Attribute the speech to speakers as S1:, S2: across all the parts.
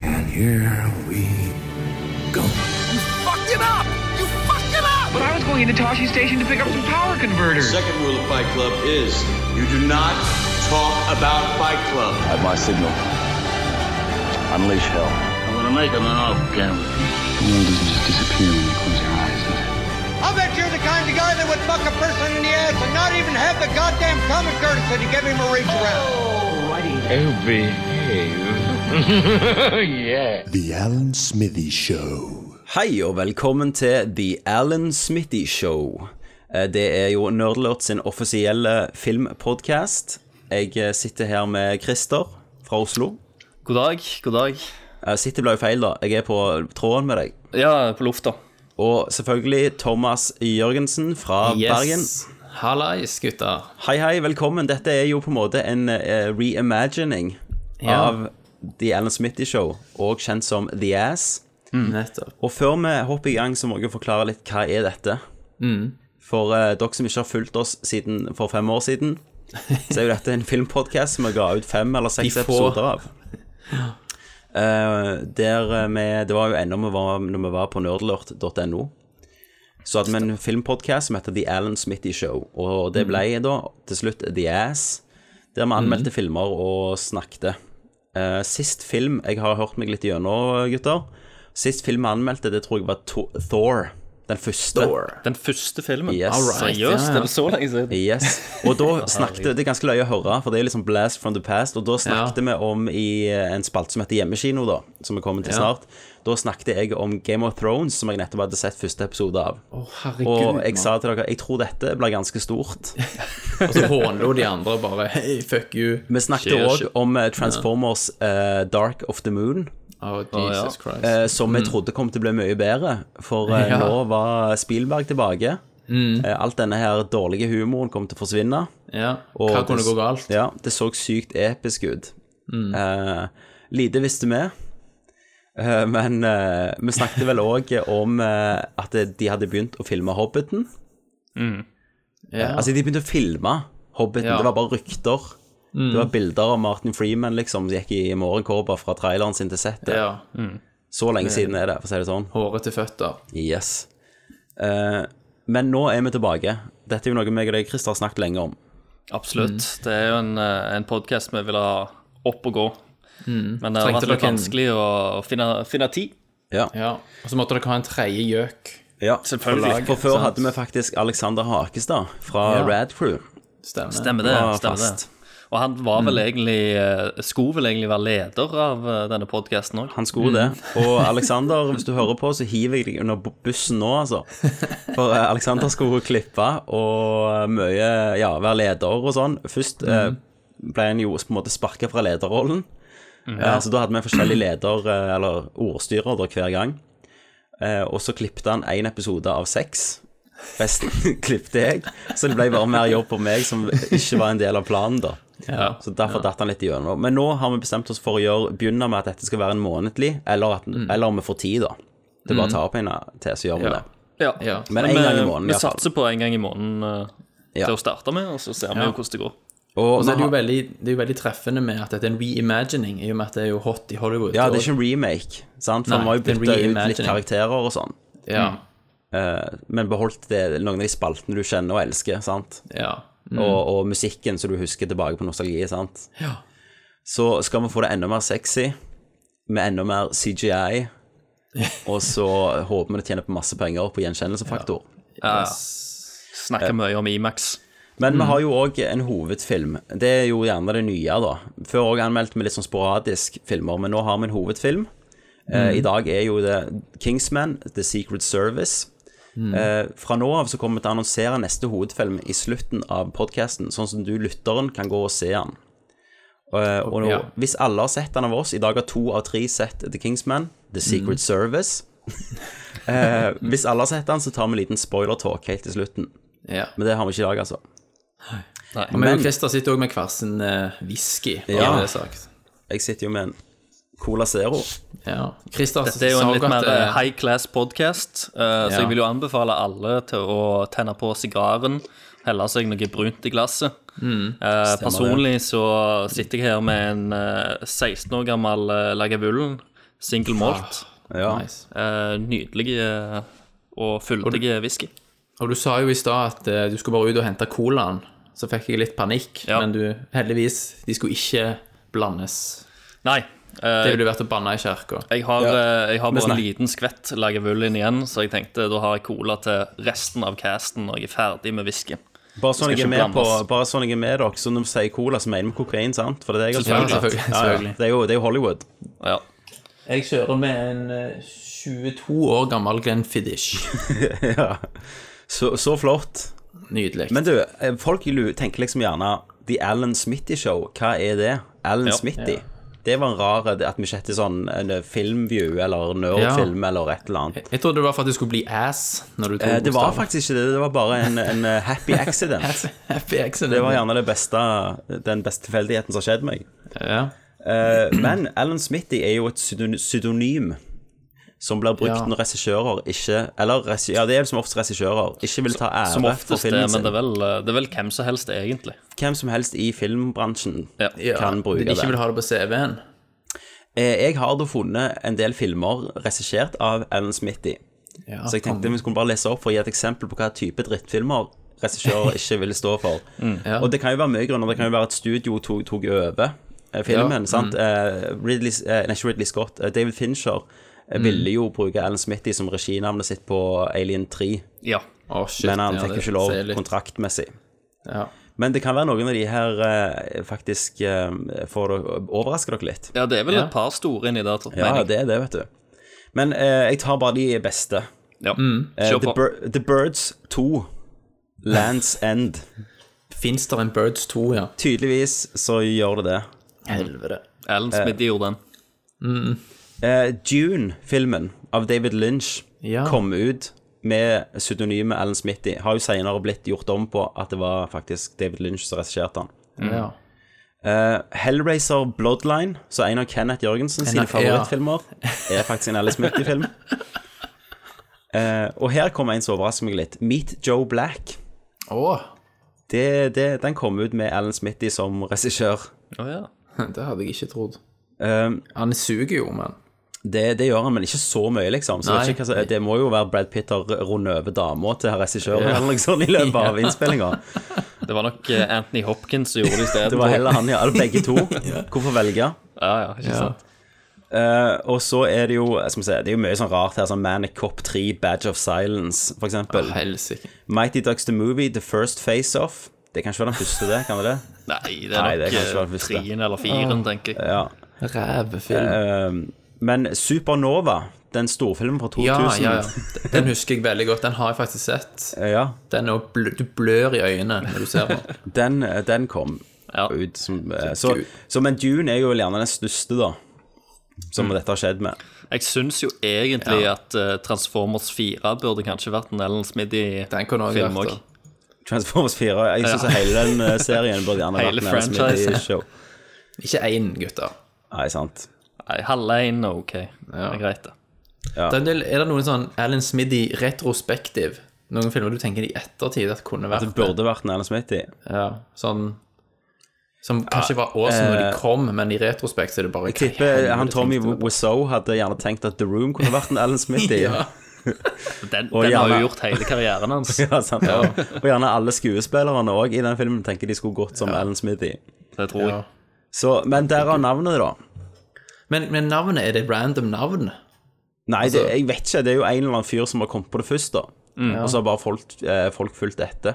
S1: Here we go.
S2: Fucked it up! You fucked it up!
S3: But I was going into Toshi Station to pick up some power
S4: The
S3: converters.
S4: second rule of Fight Club is you do not talk about Fight Club.
S5: At my signal, unleash hell.
S6: I'm gonna make him an off camera. The world doesn't just disappear when you close your eyes, does it?
S7: I bet you're the kind of guy that would fuck a person in the ass and not even have the goddamn common courtesy to give him a reach around.
S3: Oh, behave. yeah.
S1: The Alan Smithy Show.
S8: Hei og velkommen til The Alan Smitty Show. Eh, Det er jo Nerdlert sin offisielle filmpodcast. Jeg eh, sitter her med Christer fra Oslo.
S9: God dag, god dag.
S8: Eh, Sitter ble jo feil, da. Jeg er på tråden med deg.
S9: Ja, på lufta.
S8: Og selvfølgelig Thomas Jørgensen fra Bergen.
S9: Hallais, gutter.
S8: Hei, hei, velkommen. Dette er jo på en måte en eh, reimagining
S9: Ja.
S8: av The Alan Smitty Show, og kjent som The Ass.
S9: mm. Nettopp.
S8: Og før vi hopper i gang, så må jeg jo forklare litt hva er dette. For eh, dere som ikke har fulgt oss siden, for fem år siden, så er jo dette en filmpodkast som vi ga ut fem eller seks
S9: De få.
S8: episoder av. Eh, der eh, vi, det var jo ennå vi var, når vi var på nerdlurt.no. Så hadde vi en filmpodkast som heter The Alan Smitty Show. Og det ble
S9: Mm.
S8: da til slutt The Ass, der vi anmeldte filmer og snakket. Eh, sist film jeg har hørt meg litt gjennom, gutter Sist film jeg anmeldte, det tror jeg var to Thor. Den første.
S9: Den første filmen?
S8: Yes.
S9: Seriøst,
S8: Ja, ja.
S9: det var så lenge siden.
S8: Yes. Og da snakket Det er ganske løye å høre, for det er liksom blast from the past. Og da snakket vi om i eh, en spalte som heter Hjemmekino, da, som vi kommer til snart. Da snakket jeg om Game of Thrones, som jeg nettopp hadde sett første episode av.
S9: Å, herregud,
S8: og jeg
S9: mann.
S8: sa til dere jeg tror dette blir ganske stort.
S10: Og så hånlo de andre bare Hei, fuck you.
S8: Vi snakket
S9: Cheers.
S8: òg om eh, Transformers eh, Dark of the Moon.
S10: Oh, Jesus Christ.
S8: eh, som
S9: Mm.
S8: vi trodde kom til å bli mye bedre. For eh,
S10: Ja.
S8: nå var Spielberg tilbake.
S9: Mm.
S8: Eh, alt denne her dårlige humoren kom til å forsvinne.
S10: ja.
S8: Eh, og
S10: Hva kunne gå galt? Mm.
S8: Ja, det så sykt episk ut. Eh, lite visste vi. Eh, men eh, vi snakket vel òg om eh, at de hadde begynt å filme Hobbiten.
S10: Ja.
S8: Altså, de begynte å filme Hobbiten.
S10: Ja. Mm.
S8: Det var bare rykter. Det var bilder av Martin Freeman liksom, som gikk i morgenkåpa fra traileren sin til settet.
S10: ja.
S8: Så lenge siden er det, for å si det sånn.
S10: Håret til føtter.
S8: Yes. Eh, men nå er vi tilbake. Dette er jo noe meg og deg, Christer, har snakket lenge om.
S9: Absolutt. Det er jo en, eh, en podkast vi ville ha opp og gå. Men det har
S10: Trengte
S9: vært litt
S10: dere en-
S9: vanskelig å finne, finne tid.
S8: Ja.
S10: Ja. Og så måtte dere ha en tredje gjøk.
S9: Selvfølgelig.
S8: For før
S10: sant.
S8: hadde vi faktisk Alexander Hakestad fra
S10: Ja.
S8: Rad Crew.
S10: Stemmer.
S9: Stemmer det.
S8: Ja,
S9: stemmer
S8: fast.
S9: det. Og han var vel egentlig eh, skulle vel egentlig være leder av eh, denne podkasten òg.
S8: Han skulle
S10: Mm.
S8: det. Og Alexander, hvis du hører på, så hiver jeg deg under bu- bussen nå, altså. For eh, Alexander skulle klippe og mye Ja, være leder og sånn. Først eh,
S10: Mm.
S8: ble han jo på en måte sparka fra lederrollen. Eh, så da hadde vi forskjellig leder, eh, eller ordstyrer, da, hver gang. Eh, og så klippte han én episode av seks. Resten klippte jeg. Så det ble bare mer jobb på meg, som ikke var en del av planen, da.
S10: Ja.
S8: Så derfor datt han litt igjennom. Men nå har vi bestemt oss for å gjøre, begynne med at dette skal være en månedlig, eller, at, eller om vi får tid, da. Det er bare å ta opp en til, så gjør vi
S10: Mm. Ja.
S8: det.
S9: Ja.
S10: Ja.
S8: Men en gang i
S9: vi-
S8: måneden, i
S9: Vi
S8: hvert fall.
S9: satser på en gang i måneden eh,
S8: Ja.
S9: til å starte med, og så ser vi
S10: Ja.
S9: jo hvordan det går.
S8: Og,
S10: Og så er det,
S8: vi
S10: jo
S8: har-
S10: veldig, det er jo veldig treffende med at dette er en reimagining, i og med at det er jo hot i Hollywood.
S8: ja, det er ikke en remake, sant? for
S10: Nei,
S8: vi har jo
S10: det er en
S8: bytta ut litt
S10: reimagining.
S8: karakterer og sånn.
S10: Ja,
S8: Eh, men beholdt det, noen av de spaltene du kjenner og elsker, sant?
S10: ja.
S8: og, og musikken som du husker tilbake på nostalgi, sant?
S10: Mm. Ja.
S8: Så skal vi få det enda mer sexy, med enda mer CGI, og så håper vi det tjener på masse penger på gjenkjennelsesfaktor.
S9: Ja, ja. Snakker mye om Imax.
S8: Men vi har jo òg en hovedfilm. Det er jo gjerne det nye, da. Før òg anmeldte vi litt sånn sporadisk filmer, men nå har vi en hovedfilm. Eh, I dag er jo det Kingsman, The Secret Service. Eh, fra nå av så kommer vi til å annonsere neste hovedfilm i slutten av podkasten, sånn som du, lytteren, kan gå og se den. Eh, og nå,
S10: Ja.
S8: hvis alle har sett den av oss, i dag har to av tre sett The Kingsman, The Secret Service. eh, hvis alle har sett den, så tar vi en liten spoiler-talk helt til slutten.
S10: ja.
S8: Men det har vi ikke i dag, altså.
S10: Men, men Christer sitter òg med hver sin eh, whisky, bare
S8: Ja.
S10: ja. det er sagt.
S8: Jeg sitter jo med en Cola Zero.
S10: Ja. Christer
S8: Altså,
S9: Dette er jo en
S10: sa
S9: litt mer
S10: eh,
S9: eh, high class podcast, eh,
S10: Ja.
S9: så jeg vil jo anbefale alle til å tenne på sigaren, helle seg noe brunt i glasset.
S8: Mm,
S9: Eh, personlig så sitter jeg her med en eh, 16 år gammel eh, Lagavulin Single malt.
S8: Ja.
S10: Nice.
S9: Eh, nydelig eh, og fyldig whisky.
S10: Og du sa jo i stad at eh, du skulle bare ut og hente colaen. Så fikk jeg litt panikk,
S9: Ja.
S10: men du, heldigvis, de skulle ikke blandes.
S9: Nei. eh,
S10: Det ville vært å banne i kirka.
S9: jeg har, eh, jeg har
S8: Vi
S9: bare en
S8: snakker-
S9: liten skvett lagervull inn igjen, så jeg tenkte da har jeg cola til resten av casten når jeg er ferdig med whisky.
S8: Bare sånn,
S9: Skal
S8: jeg er
S9: ikke
S8: med på,
S9: blandes.
S8: bare sånn jeg er med dere, så når vi sier cola, så mener vi kokain, sant? For det er det jeg har
S10: Selvfølgelig,
S8: skjønt.
S10: selvfølgelig,
S8: Ja, ja.
S10: selvfølgelig.
S8: Det, er jo, det er jo Hollywood.
S9: Ja.
S10: Jeg kjører med en eh, 22 år gammel Glenfiddich.
S8: Så, så flott.
S10: Nydelig.
S8: Men du, eh, folk lu- tenker liksom gjerne The Alan Smitty Show, hva er det? Alan
S9: Ja.
S8: Smitty. Det var en rar det at vi ikke heter sånn en eh, filmview eller
S10: Ja.
S8: nerdfilm eller et eller annet.
S10: jeg trodde det var for at det skulle bli ass når du tok
S8: Eh, Det var
S10: bokstaven.
S8: faktisk ikke det, det var bare en, en eh, happy accident.
S10: Happy accident.
S8: Det var gjerne det beste, den beste tilfeldigheten som har skjedd meg.
S10: ja.
S8: Eh, Men Alan Smitty er jo et pseudony- pseudonym som blir brukt
S10: Ja.
S8: når regissører ikke Eller regi- ja, det er som oftest regissører ikke vil ta ære
S9: Som
S8: for
S9: oftest det,
S8: filmen
S9: men
S8: sin.
S9: det er, vel, eh, det er vel hvem som helst, egentlig.
S8: Hvem som helst i filmbransjen
S9: Ja.
S8: kan bruke
S10: de
S8: det.
S10: ikke vil ha det på CV-en.
S8: Eh, Jeg har da funnet en del filmer regissert av Alan Smitty.
S10: Ja,
S9: Ah,
S8: Så jeg tenkte vi skulle bare lese opp for å gi et eksempel på hva type drittfilmer regissører ikke ville stå for.
S9: Mm.
S10: ja.
S8: Og det kan jo være mye grunner. Det kan jo være at studio tok, tok over eh, filmen.
S10: Ja, Mm.
S8: sant? Eh, Ridley, eh, nei, ikke Ridley Scott. eh, David Fincher eh,
S10: Mm.
S8: ville jo bruke Alan Smitty som reginavnet sitt på Alien 3,
S9: Ja.
S10: Å, shit,
S8: men han
S10: ja,
S8: fikk
S10: det
S8: jo ikke lov
S10: sier litt.
S8: kontraktmessig.
S10: Ja.
S8: Men det kan være noen av de her eh, faktisk eh, får dere- overrasker dere litt.
S9: ja, det er vel
S10: Ja.
S9: et par store inni der, tror jeg.
S8: Ja, det er det, vet du. Men eh, jeg tar bare de beste.
S9: Ja.
S8: Eh,
S9: Kjør
S8: The,
S9: på.
S8: Bir The Birds 2, Lands End.
S10: Fins det en Birds 2, ja?
S8: Tydeligvis så gjør det det.
S10: Helvete.
S9: Alan Smitty gjorde den.
S8: Eh, Dune-filmen av David Lynch
S10: Ja.
S8: kom ut med pseudonymet Alan Smitty. Har jo senere blitt gjort om på at det var faktisk David Lynch som regisserte han.
S10: Ja.
S8: Hellraiser Bloodline, så en av Kenneth Jørgensen sine
S10: av-
S8: favorittfilmer, er faktisk en Alice Mitty-film. Eh, og her kommer en som overrasker meg litt. Meet Joe Black.
S10: Åh,
S8: Det, det, den kom ut med Alan Smitty som regissør.
S9: Å ja.
S10: det hadde jeg ikke trodd.
S8: Eh,
S10: Han suger jo, men
S8: det, det gjør han, men ikke så mye, liksom. Så
S10: Nei.
S8: vet ikke, hva som- det må jo være Brad Pitt har rundet over dama til regissøren eller noe sånt i løpet av innspillinga.
S9: Det var nok eh, Anthony Hopkins som gjorde det
S8: Det
S9: isteden.
S8: var heller han, ja. Eller begge to. Hvorfor velge?
S9: Ja, ja, ikke sant.
S8: Eh, og så er det jo skal vi se, det er jo mye sånn rart her, sånn Manic Cop 3, Badge of Silence, for eksempel.
S10: helsike.
S8: Mighty Ducks The Movie, The First Face Off. Det kan ikke være den første, det? kan det det?
S9: Nei, det
S8: Nei,
S9: er
S8: det kan
S9: nok
S8: ikke være
S9: eh,
S8: den første.
S9: trien eller firen, tenker jeg.
S8: Ja.
S10: Rævefilm.
S8: Ehm, men Supernova, den storfilmen fra 2000
S10: Ja, ja, ja. Den husker jeg veldig godt. Den har jeg faktisk sett.
S8: Eh, ja.
S10: Den er jo blø du blør i øynene når du ser den.
S8: Den, den kom
S9: Ja.
S8: ut som eh, så, så, Men Dune er jo gjerne den største, da, som
S10: Mm.
S8: dette har skjedd med.
S9: Jeg syns jo egentlig at eh, Transformers 4 burde kanskje vært en Ellen
S10: Den kunne også
S9: Smitty-film
S10: vært
S9: òg.
S10: det.
S8: Transformers 4. Jeg syns hele den eh, serien burde gjerne
S9: Hele
S8: vært med. som et
S9: franchisen.
S8: show.
S10: Ikke én, gutter.
S8: Nei, sant.
S9: Nei, halve én er ok. Det er greit, det.
S10: Det Er en del- er det noen sånn Alan Smitty retrospektiv? Noen filmer du tenker i ettertid at kunne vært
S8: Det burde vært en Alan Smitty.
S10: Ja, sånn Som kanskje var awesome når de kom, men i retrospekt så er det bare
S8: eh, Jeg
S10: hva i
S8: tipper
S10: helvete
S8: han Tommy
S10: tenkte du?
S8: Wiseau hadde gjerne tenkt at The Room kunne vært en Alan Smitty.
S10: Ja.
S9: Den,
S8: Og
S9: den har
S8: gjerne-
S9: jo gjort hele karrieren hans.
S8: Ja, sant, ja. Og gjerne alle skuespillerne òg i den filmen tenker de skulle gått som Alan Smithy.
S9: Det tror jeg.
S10: Ja.
S8: Så, men derav navnet, da.
S10: Men, men navnet, er det random navn?
S8: Nei, det, jeg vet ikke. Det er jo en eller annen fyr som har kommet på det først, da. Og så har bare folk, eh, folk fulgt etter.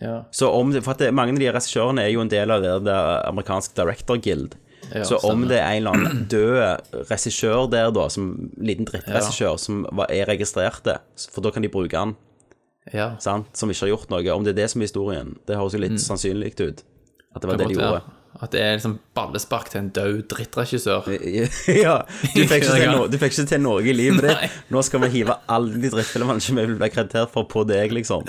S10: Ja.
S8: Så om det, for at det, Mange av de regissørene er jo en del av det, det amerikanske Director Guild. så om
S10: stemmer.
S8: det er en eller annen død regissør der, da, som liten drittregissør, som var- er registrert det, for da kan de bruke han,
S10: ja.
S8: sant, som ikke har gjort noe. Om det er det som er historien. Det høres jo litt sannsynlig ut. At det var det de
S10: godt, ja.
S8: gjorde.
S10: At det er liksom ballespark til en død drittregissør.
S8: Ja, du fikk ikke til,
S10: Ja.
S8: no du fikk ikke til Norge i livet
S10: Nei.
S8: ditt. Nå skal vi hive alle de drittfilmene som vi vil bli kreditert for, på deg, liksom.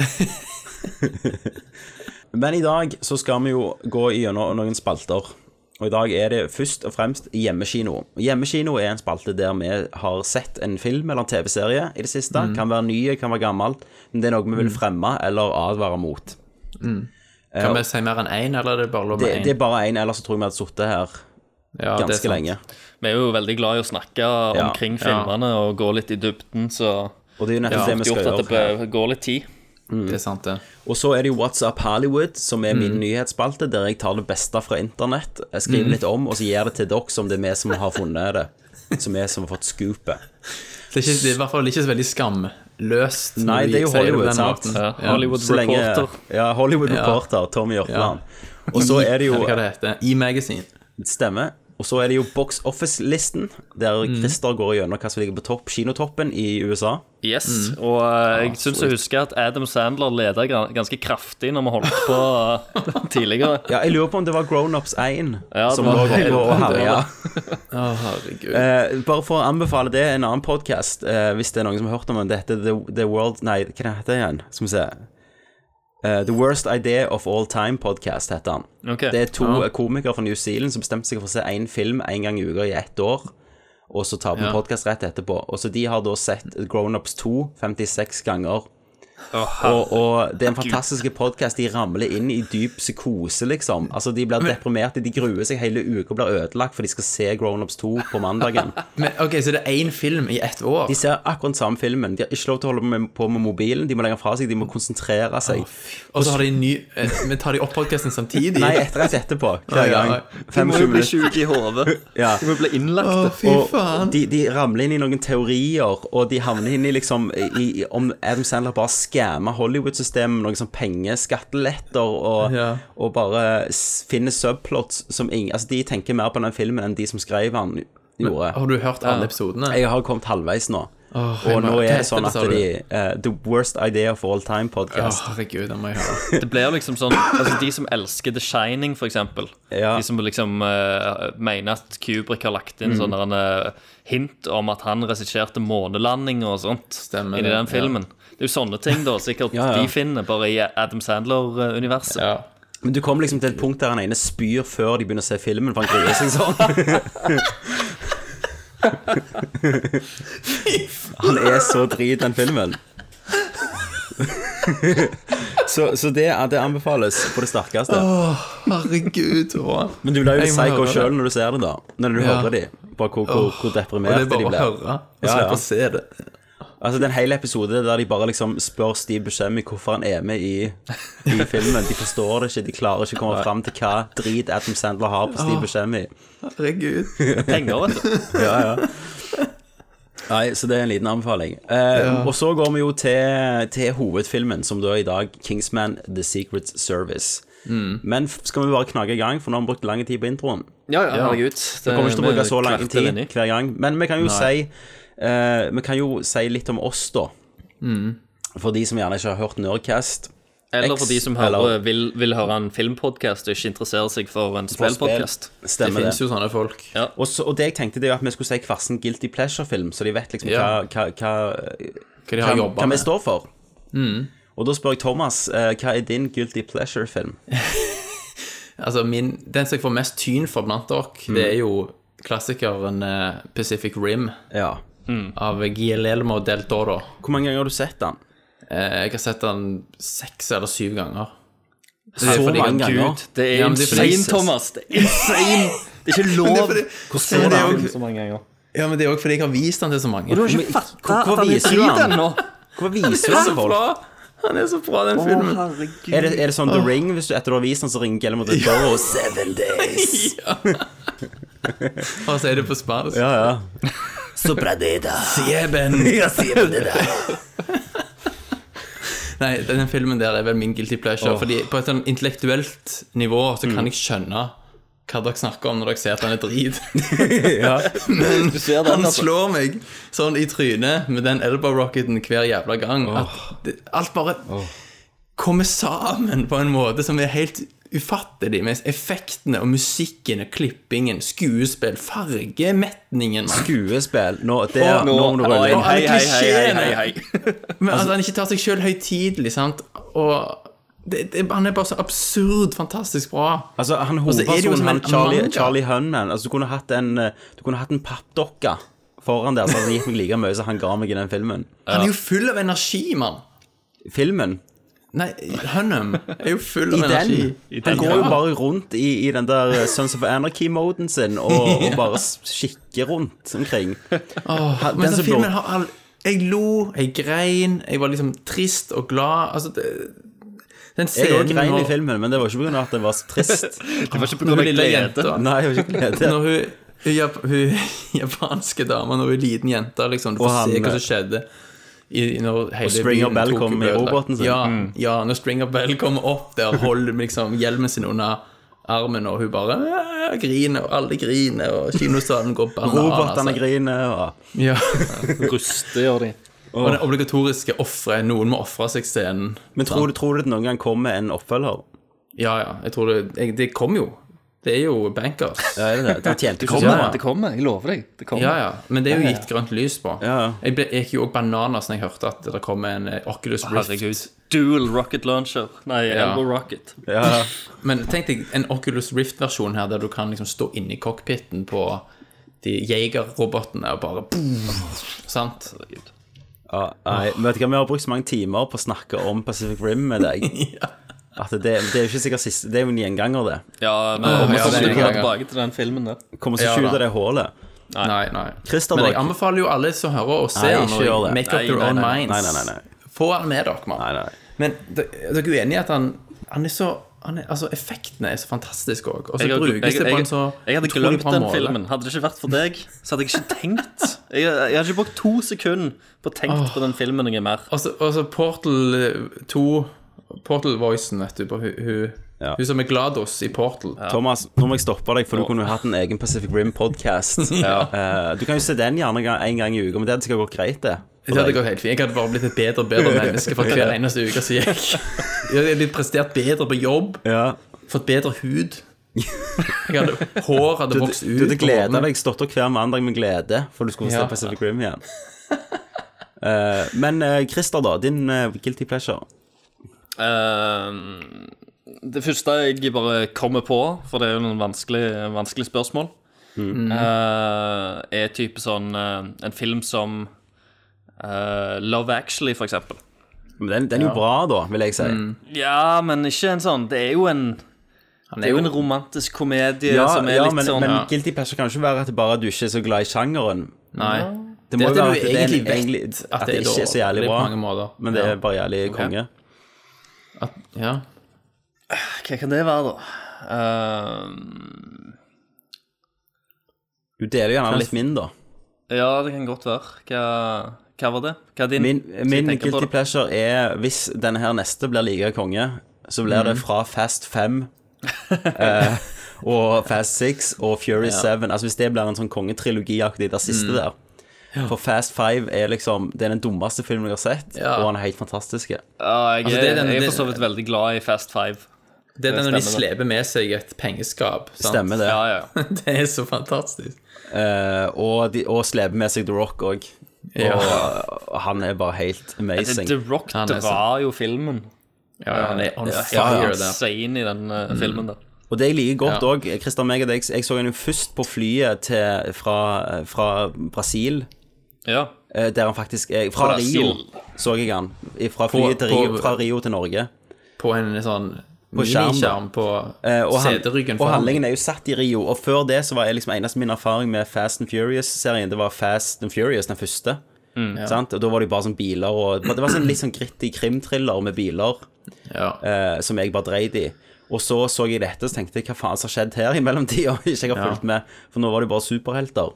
S8: Men i dag så skal vi jo gå gjennom noen spalter. Og i dag er det først og fremst hjemmekino. Hjemmekino er en spalte der vi har sett en film eller en TV-serie i det siste.
S10: Mm.
S8: Kan være ny, kan være gammelt. Men det er noe vi vil fremme eller advare mot.
S10: Kan vi si mer enn én, eller er det bare lov
S8: Det,
S10: med én?
S8: det er bare én, ellers så tror jeg vi hadde sittet her
S10: Ja, det er
S8: ganske
S10: sant.
S8: lenge.
S9: Vi er jo veldig glad i å snakke
S8: Ja.
S9: omkring filmene og gå litt i dybden, så
S8: Og det er jo
S9: det
S8: nettopp
S9: har
S8: det vi
S9: gjort
S8: skal
S9: at det
S8: gjøre.
S9: bør- går litt tid.
S10: Det er sant, det.
S8: Og så er det jo What's Up Hollywood, som er min nyhetsspalte, der jeg tar det beste fra internett, jeg skriver litt om, og så gir jeg det til dere som det er vi som har funnet det. Som er som har fått scoopet.
S10: Det er, ikke, det er i hvert fall ikke så veldig skamløst. når
S8: Nei,
S10: de
S8: det er jo
S10: sier på
S8: Hollywood,
S10: den
S8: sant?
S10: måten.
S9: Ja, Hollywood
S8: Så lenge-
S9: Reporter.
S8: Ja, Hollywood
S10: Ja.
S8: Reporter, Tommy Jørpeland. Og så er det
S10: Eller hva
S8: jo
S10: det heter. E-magasin.
S8: Stemmer. Og så er det jo Box Office-listen, der Christer går gjennom hva som ligger på topp, kinotoppen i USA.
S9: Yes,
S8: Mm.
S9: og eh, jeg syns jeg husker at Adam Sandler leda ganske kraftig når vi holdt på eh, tidligere.
S8: Ja, jeg lurer på om det var Grown Ups 1
S9: Ja, det
S8: som
S9: var-
S8: lå på
S9: jeg lurer på
S8: og
S9: om det
S8: herja.
S9: var
S10: Å, herregud.
S8: Eh, bare for å anbefale det, en annen podkast, eh, hvis det er noen som har hørt om den, det heter The, The World Nei, hva det heter det igjen? Skal vi se. Eh, The Worst Idea of All Time Podcast heter han.
S9: Ok.
S8: Det er to eh, komikere fra New Zealand som bestemte seg for å se én film én gang i uka i ett år, og så ta på
S10: Ja.
S8: podcast rett etterpå. Og så de har da sett Grown Ups 2 56 ganger.
S9: Å,
S8: Og, og det er en fantastisk podkast. De ramler inn i dyp psykose, liksom. Altså, De blir deprimerte, de gruer seg hele uka og blir ødelagt, for de skal se Grown Ups 2 på mandagen.
S10: Men, ok, Så det er én film i ett år?
S8: De ser akkurat samme filmen. De har ikke lov til å holde på med, på med mobilen. De må legge den fra seg, de må konsentrere seg.
S10: Og så har de en ny eh, Men tar de opp podkasten samtidig?
S8: Nei, etter rett etterpå.
S10: Ja,
S8: Hver
S10: ja.
S8: gang. Fem-sju minutter.
S9: sjuke i hodet.
S8: Ja.
S9: må bli innlagt.
S10: Å, fy faen.
S8: Og de, de ramler inn i noen teorier, og de havner inn i liksom i, i, Om Adam Sandler bare skammer Hollywood-systemet med noen sånn pengeskatteletter, og,
S10: Ja.
S8: og bare s- finner subplots som ingen Altså, de tenker mer på den filmen enn de som skrev den, gjorde.
S10: Har du hørt alle episodene?
S8: Jeg har kommet halvveis nå.
S10: Åh, jeg må-
S8: og nå
S10: hva
S8: er
S10: heter
S8: det sånn
S10: det,
S8: at
S10: sa du?
S8: de eh, The Worst Idea of All
S10: Å,
S8: Time-podkast.
S10: herregud, den må jeg høre.
S9: Det blir jo liksom sånn Altså, de som elsker The Shining, for eksempel.
S8: Ja.
S9: De som liksom eh, mener at Kubrick har lagt
S8: Mm.
S9: inn sånne eh, hint om at han regisserte månelanding og sånt
S10: Stemmer
S9: inni
S10: det,
S9: den filmen. Det er jo sånne ting, da, sikkert
S8: Ja, ja.
S9: de finner bare i Adam eh, Sandler-universet.
S10: Ja.
S8: Men du kommer liksom til et punkt der han ene spyr før de begynner å se filmen, for han gruer seg sånn. Han er så drit, den filmen. Så, så det, det anbefales på det sterkeste.
S10: Herregud, Håvard.
S8: Men du blir jo
S10: Jeg
S8: litt
S10: må høre
S8: psycho
S10: det.
S8: sjøl når du ser det, da. Når du
S10: Ja.
S8: hører de. Bare hvor, hvor, hvor
S10: Og det
S8: deprimerte
S10: er bare
S8: de
S10: å
S8: blir.
S10: høre, og
S8: Ja, ja.
S10: slippe å se det.
S8: Altså, det er en hel episode der de bare liksom spør Steve Buscemi hvorfor han er med i, i filmen. De forstår det ikke, de klarer ikke å komme fram til hva drit Adam Sandler har på Steve Buscemi.
S10: Herregud.
S9: Penger, vet du.
S8: Ja, ja. Nei, så det er en liten anbefaling. Eh, Og så går vi jo til, til hovedfilmen, som da er i dag Kingsman The Secret Service.
S10: Mm.
S8: Men f- skal vi bare knage i gang, for nå har vi brukt lang tid på introen.
S9: Ja, ja, herregud.
S8: Vi kommer ikke
S10: Eh,
S8: til å bruke så lang
S9: kvarter
S8: tid
S9: inn i.
S8: hver gang. Men vi kan jo si eh, Vi kan jo si litt om oss, da.
S10: Mm.
S8: For de som gjerne ikke har hørt Nerdcast.
S9: Eller
S8: X,
S9: for de som
S8: eller-
S9: hører, vil, vil høre en filmpodkast og ikke interesserer seg for en
S8: på spill.
S9: spillpodkast.
S10: Det
S8: Stemmer det.
S10: finnes jo sånne folk.
S8: Og, så, og det jeg tenkte, det er jo at vi skulle si hver sin guilty pleasure-film, så de vet liksom
S10: Ja.
S8: hva, hva, hva
S10: Hva de har
S8: Hva-
S10: jobba
S8: Hva vi
S10: med. Mm.
S8: står for. Og da spør jeg Thomas, eh, hva er din guilty pleasure-film?
S10: Altså, min, den som jeg får mest tyn for blant dere,
S8: Mm.
S10: det er jo klassikeren eh, Pacific Rim
S8: Ja.
S10: av Guillermo del Toro.
S8: Hvor mange ganger har du sett den?
S10: Eh, jeg har sett den seks eller syv ganger.
S8: Så
S10: fordi-
S8: mange ganger?
S9: Gud, det er
S10: Ja, men det er fordi-
S9: insane, Thomas. Det er insane. Det er ikke lov. Hvordan
S10: Men det er
S9: den
S10: jo-
S9: så mange ganger?
S10: Ja, men det er òg fordi jeg har vist den til så mange.
S9: Du har
S8: Men-
S9: ikke fatta
S8: Hvorfor
S9: at han er
S8: viser du
S9: drit
S8: han?
S9: ennå?
S8: Hva viser du til folk?
S10: Han er så bra, den filmen.
S8: Er det, er det sånn The Ring, hvis du etter du har vist den, så ringer Guillermo del Toro Seven days
S10: Og så er det på spansk.
S8: Ja, ja. Supradeda. Ja, sieben de da.
S10: Nei, den filmen der er vel min guilty pleasure. Fordi på et sånn intellektuelt nivå så kan jeg skjønne hva dere snakker om når dere ser at han er drit. Men han
S8: altså.
S10: slår meg sånn i trynet med den elbow rocketen hver jævla gang. At det, alt bare kommer sammen på en måte som er helt ufattelig. Mens effektene og musikken og klippingen, skuespill, fargemetningen mann.
S8: Skuespill. Nå, det er,
S10: Å,
S8: nå må du rulle
S10: Å,
S8: inn.
S10: alle klisjeene.
S9: hei,
S8: Altså-
S10: Men at han ikke tar seg sjøl høytidelig, sant. Og det, det, han er bare så absurd fantastisk bra.
S8: Altså, han
S10: så er det jo
S8: hovedpersonen,
S10: som
S8: han
S10: en
S8: Charlie,
S10: manga.
S8: Charlie Hunman altså, Du kunne hatt en, eh, du kunne hatt en pappdokke foran der, så hadde han gitt meg like mye som han ga meg i den filmen.
S10: Han er jo full av energi, mann.
S8: Filmen?
S10: Nei, Hunnam er jo full av
S8: I den.
S10: energi.
S8: Han går jo bare rundt i, i den der eh, Sons of Anarchy-moden sin og, og bare s- kikker rundt omkring.
S10: Åh,
S8: den
S10: men den
S8: som
S10: filmen
S8: blå-
S10: har all... Jeg lo, jeg grein, jeg var liksom trist og glad. Altså, det... den
S8: Jeg
S10: scenen
S8: òg grein i
S10: hvor-
S8: filmen, men det var ikke pga. at den var så trist.
S9: Det var ikke på
S10: Når
S9: grunn
S10: hun
S9: av
S10: lille
S9: glede.
S10: jenta
S8: Nei, jeg var ikke glede.
S10: Når hun, hun, jap, hun japanske dama når hun er liten jente, liksom, du
S8: Og
S10: får se
S8: han,
S10: hva som skjedde. I, når hele
S8: Springer
S10: byen
S8: Bell
S10: Tokyo
S8: kom i
S10: ble ødelagt.
S8: roboten sin. Mm.
S10: Ja, ja, når Springer Bell kommer opp der og holder liksom, hjelmen sin under armen, og hun bare "Æ, griner, og alle griner, og kinosalen går bananas.
S8: Robotene griner og
S10: Ja.
S11: Ruste gjør de.
S10: Og den obligatoriske offre, noen må offre seg-scenen.
S8: Men tror du, tror du det noen gang kommer en oppfølger?
S10: Ja, ja, jeg tror det jeg, Det kom jo. Det er jo bankers.
S8: Ja, er det det? Da tjente ikke
S11: Kommer,
S8: så
S11: det kommer, jeg lover deg. Det kommer.
S10: Ja, ja. Men det er jo gitt grønt lys på.
S8: Ja, ja.
S10: Jeg, ble, jeg gikk jo også bananas når jeg hørte at det kom en eh, Oculus Rift.
S9: Herregud. Dual rocket launcher. Nei,
S10: Ja.
S9: elbow rocket.
S8: Ja,
S10: Men tenk deg en Oculus Rift-versjon her, der du kan liksom stå inni cockpiten på de jegerrobotene og bare Sant?
S8: ja, nei, men vet du hva, Vi har brukt så mange timer på å snakke om Pacific Rim med deg. At det, det er jo ikke sikkert siste, det er jo en gjenganger, det.
S9: Ja, men
S10: Åh,
S9: vi
S10: ja,
S9: kommer
S10: det er
S9: til å
S10: gøy,
S9: komme
S10: ja.
S9: tilbake til den filmen der.
S8: Kommer ikke
S10: Ja,
S8: ut
S10: da.
S8: av det hullet.
S10: Nei, nei.
S8: Christer,
S10: Men jeg
S8: dere-
S10: anbefaler jo alle som hører, å se
S8: Nei,
S10: den.
S8: ikke
S10: og
S8: gjør det.
S10: Make up
S9: Nei,
S10: your
S9: nei,
S10: own
S9: nei,
S10: minds.
S8: nei, nei, nei.
S10: Få den med dere, mann.
S8: Nei, nei, nei.
S10: Men d- er dere uenige i at han, han er så han er, Altså, effektene er så fantastiske òg. Og så
S9: Jeg,
S10: brukes det på en så
S9: jeg, jeg hadde
S10: utrolig
S9: glemt
S10: bra
S9: den
S10: måte.
S9: filmen. Hadde det ikke vært for deg, så hadde jeg ikke tenkt. Jeg, jeg hadde ikke brukt to sekunder på å tenke på den filmen noe mer.
S10: Og så- og så Altså, Portal eh, 2 Portal-voicen, vet du. På hun, hun,
S8: Ja.
S10: hun som er GLaDOS i Portal.
S8: Thomas, nå må jeg stoppe deg, for du kunne jo hatt en egen Pacific Rim-podkast. du kan jo se den gjerne en gang- en gang i uka, men det hadde sikkert gått greit, det.
S10: Det hadde gått helt fint. Jeg hadde bare blitt et bedre og bedre menneske for hver eneste uke som gikk. Jeg hadde blitt prestert bedre på jobb,
S8: Ja.
S10: fått bedre hud. Jeg hadde, hår hadde
S8: Du,
S10: vokst ut.
S8: du hadde
S10: på
S8: gleda
S10: hånden.
S8: deg, stått opp hver mandag med glede, for du skulle få se
S10: Ja.
S8: Pacific Rim igjen. Eh, men eh, Christer, da. Din eh, guilty pleasure.
S9: Ehm, det første jeg bare kommer på, for det er jo noen vanskelige vanskelig spørsmål,
S8: Mm.
S9: eh, er type sånn eh, En film som eh, Love Actually, for eksempel.
S8: Men den, den er jo bra, da, vil jeg si.
S9: Ja, men ikke en sånn Det er jo en det er jo en romantisk komedie
S8: Ja,
S9: som er
S8: ja,
S9: litt
S8: men,
S9: sånn
S8: men guilty pleasure kan jo ikke være at det bare du ikke er så glad i sjangeren.
S10: Nei.
S8: Det
S10: Det er
S8: må jo
S10: at
S8: være
S10: du
S8: at det, er en-
S10: egentlig vet
S8: egentlig, at det, ikke er så jævlig
S10: dårlig
S8: bra,
S10: På mange måter.
S8: men det er bare jævlig konge.
S10: At, ja.
S9: Hva kan det være, da? Ehm,
S8: Du deler jo gjerne litt min, da.
S9: ja, det kan godt være. Hva, hva var det? Hva er din?
S8: Min,
S9: Skal jeg
S8: min
S9: tenke på
S8: guilty
S9: det?
S8: pleasure er hvis denne her neste blir like konge, så blir det fra Fast 5 eh, og Fast 6 og Fury 7. Altså hvis det blir en sånn kongetrilogiaktig, det siste der. For Fast 5 er liksom Det er den dummeste filmen jeg har sett,
S10: Ja.
S8: og han er helt fantastisk.
S9: Ja, Ah, jeg,
S10: Altså, det er den-
S9: jeg er
S10: det-
S9: for så vidt veldig glad i Fast Five.
S10: Det er når de
S9: stemmer
S10: sleper med seg et pengeskap. Sant?
S8: Stemmer det.
S9: Ja, ja, ja.
S10: Det er så fantastisk.
S8: Eh, og de, og sleper med seg The Rock òg.
S10: Ja.
S8: Og, og han er bare helt amazing.
S9: The Rock
S10: Han er
S9: drar jo filmen.
S10: Ja, han er on
S9: Ja,
S10: fire
S9: helt
S10: der.
S9: insane i den
S8: Mm.
S9: eh, filmen der.
S8: Og det jeg liker godt
S10: Ja.
S8: òg, Christian meg og deg, jeg så han jo først på flyet til, fra, fra Brasil.
S9: Ja.
S8: Eh, Der han faktisk er Fra
S9: Brasil.
S8: Rio så jeg han. I- Fra flyet til Rio,
S10: på-
S8: fra Rio til Norge.
S10: På en sånn
S8: skjerm, da.
S10: miniskjerm på
S8: Eh, og, han,
S10: seteryggen.
S8: og
S10: for han.
S8: handlingen er jo satt i Rio. Og før det så var jeg liksom eneste min erfaring med Fast and Furious-serien, det var Fast and Furious, den første.
S10: Mm.
S8: Sant? Og da var det jo bare sånn biler og Det var sånn litt sånn gritty krimthriller med biler
S10: Ja.
S8: eh, som jeg bare dreide i. Og så så jeg dette og tenkte jeg, hva faen som har skjedd her i mellomtida? Ikke jeg har fulgt med, for nå var det jo bare superhelter.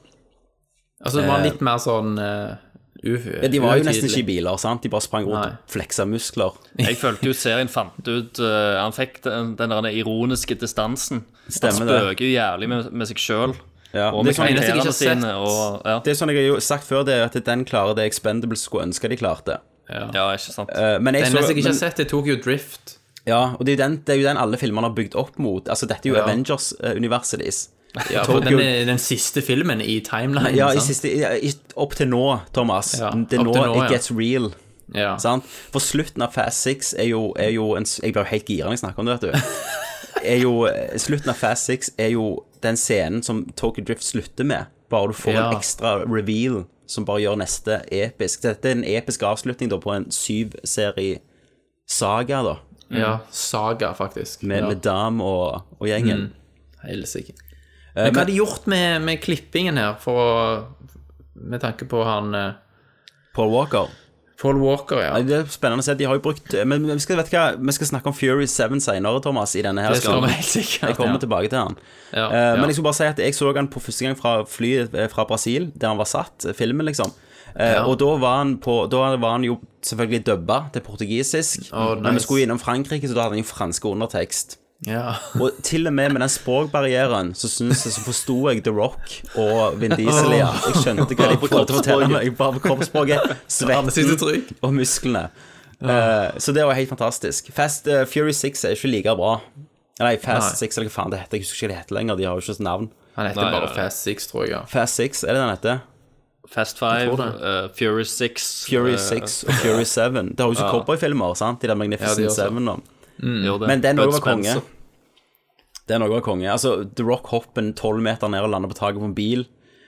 S10: Altså, det var litt mer sånn uh,
S8: Eh, Ja, de var jo nesten ikke i biler, sant? De bare sprang rundt
S10: Nei.
S8: og fleksa muskler.
S9: Jeg følte jo serien fant ut eh, Han fikk den, den der ironiske distansen.
S8: Stemmer
S9: han
S8: det.
S9: spøker jo jævlig med, med seg sjøl.
S8: Ja.
S9: Og
S8: Det er
S9: med
S8: sånn-
S10: eneste jeg ikke har
S9: karakterene
S10: sett.
S9: sine. Og, ja.
S8: Det er sånn jeg har jo sagt før, det er at den klarer det Expendables skulle ønske de klarte.
S9: ja, ikke sant.
S8: Eh, Men jeg
S10: Den
S8: så,
S10: eneste jeg ikke har
S8: men,
S10: sett, er Tokyo Drift.
S8: ja, og det er, jo den, det er jo den alle filmene har bygd opp mot. Altså, dette er jo Avengers-universet deres.
S10: Ja, for den er den siste filmen i timeline.
S8: Ja, i
S10: sant?
S8: siste, ja, i, opp til nå, Thomas.
S10: Ja,
S8: Det er
S10: opp
S8: nå,
S10: til nå,
S8: it
S10: ja.
S8: gets real.
S10: Ja.
S8: Sant? For slutten av Fast Six er jo, er jo en, s- Jeg blir jo helt gira når jeg snakker om det, vet du. Er jo, eh, slutten av Fast Six er jo den scenen som Tokyo Drift slutter med. Bare du får
S10: Ja.
S8: en ekstra reveal som bare gjør neste episk. Dette er en episk avslutning da på en syv-serie Saga, da.
S10: Ja, Saga, faktisk.
S8: Med,
S10: ja.
S8: med Dam og, og gjengen. Eh,
S10: Helsike. Men hva har de gjort med, med klippingen her, for å Med tanke på han eh,
S8: Paul Walker.
S10: Paul Walker, ja.
S8: Nei, Det er spennende å se. De har jo brukt eh, Men vi skal, vet du hva, vi skal snakke om Fury 7 senere, Thomas, i denne her
S10: Det skal
S8: skalaen.
S10: vi helt sikkert,
S8: Jeg kommer
S10: ja.
S8: tilbake til han.
S10: Ja,
S8: Eh,
S10: ja.
S8: Men jeg skulle bare si at jeg så han på første gang fra flyet eh, fra Brasil, der han var satt, eh, filmen, liksom. Eh,
S10: Ja.
S8: Og da var, han på, da var han jo selvfølgelig dubba til portugisisk.
S10: Å,
S8: Men vi
S10: nice.
S8: skulle innom Frankrike, så da hadde han jo franske undertekst.
S10: Ja.
S8: Og til og med med den språkbarrieren så synes jeg så forsto jeg The Rock og Vin Diesel igjen. Jeg skjønte hva de
S10: Bare på
S8: prøvde å fortelle
S10: kroppsspråket.
S8: meg. Bare på kroppsspråket, svetten
S10: Ansiktsuttrykk.
S8: og musklene. Eh, så det var helt fantastisk. Fast eh, Fury 6 er ikke like bra. Nei, Fast
S10: Nei.
S8: 6 eller hva faen det heter. Jeg husker ikke hva det heter lenger. De har jo ikke sånt navn.
S10: Han heter
S9: Nei,
S10: bare
S9: ja, ja.
S10: Fast Six, tror jeg. Ja.
S8: Fast 6, er det den heter?
S10: Eh,
S9: Fast
S10: Jeg
S9: Five,
S10: tror det.
S9: eh, Fury Six
S8: Fury
S9: eh,
S8: 6 og Fury 7. Det har jo ikke cowboyfilmer, sant? De der Magnificent
S10: Ja, de også.
S8: 7 nå.
S9: gjorde
S10: Mm.
S9: det.
S8: Men den
S9: Bud
S8: òg var konge.
S9: Spencer.
S8: Den også var konge. Altså, The Rock hopper tolv meter ned og lander på taket på en bil.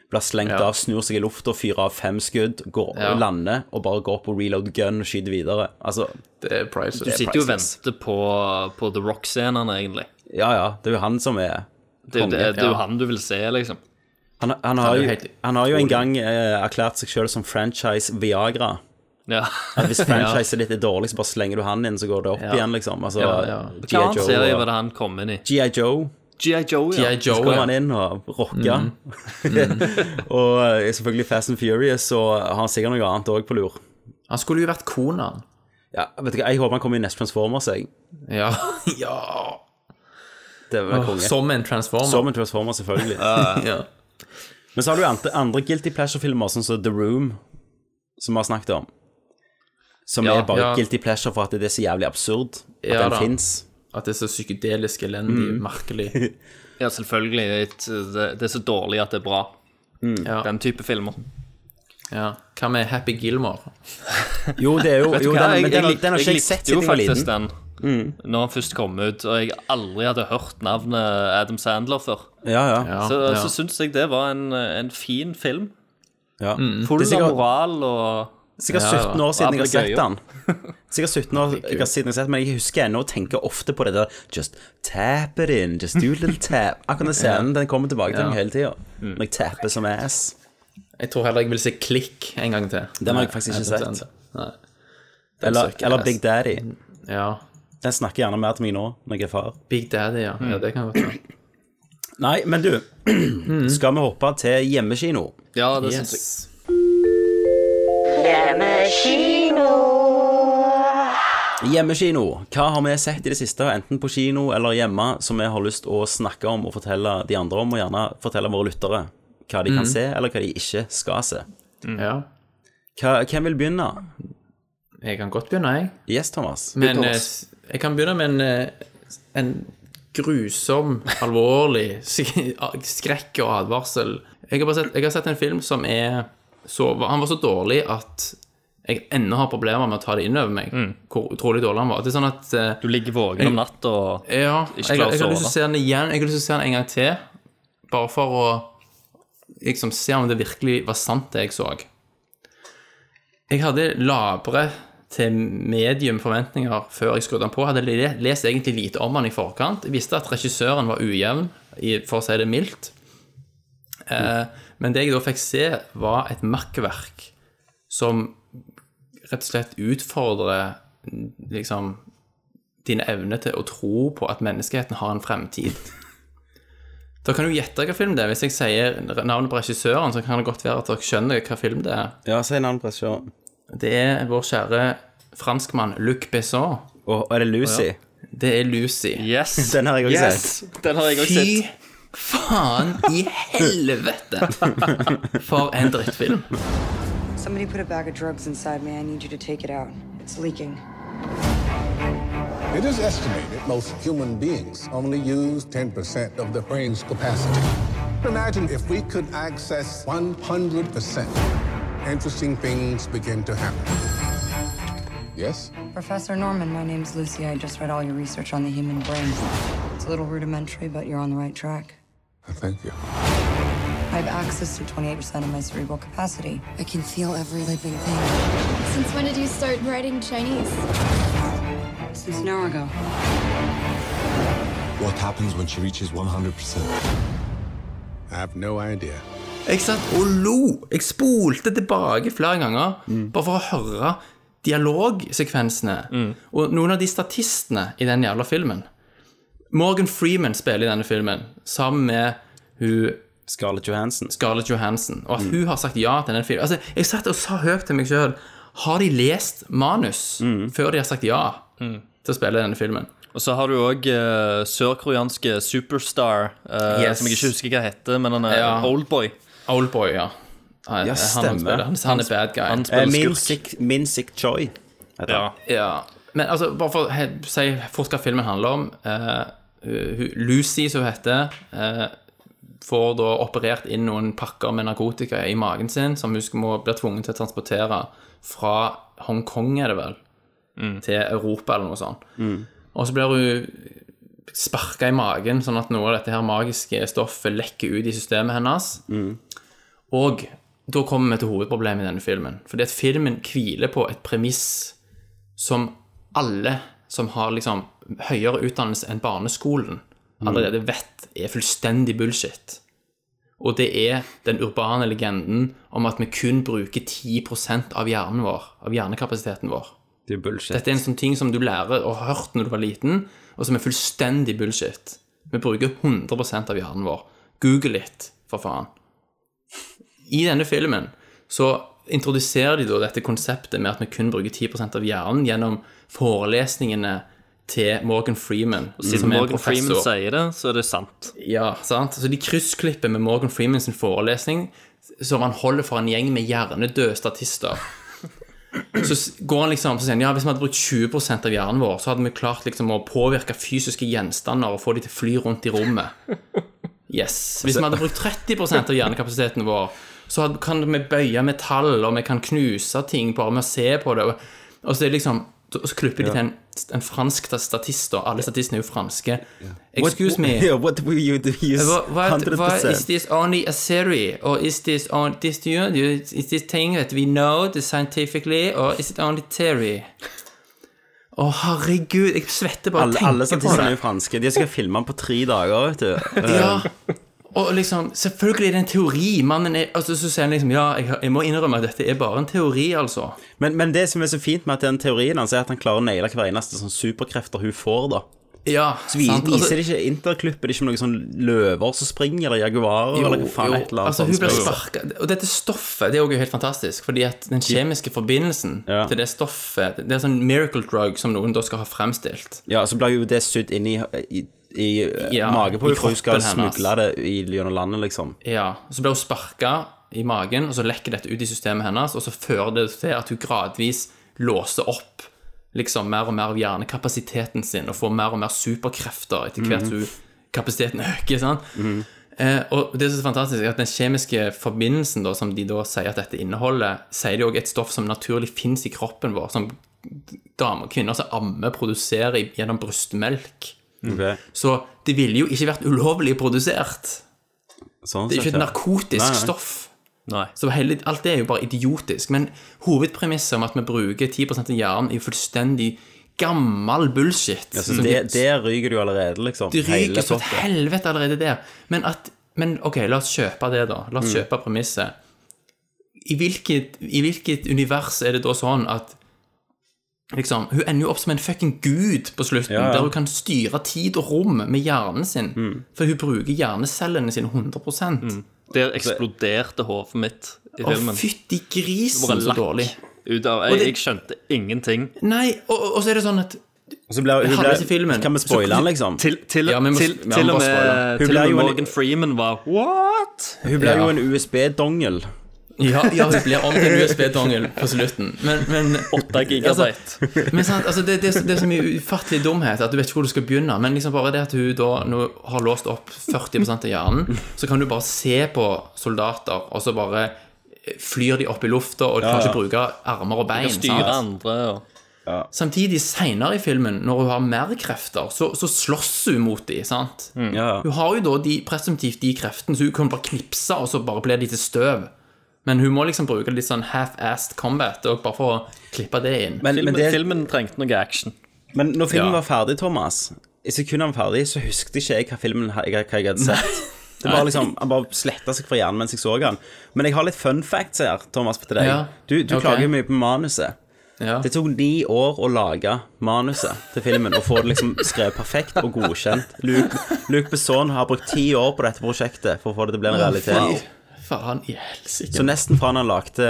S8: Blir slengt
S10: Ja.
S8: av, snur seg i lufta, fyrer av fem skudd, går,
S10: Ja.
S8: lander og bare går på reload gun og skyter videre. Altså,
S10: Det er Price.
S9: Du sitter jo og
S8: priceless.
S9: venter på, på The Rock-scenene, egentlig.
S8: ja ja, det er jo han som er
S9: Det er, jo
S8: Konge,
S9: det, det er jo
S8: ja.
S9: han du vil se, liksom.
S8: Han, han, har,
S10: er jo
S8: jo,
S10: helt
S8: han har jo en gang eh, erklært seg sjøl som franchise Viagra.
S9: Ja.
S8: Hvis franchiset ditt er dårlig, så bare slenger du han inn, så går det opp igjen, liksom. Altså,
S10: Ja, ja.
S9: Hva
S8: G.I.
S9: annen serie
S8: Joe,
S9: var det han kom inn i?
S8: G.I. Joe.
S9: G.I. Joe, Oh, ja. Mm.
S10: G.I. Joe,
S8: kommer
S10: ja.
S8: han inn og rocker. og eh, selvfølgelig Fast and Furious, og har han sikkert noe annet òg på lur.
S10: Han skulle jo vært Konan.
S8: Ja, vet du hva, Jeg håper han kommer i neste Transformers. Jeg.
S10: Ja. ja.
S8: Det var konge. Som,
S10: Som en transformer.
S8: en Transformer, selvfølgelig.
S10: ja.
S8: Men så har du jo andre, andre Guilty Pleasure-filmer, sånn som The Room, som vi har snakket om. Som
S9: Ja,
S8: er bare
S10: ja.
S8: Guilty Pleasure for at det er så jævlig absurd at
S10: Ja
S8: den
S10: da.
S8: fins.
S10: At det er så psykedelisk elendig,
S8: Mm.
S10: merkelig.
S9: Ja, selvfølgelig. Det, det er så dårlig at det er bra.
S10: Ja.
S9: Den type filmer.
S10: ja. Hva med Happy Gilmore?
S8: Jo, det er jo, jo
S9: Hva,
S8: den, men
S9: jeg,
S8: den,
S9: jeg,
S8: den har
S9: jeg
S8: ikke jeg sett
S9: likte
S8: siden
S9: jo
S8: jeg var
S9: faktisk
S8: liten.
S9: den når han først kom ut, og jeg aldri hadde hørt navnet Adam Sandler før.
S8: Ja, ja.
S10: Ja,
S9: Så,
S10: ja.
S9: så syns jeg det var en, en fin film.
S8: ja.
S9: Full
S8: Det er sikkert,
S9: av moral og
S8: sikkert
S10: Ja, ja.
S8: 17 år siden jeg har
S9: Andre
S8: sett den. Sikkert 17 år jeg har siden jeg har sett den, men jeg husker ennå og tenker ofte på det der Just tap it in, just do a little tap. Akkurat den scenen den kommer tilbake
S10: Ja.
S8: til
S10: Mm.
S8: meg hele tida. Når jeg tapper som ass.
S10: Jeg tror heller jeg vil se Klikk en gang til.
S8: Den har jeg faktisk ikke
S10: Nei, den
S8: sett.
S10: Nei. Den
S8: Eller,
S10: søker
S8: eller
S10: jeg.
S8: Big Daddy.
S10: Ja.
S8: Den snakker gjerne mer til meg nå, når jeg er far.
S10: Big Daddy, ja.
S8: Mm.
S10: ja det kan godt være.
S8: Nei, men du,
S10: Mm.
S8: skal vi hoppe til hjemmekino?
S9: Ja, det syns jeg.
S10: Yes.
S8: Hjemmekino. Hva har vi sett i det siste, enten på kino eller hjemme, som vi har lyst å snakke om og fortelle de andre om, og gjerne fortelle våre lyttere hva
S10: Mm.
S8: de kan se, eller hva de ikke skal se?
S10: Ja.
S8: Hva, hvem vil begynne?
S10: Jeg kan godt begynne, jeg.
S8: Yes, Thomas.
S10: Men eh, s- jeg kan begynne med en, eh, en grusom, alvorlig sk- skrekk og advarsel. Jeg har, bare sett, jeg har sett en film som er så, Han var så dårlig at jeg ennå har problemer med å ta det inn over meg. Hvor utrolig dårlig han var. Det er sånn at eh,
S9: Du ligger våken om natta og
S10: Ja, jeg,
S9: Ikke
S10: jeg,
S9: klar
S10: har
S9: til å
S10: lyst til å se den igjen. Jeg har lyst til å se den en gang til. Bare for å liksom se om det virkelig var sant, det jeg så. Jeg hadde labre til medium forventninger før jeg skrudde den på. Jeg hadde le- lest egentlig lite om den i forkant. Jeg visste at regissøren var ujevn, i- for å si det mildt. Eh, men det jeg da fikk se, var et makkverk som rett og slett utfordrer liksom dine evner til å tro på at menneskeheten har en fremtid. Da kan du gjette hvilken film det er. Hvis jeg sier navnet på regissøren, så kan det godt være at dere skjønner hvilken film det er.
S8: Ja, si navnet på regissøren.
S10: Det er vår kjære franskmann Luc Besson.
S8: Og og er det Lucy?
S10: Det er Lucy.
S9: Yes!
S8: Den har jeg også
S9: yes. Den har jeg også
S10: Fy
S9: sett.
S10: faen i helvete! For en drittfilm.
S12: Somebody put a bag of drugs inside me. I need you to take it out. It's leaking.
S2: It is estimated most human beings only use 10% of their brain's capacity. Imagine if we could access 100%. Interesting things begin to happen. Yes?
S12: Professor Norman, my name's Lucy. I just read all your research on the human brain. It's a little rudimentary, but you're on the right track.
S2: Oh, Thank you.
S12: I have access to 28% of my cerebral capacity. I can feel every living thing.
S13: Since when did you start writing Chinese?
S12: since an hour ago.
S2: What happens when she reaches 100%? I have no idea.
S10: Jeg satt og lo. Jeg spolte tilbake flere ganger bare for å høre dialogsekvensene. Og noen av de statistene i den jævla filmen Morgan Freeman spiller i denne filmen sammen med hun
S8: Scarlett Johansson.
S10: Scarlett Johansson. Og at hun har sagt ja til den filmen. Altså, jeg satt og sa høyt til meg sjøl Har de lest manus før de har sagt ja til å spille denne filmen?
S9: Og så har du òg uh, sørkoreanske superstar, eh,
S10: Yes.
S9: som jeg ikke husker hva heter, men han er
S10: Ja.
S9: Oldboy.
S10: Oldboy, ja. Han,
S8: Ja,
S10: han
S8: stemmer.
S10: spiller- Han, han er bad guy.
S9: Han spiller
S8: Eh, Min
S9: skurk.
S8: Sick, Min Sick Choi. heter han.
S10: Ja. Men altså, bare for å he- si fort hva filmen handler om. eh, hun- Lucy, som hun heter, eh, får da operert inn noen pakker med narkotika i magen sin, som hun skal- må blir tvunget til å transportere fra Hongkong, er det vel, til Europa eller noe sånt. Og så blir hun sparka i magen, sånn at noe av dette her magiske stoffet lekker ut i systemet hennes. Og da kommer vi til hovedproblemet i denne filmen. Fordi at filmen hviler på et premiss som alle som har liksom høyere utdannelse enn barneskolen, allerede vet er fullstendig bullshit. Og det er den urbane legenden om at vi kun bruker 10 av hjernen vår, av hjernekapasiteten vår.
S8: Det er bullshit.
S10: Dette er en sånn ting som du lærer og har hørt når du var liten, og som er fullstendig bullshit. Vi bruker 100 av hjernen vår. Google litt, for faen. I denne filmen så introduserer de da dette konseptet med at vi kun bruker 10 av hjernen gjennom forelesningene til Morgan Freeman.
S9: Og siden
S10: som er en
S9: Mm, Morgan Freeman
S10: professor.
S9: sier det, så er det sant.
S10: Ja, sant? Så de kryssklipper med Morgan Freeman sin forelesning, som han holder for en gjeng med hjernedøde statister. Så s- går han liksom så sier han, ja, hvis vi hadde brukt 20 av hjernen vår, så hadde vi klart liksom å påvirke fysiske gjenstander og få de til å fly rundt i rommet. Yes. Hvis vi hadde brukt 30 av hjernekapasiteten vår, så hadde- kan vi bøye metall, og vi kan knuse ting bare med å se på det. Og, og så er det liksom og så klipper de
S8: Ja.
S10: til en, en fransk statist, og alle statistene er jo franske. Excuse me.
S8: Yeah, what will you do? Use
S10: Hva, hva, hva, is
S8: 100%.
S10: this only a theory, or is this on this do you, do you- is this thing that we know the scientifically, or is it only theory? Å, herregud, jeg svetter bare av å
S8: Alle,
S10: tenke
S8: alle
S10: på
S8: statistene er
S10: det.
S8: jo franske. De skal filme den på tre dager, vet du.
S10: Ja, og liksom, selvfølgelig er det en teori. Mannen er, altså, så sier han liksom, ja, jeg, jeg må innrømme at dette er bare en teori, altså.
S8: Men, men det som er så fint med at den teorien hans, er at han klarer å naile hver eneste sånn superkrefter hun får, da.
S10: Ja,
S8: Så vi,
S10: sant, altså-
S8: viser det ikke interklipper det ikke om noen sånn løver som springer, eller jaguarer, eller hva faen et eller annet.
S10: altså hun
S8: sånt
S10: blir
S8: springer.
S10: sparka Og dette stoffet det er jo helt fantastisk, fordi at den kjemiske forbindelsen til det stoffet Det er sånn miracle drug som noen da skal ha fremstilt.
S8: Ja, så blir jo det sydd inn i, i, i
S10: Ja,
S8: magen på
S10: i
S8: henne, for hun skal
S10: kroppen hennes.
S8: smugle det i gjennom landet, liksom.
S10: Ja, og Så blir hun sparka i magen, og så lekker dette ut i systemet hennes, og så fører det til at hun gradvis låser opp liksom mer og mer av hjernekapasiteten sin, og får mer og mer superkrefter etter hvert
S8: Mhm.
S10: hun kapasiteten øker. sant? Eh, og det som er så fantastisk er at Den kjemiske forbindelsen da, som de da sier at dette inneholder, sier de også et stoff som naturlig fins i kroppen vår, som damer, kvinner som ammer, produserer i- gjennom brystmelk.
S8: Ok.
S10: Så det ville jo ikke vært ulovlig produsert.
S8: Sånn
S10: det er jo
S8: sett,
S10: ikke et
S8: ja.
S10: narkotisk
S8: Nei, nei.
S10: stoff. Så hele, alt det er jo bare idiotisk. Men hovedpremisset om at vi bruker 10 av hjernen, er jo fullstendig gammel bullshit.
S8: Ja, så
S10: Som
S8: Altså, det,
S10: vi-
S8: der ryker det jo allerede, liksom.
S10: det ryker
S8: Hele
S10: så til
S8: plottet.
S10: helvete allerede der. Men, at, men ok, la oss kjøpe det, da. La oss
S8: Mm.
S10: kjøpe premisset. I hvilket, I hvilket univers er det da sånn at liksom, Hun ender jo opp som en fucking gud på slutten,
S8: Ja, Mm. ja.
S10: der hun kan styre tid og rom med hjernen sin. For hun bruker hjernecellene sine 100
S8: Mm.
S9: Der eksploderte hodet mitt i
S10: Å,
S9: filmen.
S10: fytti grisen,
S9: Bare
S10: så
S9: lakk
S10: dårlig.
S9: Ut av,
S10: Og
S9: jeg,
S10: det- Eh,
S9: jeg skjønte ingenting.
S10: Nei, og, og og så er det sånn at
S8: Og så blir
S10: Det
S8: hun
S10: halvveis i
S8: blir,
S10: filmen,
S8: Kan vi
S10: så-
S8: spoile den, liksom?
S9: Til, til,
S10: Ja, vi må-
S9: til,
S10: vi må
S9: til og
S10: bare spoile.
S9: med,
S8: Hun
S9: Eh, til
S8: ble
S9: og med
S8: jo en-
S9: Morgan Freeman var What?!
S8: Hun
S10: Ja.
S8: blir jo en USB-dongel.
S10: Ja, ja hun blir om til en USB-dongel på slutten. Men, men
S9: 8 gigabyte.
S10: Men sant, altså det, det, det er så mye ufattelig dumhet at du vet ikke hvor du skal begynne. Men liksom bare det at hun da nå har låst opp 40 av hjernen, så kan du bare se på soldater, og så bare eh, flyr de opp i lufta, og du
S9: Ja,
S10: kan
S9: ja.
S10: ikke bruke armer og
S9: Du
S10: bein.
S9: kan styre
S10: sant?
S9: andre og
S10: Samtidig, seinere i filmen, når hun har mer krefter, så, så slåss hun mot de, sant?
S8: Ja.
S10: Hun har jo da de, presumptivt de kreftene, så hun kan bare knipse, og så bare blir de til støv. Men hun må liksom bruke litt sånn half-assed combat, og bare for å klippe det inn.
S9: filmen, filmen trengte noe action.
S8: Men når filmen var ferdig, Thomas, i sekundet han var ferdig, så husket ikke jeg hva filmen hva jeg hadde sett. Det var liksom, Han bare sletta seg fra hjernen mens jeg så den. Men jeg har litt fun facts her, Thomas, til deg.
S10: Ja.
S8: Du, du
S10: Ok.
S8: klager mye på manuset. Det tok ni år å lage manuset til filmen og få det liksom skrevet perfekt og godkjent. Luke, Luke Besson har brukt ti år på dette prosjektet for å få det til å bli en realitet.
S10: Fy Faen i helsike.
S8: Så nesten fra han han lagde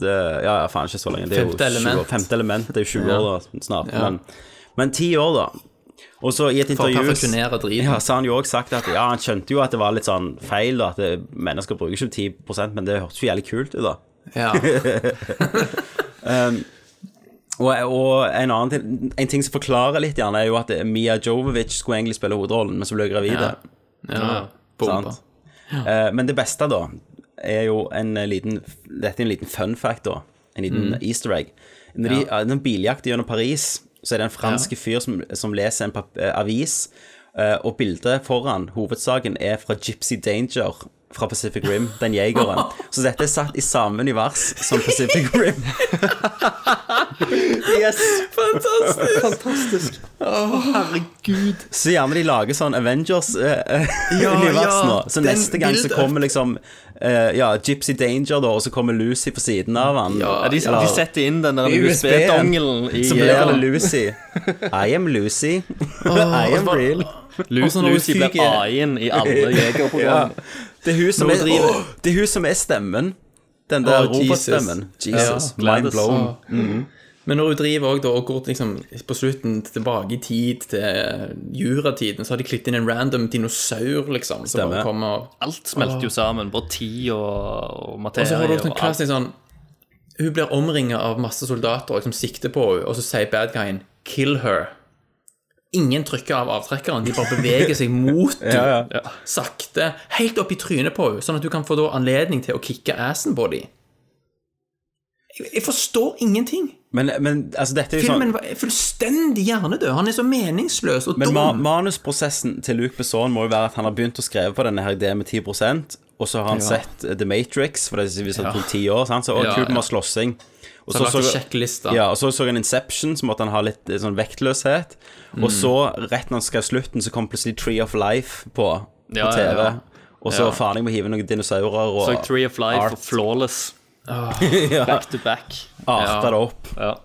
S8: det, Ja, ja, faen, ikke så lenge. Det er jo
S10: Femte
S8: 20 år,
S10: element.
S8: femte element. Det er jo 20
S10: Ja.
S8: år da, snart.
S10: Ja.
S8: Men, men ti år, da. Og så i et
S10: For å
S8: intervju
S10: perfeksjonere driten.
S8: ja, så har han jo også sagt at ja, han skjønte jo at det var litt sånn feil, da, at det, mennesker bruker ikke 10 men det hørtes jo jævlig kult ut, da.
S10: Ja.
S8: um, og, og en annen ting, en ting som forklarer litt, gjerne, er jo at Mia Jovovic skulle egentlig spille hovedrollen, men så ble hun gravid.
S10: Ja. Ja, bomba.
S8: Sant? Eh, men det beste, da, er jo en eh, liten Dette er en liten fun fact, da. En liten
S10: Mm.
S8: easter egg. Når de, ja. den biljakten gjennom Paris, så er det en fransk fyr som, som leser en pap eh, avis, eh, og bildet foran hovedsaken er fra Gypsy Danger fra Pacific Rim, den jegeren. Så dette er satt i samme univers som Pacific Rim. Yes!
S10: Fantastisk!
S11: Fantastisk.
S10: Å, herregud.
S8: Så gjerne de lager sånn Avengers-univers
S10: Ja, ja,
S8: nå. Så
S10: den
S8: neste gang så
S10: bildet.
S8: kommer liksom eh, Ja, Gypsy Danger, da, og så kommer Lucy på siden av han.
S9: Ja, de- de setter inn den der
S8: I USB-en.
S9: USB-dongelen i- eh,
S8: Så blir
S9: Ja.
S10: eh,
S8: det Lucy. I am Lucy. I am real.
S10: Altså,
S9: Lucy, Lucy blir AI-en i alle jegerprogram.
S8: Det, er hun som
S9: Nå
S8: er,
S9: driver-
S8: Åh, det er hun som er stemmen. Den der
S10: Å, Jesus.
S8: robotstemmen. Jesus.
S10: Ja.
S8: Mind blown.
S10: Å. Men når hun driver også, da, og går liksom, på slutten tilbake i tid til juratiden, så har de klippet inn en random dinosaur, liksom. Som bare kommer
S9: Alt smelter jo
S10: Åh.
S9: sammen. Både tid og, og
S10: Og så
S9: materie
S10: har du også
S9: og
S10: en klassisk sånn Hun blir omringet av masse soldater og liksom sikter på henne, og så sier bad guyen 'kill her'. Ingen trykker av avtrekkeren, de bare beveger seg mot henne.
S8: Ja,
S10: Sakte. Helt opp i trynet på henne, sånn at du kan få da anledning til å kicke assen på dem. Jeg, jeg forstår ingenting.
S8: Men, men altså, dette er jo sånn
S10: Filmen var er fullstendig hjernedød. Han er så meningsløs og
S8: Men
S10: dum.
S8: ma manusprosessen til Luke Besson må jo være at han har begynt å skrive på denne her ideen med 10 og så har han
S10: Ja.
S8: sett eh, The Matrix, for det er visst
S10: Ja.
S8: det tok ti år, sant? så å,
S10: Ja,
S8: kult med
S10: ja.
S8: slåssing. Og
S10: Så han lagde sjekklista.
S8: Ja, og så så han Inception, så måtte han ha litt eh, sånn vektløshet.
S10: Mm.
S8: Og så, rett når han skrev slutten, så kom plutselig Tree of Life på, på
S9: Ja, ja,
S8: TV.
S9: ja.
S8: Og så
S9: Ja.
S8: faen, jeg må hive noen dinosaurer og
S9: Så jeg Tree of Life og
S8: art.
S9: Flawless.
S10: Ah.
S8: Ja.
S9: Back to back.
S8: Arta
S10: Ja.
S8: det opp.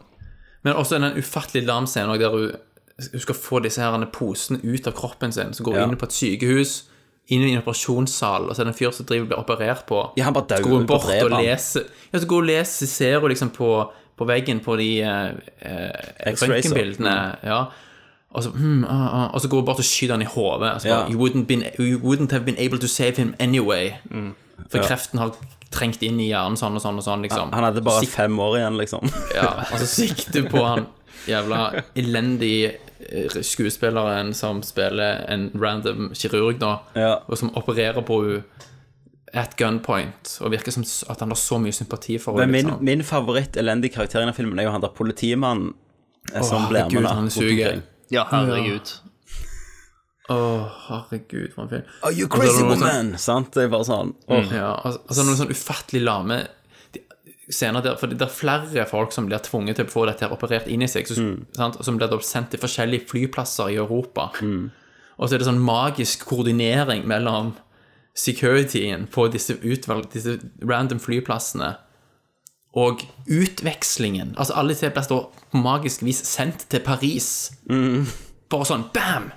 S10: Men også den ufattelig lam scenen også, der hun, hun skal få disse her posene ut av kroppen sin. Så går hun
S8: Ja.
S10: inn på et sykehus, inn i en operasjonssal, og så er det en fyr som driver og blir operert på.
S8: Ja, han bare
S10: Så
S8: dauer
S10: går hun
S8: på
S10: bort
S8: drevet
S10: og
S8: han.
S10: leser. Ja, så går hun og leser, ser hun liksom på, på veggen på de eh, eh,
S8: X-rays,
S10: røntgenbildene.
S8: Mm.
S10: Ja. Og så, hmm, ah, ah. og så går hun bort og skyter han i hodet. Altså,
S8: Ja.
S10: bare, you, wouldn't been, you wouldn't have been able to save him anyway. For
S8: Mm. Ja.
S10: kreften har trengt inn i hjernen sånn og sånn og sånn, liksom.
S8: Han hadde bare
S10: Sikt-
S8: fem år igjen, liksom.
S10: ja, altså sikte på han jævla elendige eh, skuespilleren som spiller en random kirurg, da, og som opererer på henne at gunpoint, og virker som s- at han har så mye sympati for
S8: Men
S10: henne.
S8: min,
S10: Liksom.
S8: min favoritt elendig karakter i den filmen er jo han der politimannen eh,
S10: Å,
S8: som ble
S10: herregud,
S8: med. da,
S10: han
S8: rundt
S10: suger.
S8: omkring.
S9: Ja, herregud.
S10: Å, herregud, for en film.
S8: Are you
S10: Og så er det
S8: crazy
S10: noen sånn-
S8: woman? Sant? Det er bare sånn åh.
S10: Ja, altså, altså noen sånn ufattelig lame scener der, for det er flere folk som blir tvunget til å få dette her operert inn i seg, så,
S8: Mm.
S10: sant, og som blir da sendt til forskjellige flyplasser i Europa.
S8: Mm.
S10: Og så er det sånn magisk koordinering mellom securityen på disse, utvalg, disse random flyplassene og utvekslingen. Altså alle disse blir da på magisk vis sendt til Paris.
S8: Mm.
S10: Bare sånn bam!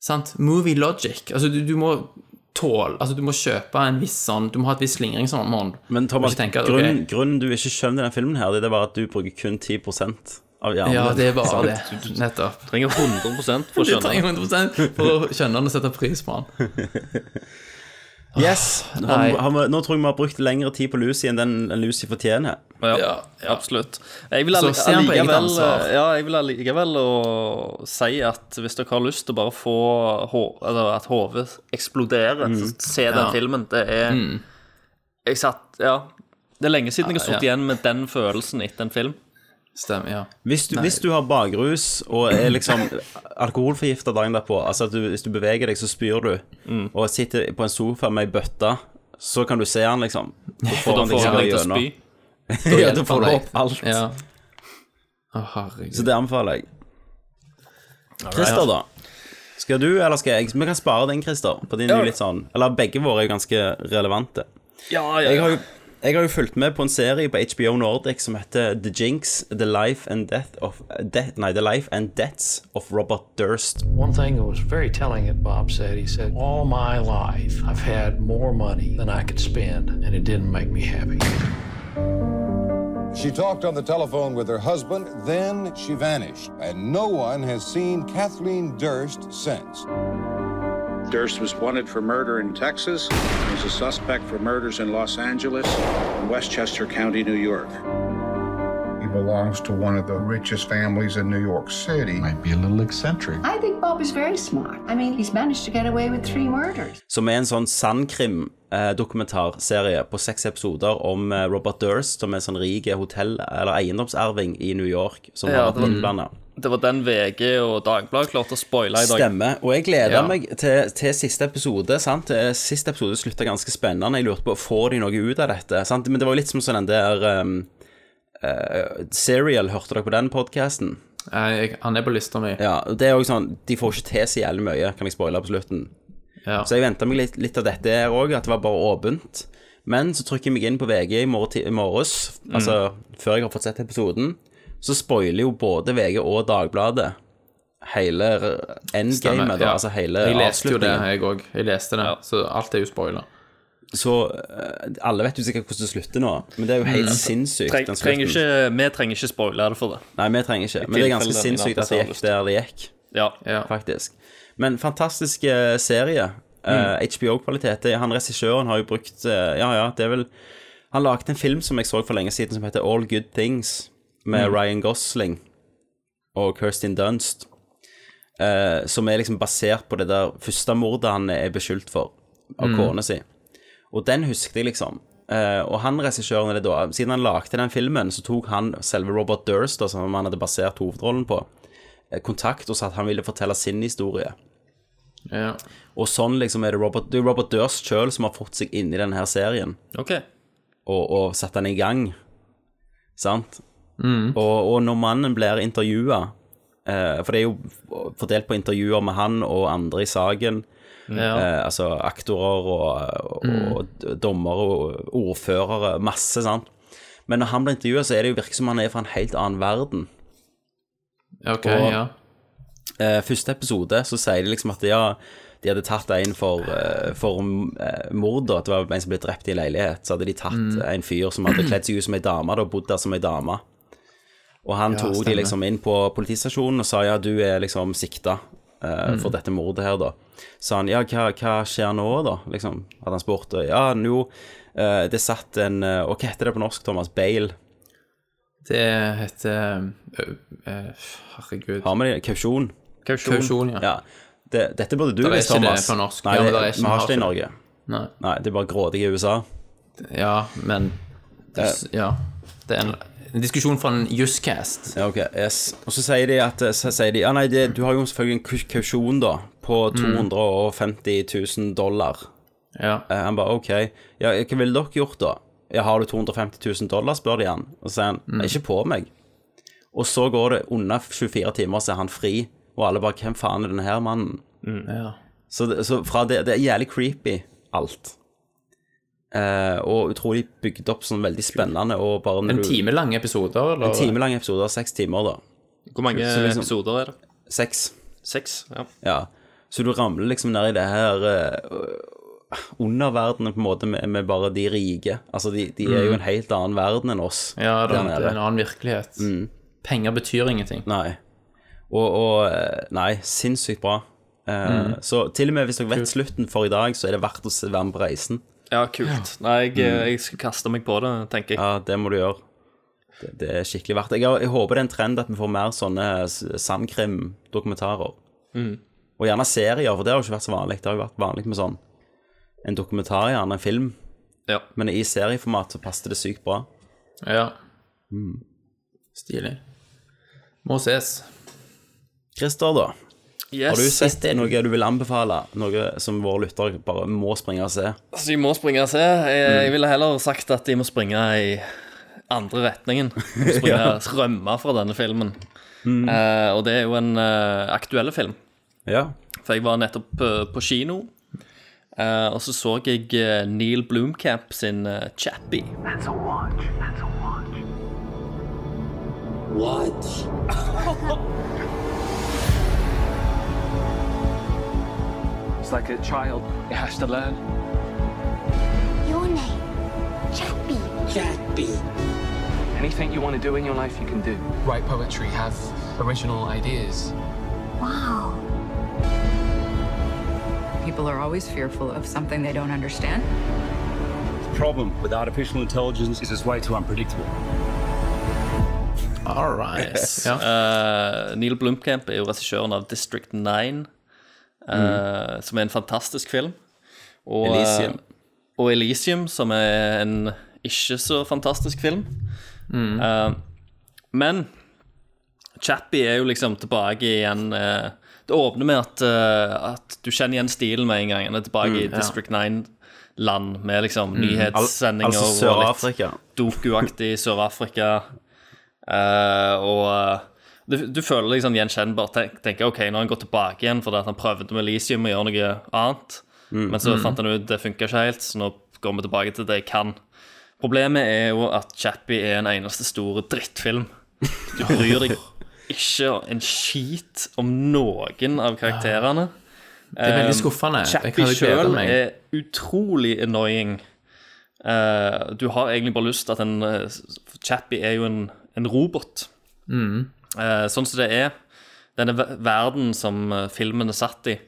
S10: Sant? Movie logic. Altså, du, du må tåle Altså, du må kjøpe en viss sånn Du må ha et visst slingringsmonn.
S8: Men Thomas,
S10: Ikke tenke at,
S8: grunnen,
S10: ok.
S8: grunnen du ikke skjønner denne filmen, her Det er bare at du bruker kun 10 av hjernen.
S10: Ja, det er bare
S8: Sant?
S10: det. Nettopp.
S9: Trenger 100 for å
S10: Du
S9: skjønne
S10: trenger 100 for å skjønne den og sette pris på den. Ah,
S8: Yes!
S10: Åh,
S8: Har vi-
S10: nei.
S8: har vi- nå tror jeg vi har brukt lengre tid på Lucy enn den enn Lucy fortjener.
S9: Ja, absolutt. Jeg vil,
S8: Så
S9: alli-
S8: se han på eget
S9: allikevel, eh,
S8: ansvar.
S9: ja, jeg vil allikevel å si at hvis dere har lyst til å bare få ho- eller at hodet eksploderer,
S11: Mm.
S9: så se den
S11: Ja.
S9: filmen. Det er
S11: Mm.
S9: Jeg satt Ja. Det er lenge siden jeg
S8: Ja,
S9: har
S8: ja.
S9: sittet igjen med den følelsen etter en film.
S10: Stemmer, ja.
S8: Hvis du,
S9: Nei.
S8: hvis du har bakrus og er liksom alkoholforgifta dagen derpå, altså at du, hvis du beveger deg, så spyr du,
S9: Mm.
S8: og sitter på en sofa med ei bøtte, så kan du se han, liksom. Så
S9: Og da
S8: han deg
S9: får
S8: ikke
S9: han
S8: gå
S9: deg til å
S8: gjennom.
S9: spy.
S8: ja, da får du opp alt.
S10: Ja. Å, herregud.
S8: Så det anbefaler jeg. Christer, da. Skal du, eller skal jeg? Vi kan spare den, Christer. På din er jo litt sånn Eller begge våre er jo ganske relevante.
S9: Ja, ja.
S8: Jeg har, jo, jeg har jo fulgt med på en serie på HBO Nordic som heter The Jinx, The Life and Death of Death, Nei, The Life and Deaths of Robert Durst.
S13: One thing that was very telling that Bob said, he said, All my life I've had more money than I could spend, and it didn't make me happy.
S14: She talked on the telephone with her husband, then she vanished, and no one has seen Kathleen Durst since.
S4: Durst was wanted for murder in Texas. He's a suspect for murders in Los Angeles and Westchester County, New York.
S15: He belongs to one of the richest families in New York City. Might be a little eccentric.
S16: I think Bob is very smart. I mean, he's managed to get away with three murders.
S8: Som er en sånn sandkrim-dokumentarserie på seks episoder om eh, Robert Durst, som er en sånn rik hotell- eller eiendomserving i New York, som
S9: Ja,
S8: har vært
S9: det-
S8: innblanda.
S9: Det var den VG og Dagbladet klarte å spoile i dag.
S8: Stemmer. Og jeg gleder
S9: Ja.
S8: meg til, til siste episode. sant? Eh, Siste episode slutta ganske spennende. Jeg lurte på får de noe ut av dette. sant? Men det var jo litt som sånn den der um, eh, Serial, hørte dere på den podkasten?
S10: Han er på lista mi.
S8: Ja, og det er jo sånn, De får ikke til så jævlig mye, kan jeg spoile på slutten. Så jeg venta meg litt, litt av dette her òg, at det var bare åpent. Men så trykker jeg meg inn på VG i morgen ti- i morges,
S10: Mm.
S8: altså før jeg har fått sett episoden, så spoiler jo både VG og Dagbladet hele endgamet,
S10: Stemmer,
S8: da,
S10: ja.
S8: altså hele
S10: Jeg leste jo det,
S8: avslutningen.
S10: jeg òg. Jeg leste det, så alt er jo spoiler.
S8: Så eh, alle vet jo sikkert hvordan det slutter nå, men det er jo helt
S9: Mm.
S8: sinnssykt.
S9: Treng,
S8: den
S9: trenger
S8: slutten.
S9: ikke, vi trenger ikke spoile det for det.
S8: Nei, vi trenger ikke,
S9: I
S8: men det er ganske
S9: tilfelle den
S8: sinnssykt
S9: ene
S8: at det gikk
S9: episoden
S8: der det gikk, faktisk. Men fantastisk eh, serie.
S10: Mm.
S8: Eh, HBO-kvalitet. Det- Han regissøren har jo brukt eh, Ja, ja, det er vel Han lagde en film som jeg så for lenge siden, som heter All Good Things, med
S10: Mm.
S8: Ryan Gosling og Kirstin Dunst. eh, som er liksom basert på det der første mordet han er beskyldt for av
S10: Mm.
S8: kona si. Og den husket jeg, liksom. Eh, og han regissøren er det da, siden han lagde den filmen, så tok han selve Robert Durst, da, som han hadde basert hovedrollen på, eh, kontakt og sa at han ville fortelle sin historie. Og sånn liksom er det Robert, det er Robert Durst sjøl som har fått seg inn i denne her serien,
S9: Ok.
S8: og, og satt den i gang. Sant? Og, og når mannen blir intervjua, eh, for det er jo fordelt på intervjuer med han og andre i saken,
S9: Ja.
S8: eh, altså aktorer og, og, og dommere og ordførere, masse, sant. Men når han blir intervjua, så er det jo virker som han er fra en helt annen verden.
S10: Ok,
S8: og,
S10: ja.
S8: eh, første episode så sier de liksom at ja, de hadde tatt en for, eh, for eh, mord, da. At det var en som ble drept i en leilighet. Så hadde de tatt
S10: Mm.
S8: en fyr som hadde kledd seg ut som ei dame, da, og bodd der som ei dame. Og han
S10: Ja,
S8: tok de
S10: stemmer.
S8: liksom inn på politistasjonen og sa ja, du er liksom sikta eh, for
S10: Mm.
S8: dette mordet her, da. Så han ja, hva, hva skjer nå, da? Liksom, hadde han spurt. Og ja, nå eh, det satt en eh, Og hva heter det på norsk, Thomas? Bale?
S10: Det heter ø, ø, Herregud.
S8: Har vi det? Kausjon?
S10: Kausjon. Kausjon, ja.
S8: Det, dette burde du
S10: Der er
S8: visst,
S10: ikke det
S8: Thomas.
S10: på norsk.
S8: Nei,
S10: Ja, men
S8: det,
S10: der er ikke-
S8: vi har
S10: har
S8: ikke det i
S10: ikke
S8: Norge.
S10: Nei.
S8: det er bare grådig i USA.
S10: Ja, men det,
S8: Eh.
S10: Ja. Det er en, en diskusjon fra en Juscast.
S8: Ja, ok, yes. Og så sier de at så sier de, ja, nei, det, du har jo selvfølgelig en kaus- kausjon da, på
S10: Mm.
S8: 250 000 dollar. Eh, han bare, ok, ja, hva ville dere gjort da? Ja, har du 250 000 dollar, spør de han. Og så sier han,
S10: Mm.
S8: ikke på meg. Og så går det under 24 timer, så er han fri, og alle bare, hvem faen er denne her mannen?
S10: Ja.
S8: Så, det, så fra det, det er jævlig creepy, alt. Eh, og utrolig bygd opp sånn veldig spennende. Og bare
S10: En
S8: når du-
S10: time lange episoder, eller?
S8: En time lang episode, seks timer, da.
S9: Hvor mange
S8: Så liksom-
S9: episoder er det?
S8: Seks.
S9: Seks? Ja.
S8: Ja. Så du ramler liksom ned i det her eh, underverdenen på en måte med, med bare de rike. Altså, de, de er jo
S10: Mm.
S8: en helt annen verden enn oss.
S10: Ja, det
S8: der
S10: er en- det
S8: nede.
S10: er en annen virkelighet.
S8: Mm.
S10: Penger betyr ingenting.
S8: Nei. Og, og eh, Nei, sinnssykt bra. Eh,
S9: Mm.
S8: Så til og med hvis dere vet slutten for i dag, så er det verdt å se- være med på reisen.
S9: Ja, kult. Nei, jeg, eh, jeg skal kaste meg på det, tenker jeg.
S8: Mm. Ja, det må du gjøre. Det, det er skikkelig verdt det. Jeg, har- jeg håper det er en trend at vi får mer sånne s- sandkrim-dokumentarer.
S9: Mm.
S8: Og gjerne serier, for det har jo ikke vært så vanlig. Det har jo vært vanlig med sånn en dokumentar, gjerne en film. Men i serieformat så passer det sykt bra.
S10: Ja.
S8: Mm.
S10: Stilig. Må ses.
S8: Christer, da.
S9: Yes.
S8: Har du sett det, noe du vil anbefale? Noe som våre lyttere bare må springe og se?
S9: Altså,
S8: Mm.
S9: Så de må springe og se. Jeg, jeg ville heller sagt at de må springe i andre retningen. Springe,
S8: Ja.
S9: Rømme fra denne filmen.
S8: Mm.
S9: Eh, og det er jo en uh, aktuell film.
S8: Ja.
S9: For jeg var nettopp eh, på kino, eh, og så så jeg eh, Neil Bloomcamp sin eh, Chappie.
S6: That's a watch. That's a watch.
S17: It's like a child. It has to learn.
S6: Your name? Chappie. Chappie.
S17: Anything you want to do in your life, you can do. Write poetry, have original ideas.
S12: Wow. People are always fearful of something they don't understand.
S5: The problem with artificial intelligence is it's way too unpredictable.
S9: All
S10: right.
S9: Neil Blomkamp er jo regissøren av District 9, eh,
S10: Mm.
S9: som er en fantastisk film. Og,
S10: Elysium.
S9: eh, og Elysium, som er en ikke så fantastisk film.
S10: Mm.
S9: Eh, men Chappie er jo liksom tilbake igjen eh, Det åpner med at, eh, at du kjenner igjen stilen med en gang. Han er tilbake
S8: Mm,
S9: i
S8: ja.
S9: District 9-land med liksom
S8: Mm. Al-
S9: nyhetssendinger
S8: altså
S9: og litt-
S8: Sør-Afrika.
S9: Doku-aktig Sør-Afrika. Eh, og eh, du, du føler deg sånn gjenkjennbar. Tenk, tenker, ok, Nå har han gått tilbake igjen fordi at han prøvde med Elisium å gjøre noe annet.
S8: Mm.
S9: Men så
S8: Mm.
S9: fant han ut det funka ikke helt, så nå går vi tilbake til det jeg kan. Problemet er jo at Chappie er en eneste stor drittfilm. Du bryr deg ikke en skit om noen av karakterene.
S10: Det er veldig
S9: Eh,
S10: skuffende. Jeg
S9: Chappie
S10: hadde gledet
S9: selv
S10: meg.
S9: er utrolig annoying. Eh, du har egentlig bare lyst til at en eh, Chappie er jo en, en robot.
S10: Mm.
S9: Eh, sånn som det er, denne ver- verden som eh, filmen er satt i,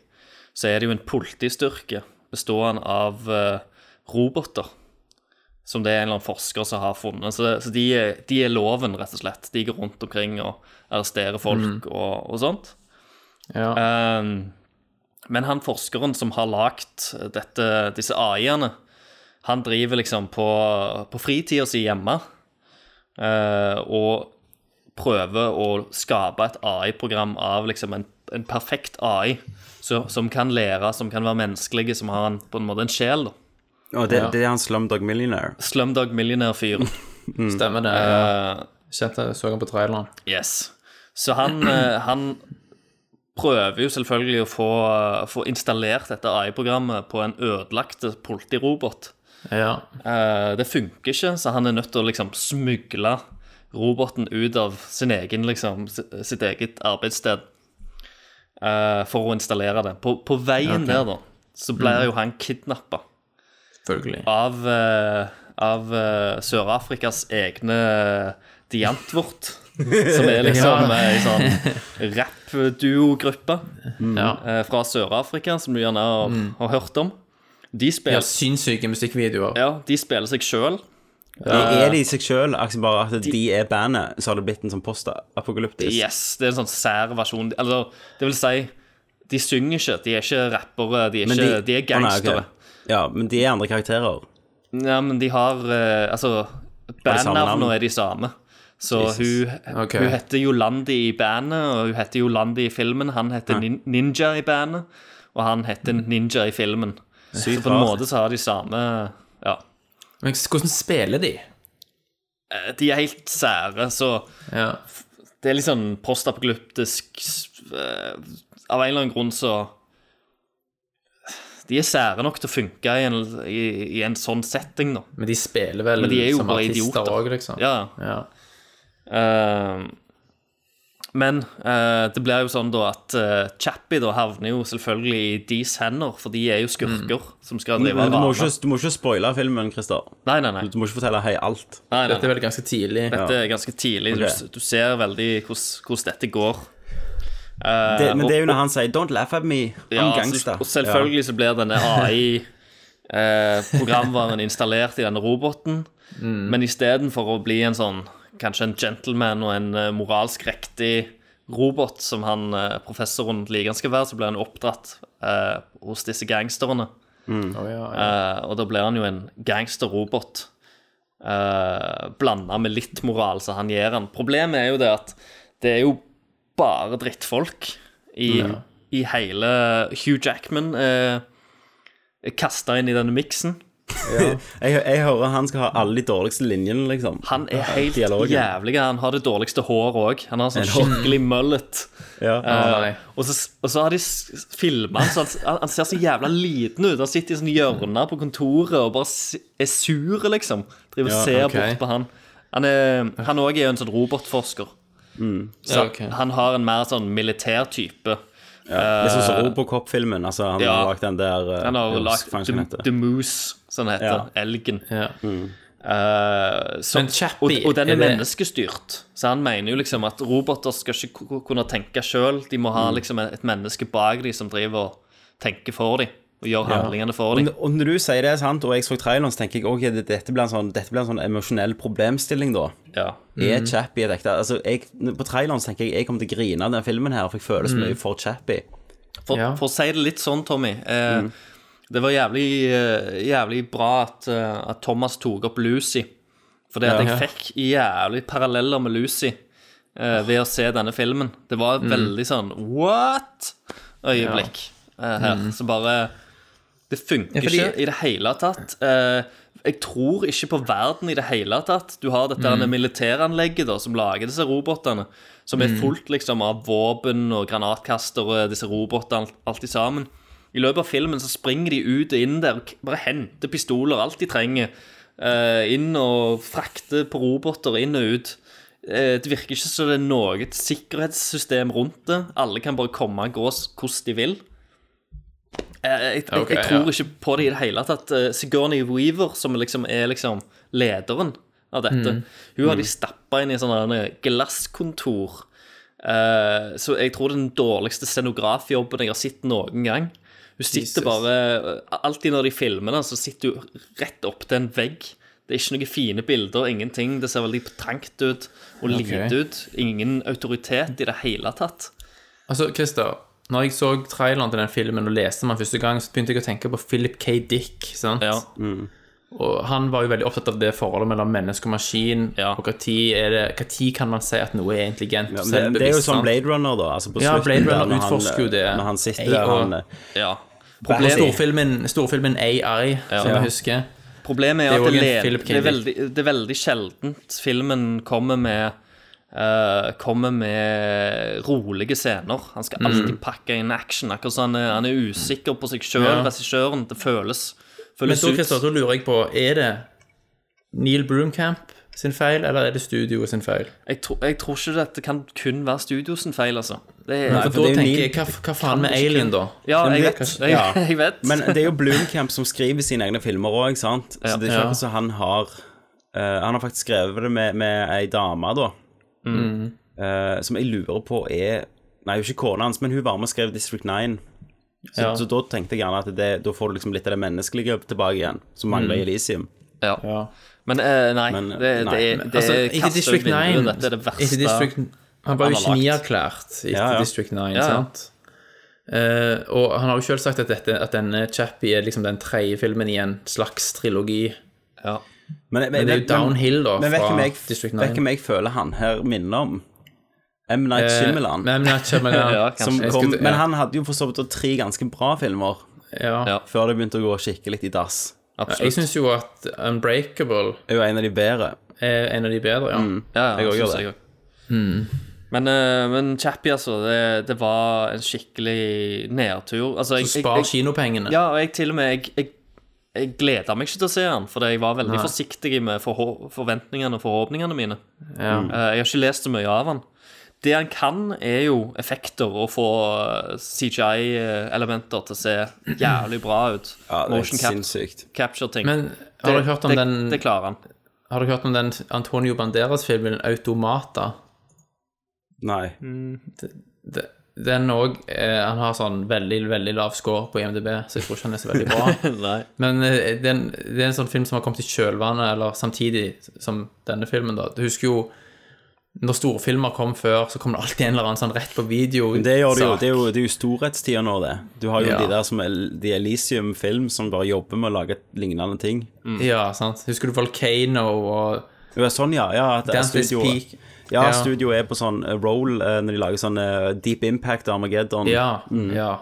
S9: så er det jo en politistyrke bestående av eh, roboter. Som det er en eller annen forsker som har funnet. Så, så de, er- de er loven, rett og slett. De går rundt omkring og arresterer folk og, og sånt. Ehm, men han forskeren som har lagd dette, disse AI-ene, han driver liksom på, på fritida si hjemme eh, og prøver å skape et AI-program av liksom en, en perfekt AI så, som kan lære, som kan være menneskelige, som har en, på en måte en sjel. da.
S8: Og det,
S9: Ja.
S8: det er han Slumdog Millionaire.
S9: Slumdog Millionaire-fyren.
S8: Mm.
S9: Eh,
S10: Stemmer det.
S9: ja.
S10: Kjente, så han på traileren.
S9: Yes. Så han, eh, han prøver jo selvfølgelig å få, eh, få installert dette AI-programmet på en ødelagt politirobot.
S10: Ja.
S9: Eh, det funker ikke, så han er nødt til å liksom smugle roboten ut av sin egen, liksom, s- sitt eget arbeidssted eh, for å installere det. På, på veien
S10: Ok.
S9: der, da, så blir
S10: Mhm.
S9: jo han kidnappa
S10: Selvfølgelig.
S9: av, eh, av eh, Sør-Afrikas egne eh, diantvort. Som er liksom
S10: Ja.
S9: eh, ei sånn rappduo-gruppe
S8: Mm.
S9: eh, fra Sør-Afrika, som du gjerne har,
S10: Mm.
S9: har hørt om. De
S10: Ja,
S9: spiller,
S10: sinnssyke musikkvideoer.
S9: ja, de spiller seg sjøl. Eh,
S8: Er de i seg sjøl, bare at de, er bandet, så har det blitt en sånn postapokalyptisk
S9: Yes, det er en sånn sær versjon. Eller, det vil si, de synger ikke. De er ikke rappere, de er,
S8: Men
S9: ikke, eh, de, er
S8: Å, nei, ok.
S9: gangstere.
S8: Ja, men de er andre karakterer.
S9: Ja, men de har eh, Altså,
S8: samme navn?
S9: bandnavnene er de samme. Så
S8: Jesus.
S9: hun,
S8: Ok.
S9: hun heter Jolandi i bandet, og hun heter Jolandi i filmen. Han heter
S8: Ja. Mm.
S9: Nin- Ninja i bandet, og han heter Ninja i filmen.
S10: Sykt
S9: så på en
S10: rart.
S9: måte så har de samme Ja.
S10: Men hvordan spiller de?
S9: Eh, De er helt sære, så f- Det er litt sånn postapokalyptisk s- eh, Av en eller annen grunn så De er sære nok til å funke i en, i, i en sånn setting, da.
S10: Men de spiller vel
S9: Men de er jo
S10: som
S9: bare
S10: artister
S9: idioter.
S10: òg, liksom.
S9: Ja. Eh, men eh, det blir jo sånn da at eh, Chappie da havner jo selvfølgelig i deres hender, for de er jo skurker som skal
S8: Mm. Men,
S9: drive
S8: men du, må
S9: rane.
S8: ikke, du må ikke spoile filmen, Christer.
S9: Nei, nei, nei.
S8: Du må ikke fortelle hei alt.
S9: Nei, nei, nei. Dette
S8: Ja.
S9: er ganske tidlig.
S8: Ok.
S9: Du, du ser veldig hvordan hvordan dette går. Eh,
S8: det, men det er jo
S9: og-
S8: når han sier 'Don't laugh at me',
S9: Ja,
S8: I'm gangster.
S9: så- Og
S8: Ja.
S9: selvfølgelig så blir denne AI-programvaren eh, installert i denne roboten.
S8: Mm.
S9: Men istedenfor å bli en sånn kanskje en gentleman og en eh, moralsk riktig robot som han eh, professoren liker han skal være, så blir han oppdratt eh, hos disse gangsterne.
S10: Mm. Å, ja,
S9: Eh, og da blir han jo en gangsterrobot. Uh, Blanda med litt moral, så han gir han. Problemet er jo det at det er jo bare drittfolk i,
S8: Mm.
S10: Ja.
S9: i hele Hugh Jackman uh, kasta eh, inn i denne miksen.
S8: jeg, jeg hører han skal ha alle de dårligste linjene, liksom.
S9: Han er
S8: Ja,
S9: helt
S8: dialogen.
S9: jævlig. Han har det dårligste håret òg. Han har sånn
S8: En hår.
S9: skikkelig mullet.
S8: Ja.
S9: Eh, og, så, og så har de filma han, så han, han- han ser så jævla liten ut. Han sitter i sånne hjørner på kontoret og bare s- er sur, liksom. Driver og
S10: Ja,
S9: ser
S10: ok.
S9: bort på han. Han òg er, han også er jo en sånn robotforsker. Så
S8: Mm. Ja, ok.
S9: han har en mer sånn militærtype.
S8: Det er sånn som
S9: Eh,
S8: Robocop-filmen. Altså, han
S9: ja.
S8: har lagd den der eh,
S9: Han har
S8: jeg
S9: lagt
S8: husker faen ikke hva den
S9: The,
S8: heter.
S9: The Moose, som den heter. Elgen. Eh, så-
S10: Men Chappie,
S9: og, og den er,
S10: er det-
S9: menneskestyrt. Så han mener jo liksom at roboter skal ikke ku- ku- kunne tenke sjøl. De må ha
S8: Mm.
S9: liksom et et menneske bak dem som driver og tenker for dem. Og gjør
S8: Ja.
S9: handlingene for
S8: Og
S9: dem.
S8: n- Og når du sier det, sant, og jeg så traileren, så tenker jeg ok, det- dette blir en sånn, dette blir en sånn emosjonell problemstilling, da. Er
S9: Mhm.
S8: Chappie et ekte altså, jeg, På traileren så tenker jeg jeg kommer til å grine av den filmen her, for jeg føler så
S10: Mhm.
S9: Mm.
S8: mye for Chappie.
S9: For, for å si det litt sånn, Tommy eh,
S10: Mm.
S9: Det var jævlig, eh, jævlig bra at, eh, at Thomas tok opp Lucy. For det at
S10: Ja.
S9: jeg fikk jævlig paralleller med Lucy eh, ved å se denne filmen. Det var et
S10: Mm.
S9: veldig sånn what-øyeblikk eh, her.
S10: Mm.
S9: Så bare Det funker
S10: Ja, fordi-
S9: ikke i det hele tatt. Eh, jeg tror ikke på verden i det hele tatt. Du har dette
S10: Mm.
S9: med militæranlegget da, som lager disse robotene, som er
S10: Mm.
S9: fullt liksom, av våpen og granatkastere, disse robotene, alt, alt i sammen. I løpet av filmen så springer de ut og inn der og k- bare henter pistoler, alt de trenger. eh, inn og frakter på roboter inn og ut. Eh, det virker ikke som det er noe sikkerhetssystem rundt det. Alle kan bare komme og gå s- hvordan de vil. Eh, Jeg, jeg,
S10: Ok,
S9: jeg tror
S10: ja.
S9: ikke på det i det hele tatt. Eh, Sigourney Weaver, som liksom er liksom lederen av dette,
S10: Mm.
S9: hun har
S10: Mm.
S9: de stappa inn i sånne her eh, glasskontor. Eh, så jeg tror det er den dårligste scenografjobben jeg har sett noen gang. Hun sitter
S10: Jesus.
S9: bare eh, Alltid når de filmer, da, så sitter hun rett opp til en vegg. Det er ikke noen fine bilder, ingenting. Det ser veldig trangt ut og
S10: Ok.
S9: lite ut. Ingen autoritet i det hele tatt.
S10: Altså, Christer, når jeg så traileren til den filmen og leste den første gang, så begynte jeg å tenke på Philip K. Dick, sant?
S8: Mm.
S10: Og han var jo veldig opptatt av det forholdet mellom menneske og maskin, og hva tid, er det, hva tid kan man si at noe er intelligent?
S8: Ja, men
S10: selvbevisst,
S8: det, det er jo sånn
S10: sant?
S8: Blade Runner, da. Altså på
S10: Ja,
S8: slutten
S10: Blade
S8: der,
S10: Runner
S8: når han,
S10: utforsker jo det.
S8: Når han sitter
S10: Jeg
S8: der,
S10: og-
S8: han
S9: Ja.
S10: Og storfilmen, storfilmen AI, som
S9: Ja.
S10: jeg husker.
S9: Problemet er,
S10: jo
S9: at
S10: en
S9: det, led-
S10: Philip K.
S9: det, er
S10: Dick.
S9: veldig, det er veldig sjeldent filmen kommer med eh, Kommer med rolige scener. Han skal
S10: Mm.
S9: alltid pakke inn action. Akkurat som han, er- han er usikker på seg sjøl,
S10: Ja.
S9: regissøren. Det føles,
S10: Men
S9: føles
S10: så,
S9: ut.
S10: Christer, da lurer jeg på, er det Neil Broomcamp sin feil, eller er det studioet sin feil?
S9: Jeg, tro, jeg tror ikke dette kan kun være studio sin feil, altså. Det er-
S10: Nei, for da tenker jeg, hva, hva faen med Alien, da?
S9: Ja,
S10: Den
S9: jeg
S10: blir
S9: vet.
S10: kanskje-
S9: Jeg-
S8: Ja.
S9: jeg vet.
S8: Men det er jo Bloomcamp som skriver sine egne filmer òg, sant? Så det er
S10: Ja.
S8: ikke akkurat som han har eh, Han har faktisk skrevet det med, med ei dame, da.
S10: Mm.
S8: eh, som jeg lurer på er Nei, hun er ikke kona hans, men hun var med og skrev District 9. Så,
S10: Ja.
S8: så da tenkte jeg gjerne at det, da får du liksom litt av det menneskelige tilbake igjen, som mangler i
S10: Mm.
S8: Elisium.
S9: Ja. Men eh, nei, det, det, er- det
S10: Altså,
S9: er
S10: etter
S9: kastet
S10: District
S9: ut vinduet.
S10: 9
S9: Dette er det verste
S10: etter District, Han var jo
S9: har lagt.
S10: genierklært etter
S9: Ja, ja.
S10: District 9,
S9: Ja, ja.
S10: sant? Eh, og han har jo sjøl sagt at, dette, at denne Chappie er liksom den tredje filmen i en slags trilogi.
S8: Men,
S10: Men det er jo downhill, da,
S8: Men vet
S10: fra
S8: ikke om jeg,
S10: District
S8: vet
S10: 9.
S8: ikke om jeg føler han her minner om M. Night
S10: Eh,
S8: Shyamalan.
S10: M. Night Shyamalan. Ja, kanskje.
S8: som
S10: Jeg
S8: kom,
S10: skulle- ja.
S8: Men han hadde jo for så vidt tre ganske bra filmer før det begynte å gå skikkelig i dass.
S10: Jeg syns jo at Unbreakable
S8: er jo en av de bedre.
S10: Er en av de bedre, ja.
S8: Mm.
S9: Ja,
S8: Jeg også
S9: synes
S8: gjør det.
S9: også.
S10: Hmm.
S9: Men, eh, men Chappie, altså, det, det var en skikkelig nedtur. Altså, jeg,
S10: Så spar
S9: jeg- jeg-
S10: kinopengene.
S9: Ja, og jeg til og med Jeg, jeg, jeg gleda meg ikke til å se den, for jeg var veldig
S10: Nei.
S9: forsiktig med forhå- forventningene og forhåpningene mine.
S10: Ja.
S8: Mm.
S9: Eh, Jeg har ikke lest så mye av den. Det han kan, er jo effekter og få eh, CGI-elementer til å se jævlig bra ut.
S8: Ja, det er
S9: Motion cap-
S8: sinnssykt.
S9: capture-ting.
S10: Men har dere hørt om
S9: det,
S10: den-
S9: Det klarer han.
S10: Har dere hørt om den Antonio Banderas-filmen Automata?
S8: Nei.
S9: Mm.
S10: Det- Den òg eh, Han har sånn veldig, veldig lav score på IMDb, så jeg tror ikke han er så veldig bra.
S9: Nei.
S10: Men eh, det er, en, det er en sånn film som har kommet i kjølvannet, eller samtidig som denne filmen, da. Du husker jo når storfilmer kom før, så kom det alltid en eller annen sånn rett på video.
S8: Men det gjør det jo.
S10: sak.
S8: Det er jo, det er jo storhetstida nå, det. Du har jo
S10: Ja.
S8: de der som er, de Elisium Film som bare jobber med å lage lignende ting.
S10: Ja, sant. Husker du Volcano og
S8: Ja, sånn, ja. ja at
S10: Dante's
S8: studioet,
S10: Peak.
S8: ja,
S10: Ja.
S8: studioet er på sånn eh, roll eh, når de lager sånn eh, Deep Impact Armageddon.
S10: Ja,
S8: Mm.
S10: ja,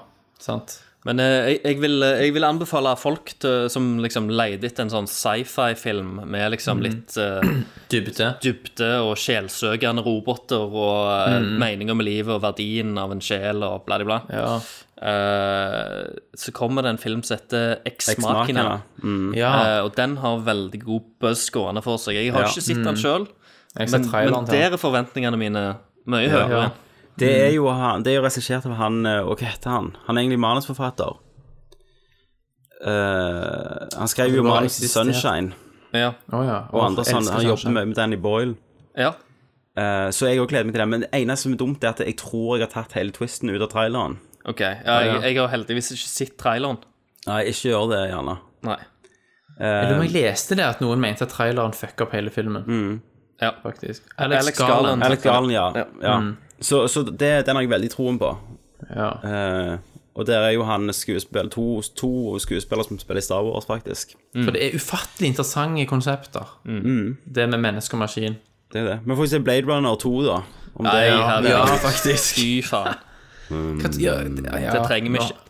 S10: sant.
S9: Men eh, jeg, jeg, vil, jeg vil anbefale folk til, som liksom leide etter en sånn sci-fi-film med liksom
S10: Mhm.
S9: litt eh,
S10: Dybde.
S9: og sjelsøkende roboter og eh,
S10: Mhm.
S9: meninger med livet og verdien av en sjel og bla, bla, bla. Eh, så kommer det en film som heter Ex
S8: Ex
S9: Machina.
S8: Machina. Mhm.
S9: Eh,
S8: Ja.
S9: og den har veldig god buzz gående for seg. Jeg har
S8: Ja.
S9: ikke sett
S8: Mhm.
S9: den sjøl,
S8: Jeg har
S9: men,
S8: sett traileren
S9: men
S8: til den.
S9: der er forventningene mine
S8: Ja.
S9: mye høyere.
S8: Det er jo, han- det er jo regissert av han eh, Og hva heter han? Han er egentlig manusforfatter. Eh, han skrev jo
S9: Det bare
S8: manus til
S9: eksisterte.
S8: Sunshine.
S9: Ja.
S10: Å ja.
S8: Og andre
S10: Jeg
S8: sånn,
S10: elsker
S8: han jobber
S10: Sunshine.
S8: med, med Danny Boyle.
S9: Ja.
S8: Eh, så jeg òg gleder meg til det. Men det eneste som er dumt, er at jeg tror jeg har tatt hele twisten ut av traileren.
S9: Ok, ja, jeg, jeg har heldigvis ikke sett traileren.
S8: Nei, ikke gjør det, gjerne.
S9: Nei.
S8: Eh,
S10: Jeg lurer om jeg leste det, at noen mente at traileren fucka opp hele filmen.
S9: Ja.
S10: Faktisk.
S8: Mm. Alex Garland, ja. ja.
S10: Mm.
S8: Så, så det, den har jeg veldig troen på. Eh, og der er jo han skuespiller, to, to skuespillere som spiller i Star Wars, faktisk.
S10: For det er ufattelig interessante konsepter.
S8: Mm.
S10: Det med menneske og maskin.
S8: Det er det. Men får vi se Blade Runner 2, da. Om
S10: Nei,
S8: det er,
S10: ja, ja, faktisk.
S9: Fy faen.
S10: Hva- ja, det- ja.
S9: Det trenger vi ikke.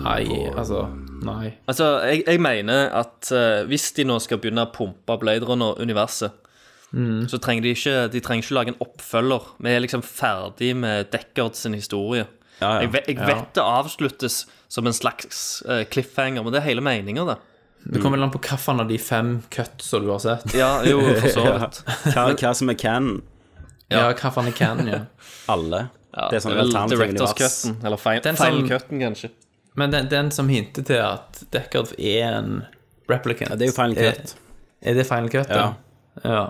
S10: Nei, altså Nei.
S9: Altså, jeg, jeg mener at eh, hvis de nå skal begynne å pumpe Blade Runner-universet,
S10: Mm.
S9: så trenger de ikke De trenger ikke lage en oppfølger. Vi er liksom ferdig med Deckard sin historie.
S8: ja.
S9: Jeg, ve- jeg
S10: Ja.
S9: vet det avsluttes som en slags eh, cliffhanger, men det er hele meninga, det.
S8: Mm.
S10: Det kommer vel an på hvilken av de fem cutsa du har sett.
S9: Ja, jo, for så vidt.
S8: hva, hva som er canon.
S10: Ja, hvilken er canon, ja.
S8: Alle.
S9: Ja,
S8: det er sånn
S9: vel,
S8: alternativ
S9: Directors
S8: univers.
S9: Cutten, eller feil,
S10: Den
S9: feil
S10: som-
S9: Cutten, kanskje.
S10: Men den, den som hinter til at Deckard er en replicant
S8: Ja, det er jo Final Cut.
S10: Er, er det Final Cut,
S8: Ja.
S10: da? ja.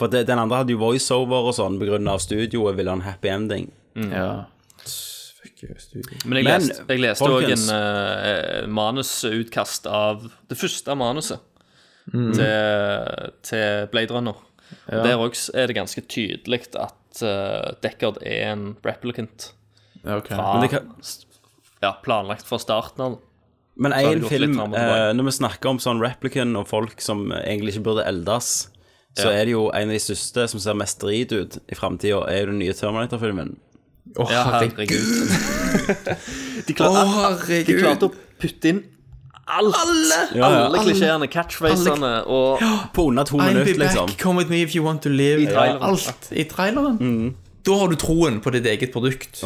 S8: For det, den andre hadde jo voiceover og sånn på grunn av studioet ville ha en happy ending.
S9: Mm.
S10: Ja. Fuck you, studio.
S9: Men jeg
S8: Men,
S9: leste, jeg leste også en
S8: folkens-
S9: eh, manusutkast av det første manuset
S10: Mm.
S9: til, til Blade Runner.
S10: Ja.
S9: Der også er det ganske tydelig at eh, Deckard er en replicant.
S10: Ja, ok.
S9: Fra,
S8: Men det kan-
S9: ja, planlagt fra starten av.
S8: Men
S9: Så har det
S8: én
S9: gått litt
S8: film
S9: fram og tilbake.
S8: eh, Når vi snakker om sånn replicant og folk som egentlig ikke burde eldes, så
S9: Ja.
S8: er det jo en av de største som ser mest drit ut i framtida, er jo den nye Terminator-filmen.
S10: Å,
S9: Ja, herregud. De, klar, de klarte å putte inn alt. Alle,
S8: Ja, ja.
S9: klisjeene, catchphrasene og
S8: På under to
S10: I'll be
S8: minutter,
S10: back,
S8: liksom.
S10: come with me if you want to live.
S8: I traileren.
S10: Alt i traileren.
S8: Mm.
S10: Da har du troen på ditt eget produkt.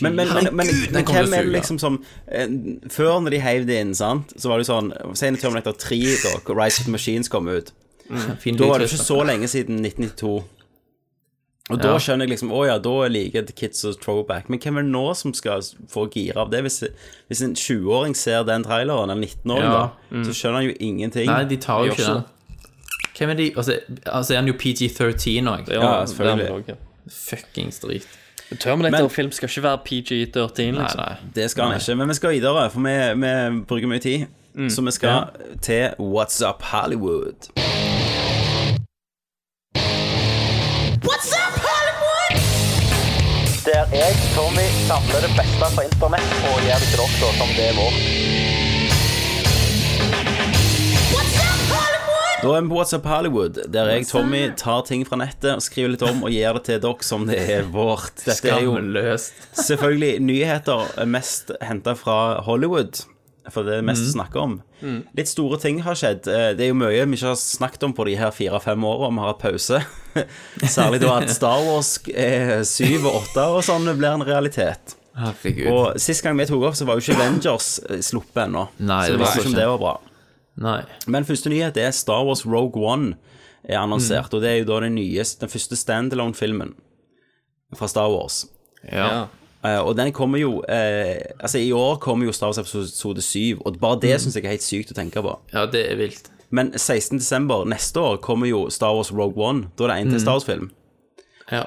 S8: Men, men, men, men,
S10: Herregud, den
S8: men
S10: kommer til å
S8: hvem er det
S10: suge.
S8: liksom som eh, Før når de heiv det inn, sant, så var det jo sånn Si når Terminator 3 da, Rise of the Machines kom ut.
S10: Mm. Fin
S8: Da var det
S10: lydliste.
S8: ikke så lenge siden 1992. Og da
S10: Ja.
S8: skjønner jeg liksom Å ja, da liker jeg kids og throwback. Men hvem er det nå som skal få gire av det? Hvis, hvis en 20-åring ser den traileren, eller 19-åring,
S10: Ja. mm.
S8: da, så skjønner han jo ingenting.
S10: Nei, de tar jo
S8: Gjør
S10: ikke den. Hvem er de? Altså, altså er han jo PG-13 òg?
S8: Ja, selvfølgelig.
S10: Fuckings drit.
S9: Terminator-film skal ikke være PG-13, liksom.
S8: Det skal han ikke, men vi skal videre, for vi, vi bruker mye tid. Så vi skal til What's Up Hollywood.
S18: What's up, Hollywood?
S19: Der jeg, Tommy, samler det beste fra internett og gjør det til dere som det er vårt.
S8: Da er vi på What's Up Hollywood, der jeg, Tommy, tar ting fra nettet, skriver litt om og gir det til dere som det er vårt. Dette er jo selvfølgelig nyheter mest henta fra Hollywood, for det er det mest å
S10: Mm.
S8: snakke om. Litt store ting har skjedd. Eh, Det er jo mye vi ikke har snakket om på de her fire-fem åra, vi har hatt pause. Særlig da at Star Wars eh, 7 og 8 og sånn blir en realitet.
S10: Herregud.
S8: Og sist gang vi tok opp, så var jo ikke Avengers eh, sluppet ennå.
S10: Nei,
S8: så
S10: det
S8: jeg
S10: var
S8: visste ikke om
S10: ikke.
S8: det var bra. Men første nyhet er Star Wars Rogue One er annonsert.
S10: Mm.
S8: Og det er jo da den, nye, den første standalone-filmen fra Star Wars.
S10: Ja.
S8: Eh, og den kommer jo eh, Altså, i år kommer jo Star Wars episode 7, og bare
S10: Mm.
S8: det synes syns jeg er helt sykt å tenke på.
S10: Ja, det er vilt.
S8: Men 16.12. neste år kommer jo Star Wars Rogue One. Da er det en til
S10: Mm.
S8: Star Wars-film.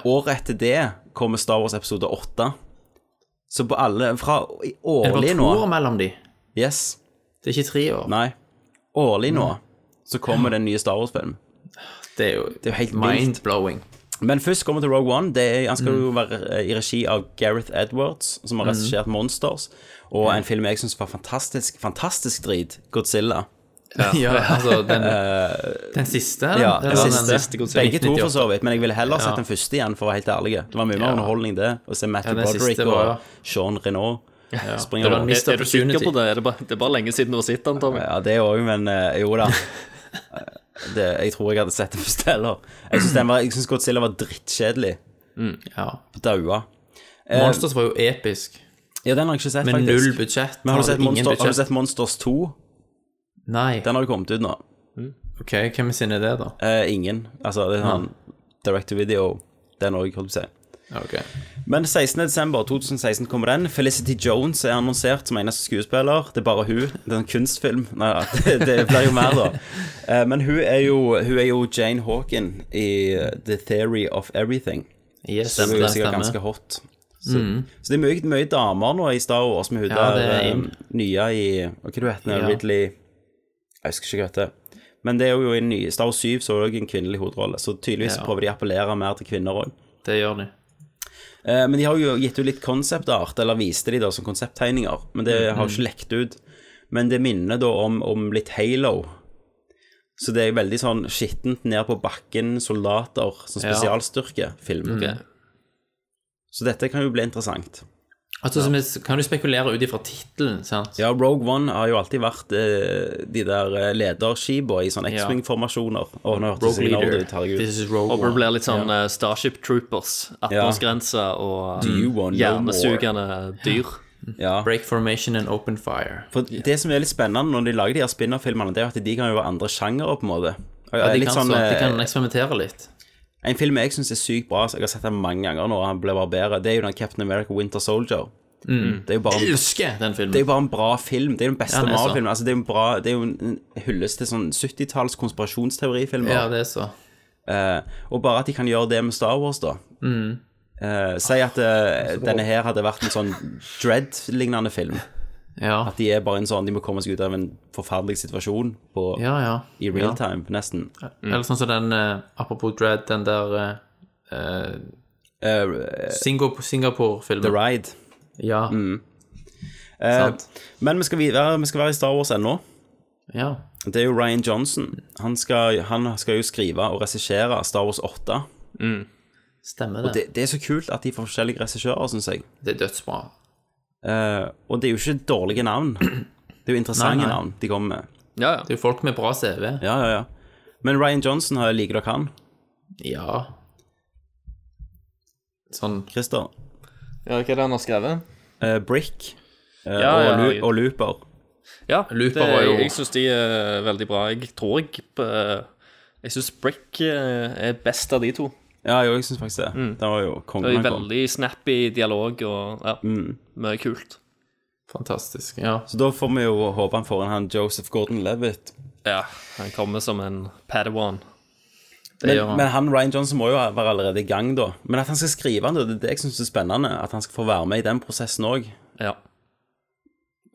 S8: Året etter det kommer Star Wars episode 8. Så på alle Fra i-
S10: Er det
S8: årlig
S10: bare
S8: nå
S10: to år mellom de?
S8: Yes.
S10: Det er ikke tre år?
S8: Nei. Årlig nå
S10: Mm.
S8: så kommer
S10: Ja.
S8: det en ny Star Wars-film.
S10: Det er jo,
S8: Det er jo helt vilt.
S10: mind-blowing.
S8: Men først kommer til Rogue One. Det er, han skal
S10: Mm.
S8: jo være eh, i regi av Gareth Edwards, som har
S10: Mm.
S8: regissert Monsters, og en film jeg syns var fantastisk fantastisk drit, Godzilla.
S10: Ja. Ja, altså, den-
S8: Eh,
S10: den siste, eller?
S8: Ja,
S10: Eller
S8: den
S10: den
S8: siste.
S10: siste Godzilla.
S8: Begge to, for
S10: 1998.
S8: så vidt. Men jeg ville heller sett
S10: Ja.
S8: den første igjen, for å være helt ærlig. Det var mye mer
S10: Ja.
S8: underholdning, det. Å se
S10: Ja,
S8: Matthew
S10: den siste
S8: Broderick
S10: var-
S8: og Sean Renault.
S10: Ja.
S8: Springer over.
S9: er, er du sikker på det? Er det, bare, det er bare lenge siden du har sett den, Tommy.
S8: Ja, det òg, men eh, jo da. Eh, Det, jeg tror jeg hadde sett det først heller. Jeg syns den var- jeg syns Godzilla var drittkjedelig.
S10: Mm, ja.
S8: Daua. Eh,
S10: Monsters var jo episk.
S8: Ja, den har jeg ikke sett,
S10: Med
S8: faktisk.
S10: null budsjett.
S8: Men har du,
S10: Han
S8: sett
S10: hadde ingen
S8: Monster, har du
S10: budsjett.
S8: sett Monsters 2?
S10: Nei.
S8: Den har jo kommet ut nå.
S10: Ok, hvem sin er det, da?
S8: Eh, ingen. Altså, det er sånn direct to video, den òg, holdt på å si. Men 16.12.2016 kommer den. Felicity Jones er annonsert som eneste skuespiller. Det er bare hun. Det er en kunstfilm. Nei, ja, det, det blir jo mer, da. Eh, Men hun er jo, hun er jo Jane Hawken i The Theory of Everything.
S10: Yes,
S8: så hun er
S10: det
S8: sikkert
S10: stemmer.
S8: ganske hot. Så,
S10: Mhm.
S8: så det er mye, mye damer nå i Star Wars med hun
S10: Ja, det
S8: der
S10: er
S8: eh,
S10: inn.
S8: nye i Hva heter
S10: Ja.
S8: hun? Ridley Jeg husker ikke hva hun heter. Men det er jo i den nye Star Wars 7 så er det også en kvinnelig hovedrolle, så tydeligvis
S10: Ja.
S8: prøver de å appellere mer til kvinner òg.
S10: Det gjør de.
S8: Eh, Men de har jo gitt ut litt konseptart, eller viste de da som konsepttegninger. Men det
S10: Mhm.
S8: har jo ikke lekt ut. Men det minner da om, om litt Halo. Så det er veldig sånn skittent ned på bakken, soldater som
S10: Ja. Mm.
S8: spesialstyrke-film.
S10: Ok.
S8: Så dette kan jo bli interessant.
S10: Altså, som et- Kan du spekulere ut ifra tittelen, sant?
S8: Ja, Rogue One har jo alltid vært eh, de der eh, lederskipa i sånne
S10: Ja.
S8: X-Wing-formasjoner. Åh, nå hørtes
S9: Rogue
S8: jeg nerd
S9: Leader.
S8: ut, herregud.
S10: This is Rogue
S9: Håper det blir litt sånn eh, Starship Troopers, 18-årsgrense og um,
S8: Do you want no
S9: hjernesugende dyr.
S8: Ja.
S10: Break formation and open fire.
S8: For det som er litt spennende når de lager de her spinner-filmene, det er jo at de kan jo være andre sjangere, på en måte. Og
S10: Ja, de,
S8: litt
S10: kan
S8: sånn,
S10: så, de
S8: eh,
S10: kan eksperimentere litt.
S8: En film jeg syns er sykt bra, så jeg har sett den mange ganger nå, og han ble bare bedre, det er jo den Captain America Winter Soldier.
S10: Mm.
S8: Det er jo bare en,
S10: Elsker den filmen.
S8: det er jo bare en bra film. Det er jo den beste
S10: Ja, den er så.
S8: Marvel-filmen. Altså, det, er jo en bra- det er jo en en hyllest til sånn 70-talls konspirasjonsteorifilmer.
S10: Ja, det er så.
S8: Eh, og bare at de kan gjøre det med Star Wars, da.
S10: Mm.
S8: Eh, si at eh, denne her hadde vært en sånn Dread-lignende film. At de er bare en sånn De må komme seg ut av en forferdelig situasjon på,
S10: Ja, ja.
S8: i real
S10: Ja.
S8: time, nesten.
S10: Eller sånn som den, eh, apropos Dread, den der eh,
S8: eh,
S10: Singo- Singapore-filmen.
S8: The Ride.
S10: Ja.
S8: Mm. Eh,
S10: Sant.
S8: men vi skal, videre, vi skal være i Star Wars ennå.
S10: Ja.
S8: Det er jo Ryan Johnson. Han skal, han skal jo skrive og regissere Star Wars 8.
S10: Stemmer
S8: Og
S10: det.
S8: det, det er så kult at de får forskjellige regissører, syns jeg.
S10: Det er dødsbra.
S8: Eh, og det er jo ikke dårlige navn. Det er jo interessante
S10: Nei, nei.
S8: navn de kommer med.
S10: Det er jo folk med bra CV.
S8: Ja, ja, ja. Men Ryan Johnson, har- liker dere han?
S10: Ja. Sånn
S8: Christer?
S11: Ja, hva er det han har skrevet?
S8: eh, Brick eh,
S11: Ja,
S8: og,
S11: ja,
S8: Lu-
S11: jeg-
S8: og Looper.
S9: Ja,
S10: Looper
S9: det,
S10: var jo-
S9: jeg syns de er veldig bra. Jeg tror jeg eh, Jeg syns Brick eh, er best av de to.
S8: Ja, jo, jeg syns faktisk det. Det var jo kongen
S9: Det er
S8: han kom.
S9: veldig snappy dialog og ja,
S8: Mm.
S9: mye kult.
S10: fantastisk. Ja.
S8: Så da får vi jo håpe han får en han Joseph Gordon-Levitt.
S9: Ja, han kommer som en padawan.
S10: Det gjør
S8: Men,
S10: han.
S8: men han Ryan Johnson må jo være allerede i gang, da. Men at han skal skrive den, det er det jeg syns er spennende. At han skal få være med i den prosessen òg.
S9: Ja.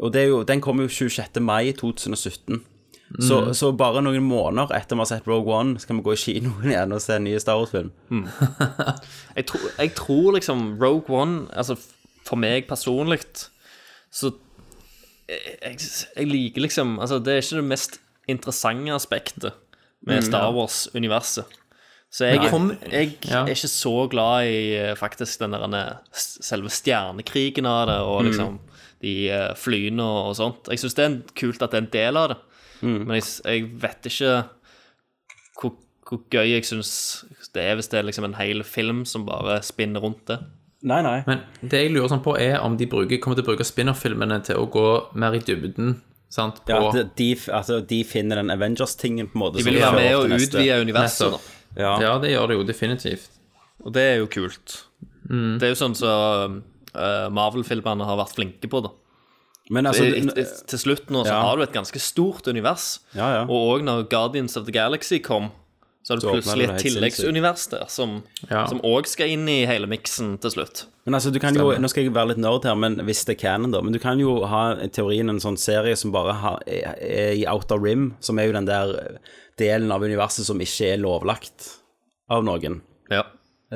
S8: Og det er jo, den kommer jo 26. mai 2017. Så,
S10: Mm.
S8: så bare noen måneder etter vi har sett Rogue One, skal vi gå i kinoen igjen og se en ny Star Wars-film.
S9: Jeg, tror- jeg tror liksom Rogue One Altså, f- for meg personlig, så jeg, jeg, jeg liker liksom Altså, det er ikke det mest interessante aspektet med
S10: Mm,
S9: Star
S10: ja.
S9: Wars-universet. Så jeg,
S10: Men kom-
S9: jeg
S10: Ja.
S9: er ikke så glad i eh, faktisk den der eh, s- selve stjernekrigen av det, og
S10: Mm.
S9: liksom de eh, flyene og, og sånt. Jeg syns det er en- kult at det er en del av det,
S10: Mm.
S9: men jeg, s- jeg vet ikke hvor, hvor gøy jeg syns det er hvis det er liksom en hel film som bare spinner rundt det.
S8: Nei, nei.
S10: Men det jeg lurer sånn på, er om de bruker, kommer til å bruke spinner-filmene til å gå mer i dybden. Sant?
S8: Ja, at de, altså, de finner den Avengers-tingen, på en måte.
S9: De
S8: som
S9: vil jo være
S8: fører
S9: med
S8: opp
S9: og
S8: til neste.
S9: utvide universet, da.
S10: Nettopp.
S8: Ja.
S10: Ja, det gjør det jo definitivt.
S9: Og det er jo kult.
S10: Mm.
S9: Det er jo sånn som eh, Marvel-filmene har vært flinke på, da.
S8: Men altså,
S9: Så i- i- til slutt nå så
S8: Ja.
S9: har du et ganske stort univers.
S8: Ja, ja.
S9: Og òg når Guardians of the Galaxy kom, så har du
S8: Så åpner det
S9: plutselig et
S8: helt
S9: tilleggsunivers der som
S8: Ja.
S9: òg skal inn i hele miksen til slutt.
S8: Men altså, du kan jo,
S9: Stemmer.
S8: Nå skal jeg være litt nerd her, men hvis det er canon, da. Men du kan jo ha i teorien en sånn serie som bare har, er, er i Outer Rim, som er jo den der eh, delen av universet som ikke er lovlagt av noen. eh,
S9: Ja.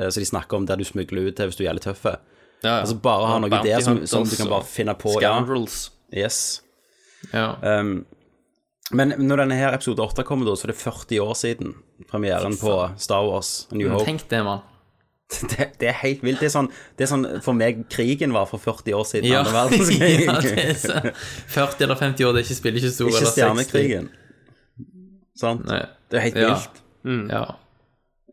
S8: Så de snakker om der du smugler ut til hvis du er jævlig tøff.
S9: ja.
S8: Altså bare ha
S9: Og
S8: noe
S9: Bounty
S8: der som, som
S9: Hunters
S8: du kan bare
S9: og
S8: finne på.
S9: Scoundrels.
S8: Ja. Yes.
S10: Ja.
S8: Um, men når denne her episode 8 kommer, da, så er det 40 år siden premieren på Star Wars A New Hope.
S10: Tenk det, mann.
S8: Det, det er helt vilt. Det er, sånn, det er sånn for meg krigen var for 40 år siden.
S10: Ja,
S8: andre verdenskrig.
S10: ja, det er sant. 40 eller 50 år, det er ikke, spiller ikke stor
S8: Ikke
S10: eller 60.
S8: stjernekrigen. Sant? Det er helt
S10: Ja.
S8: vilt.
S10: Ja.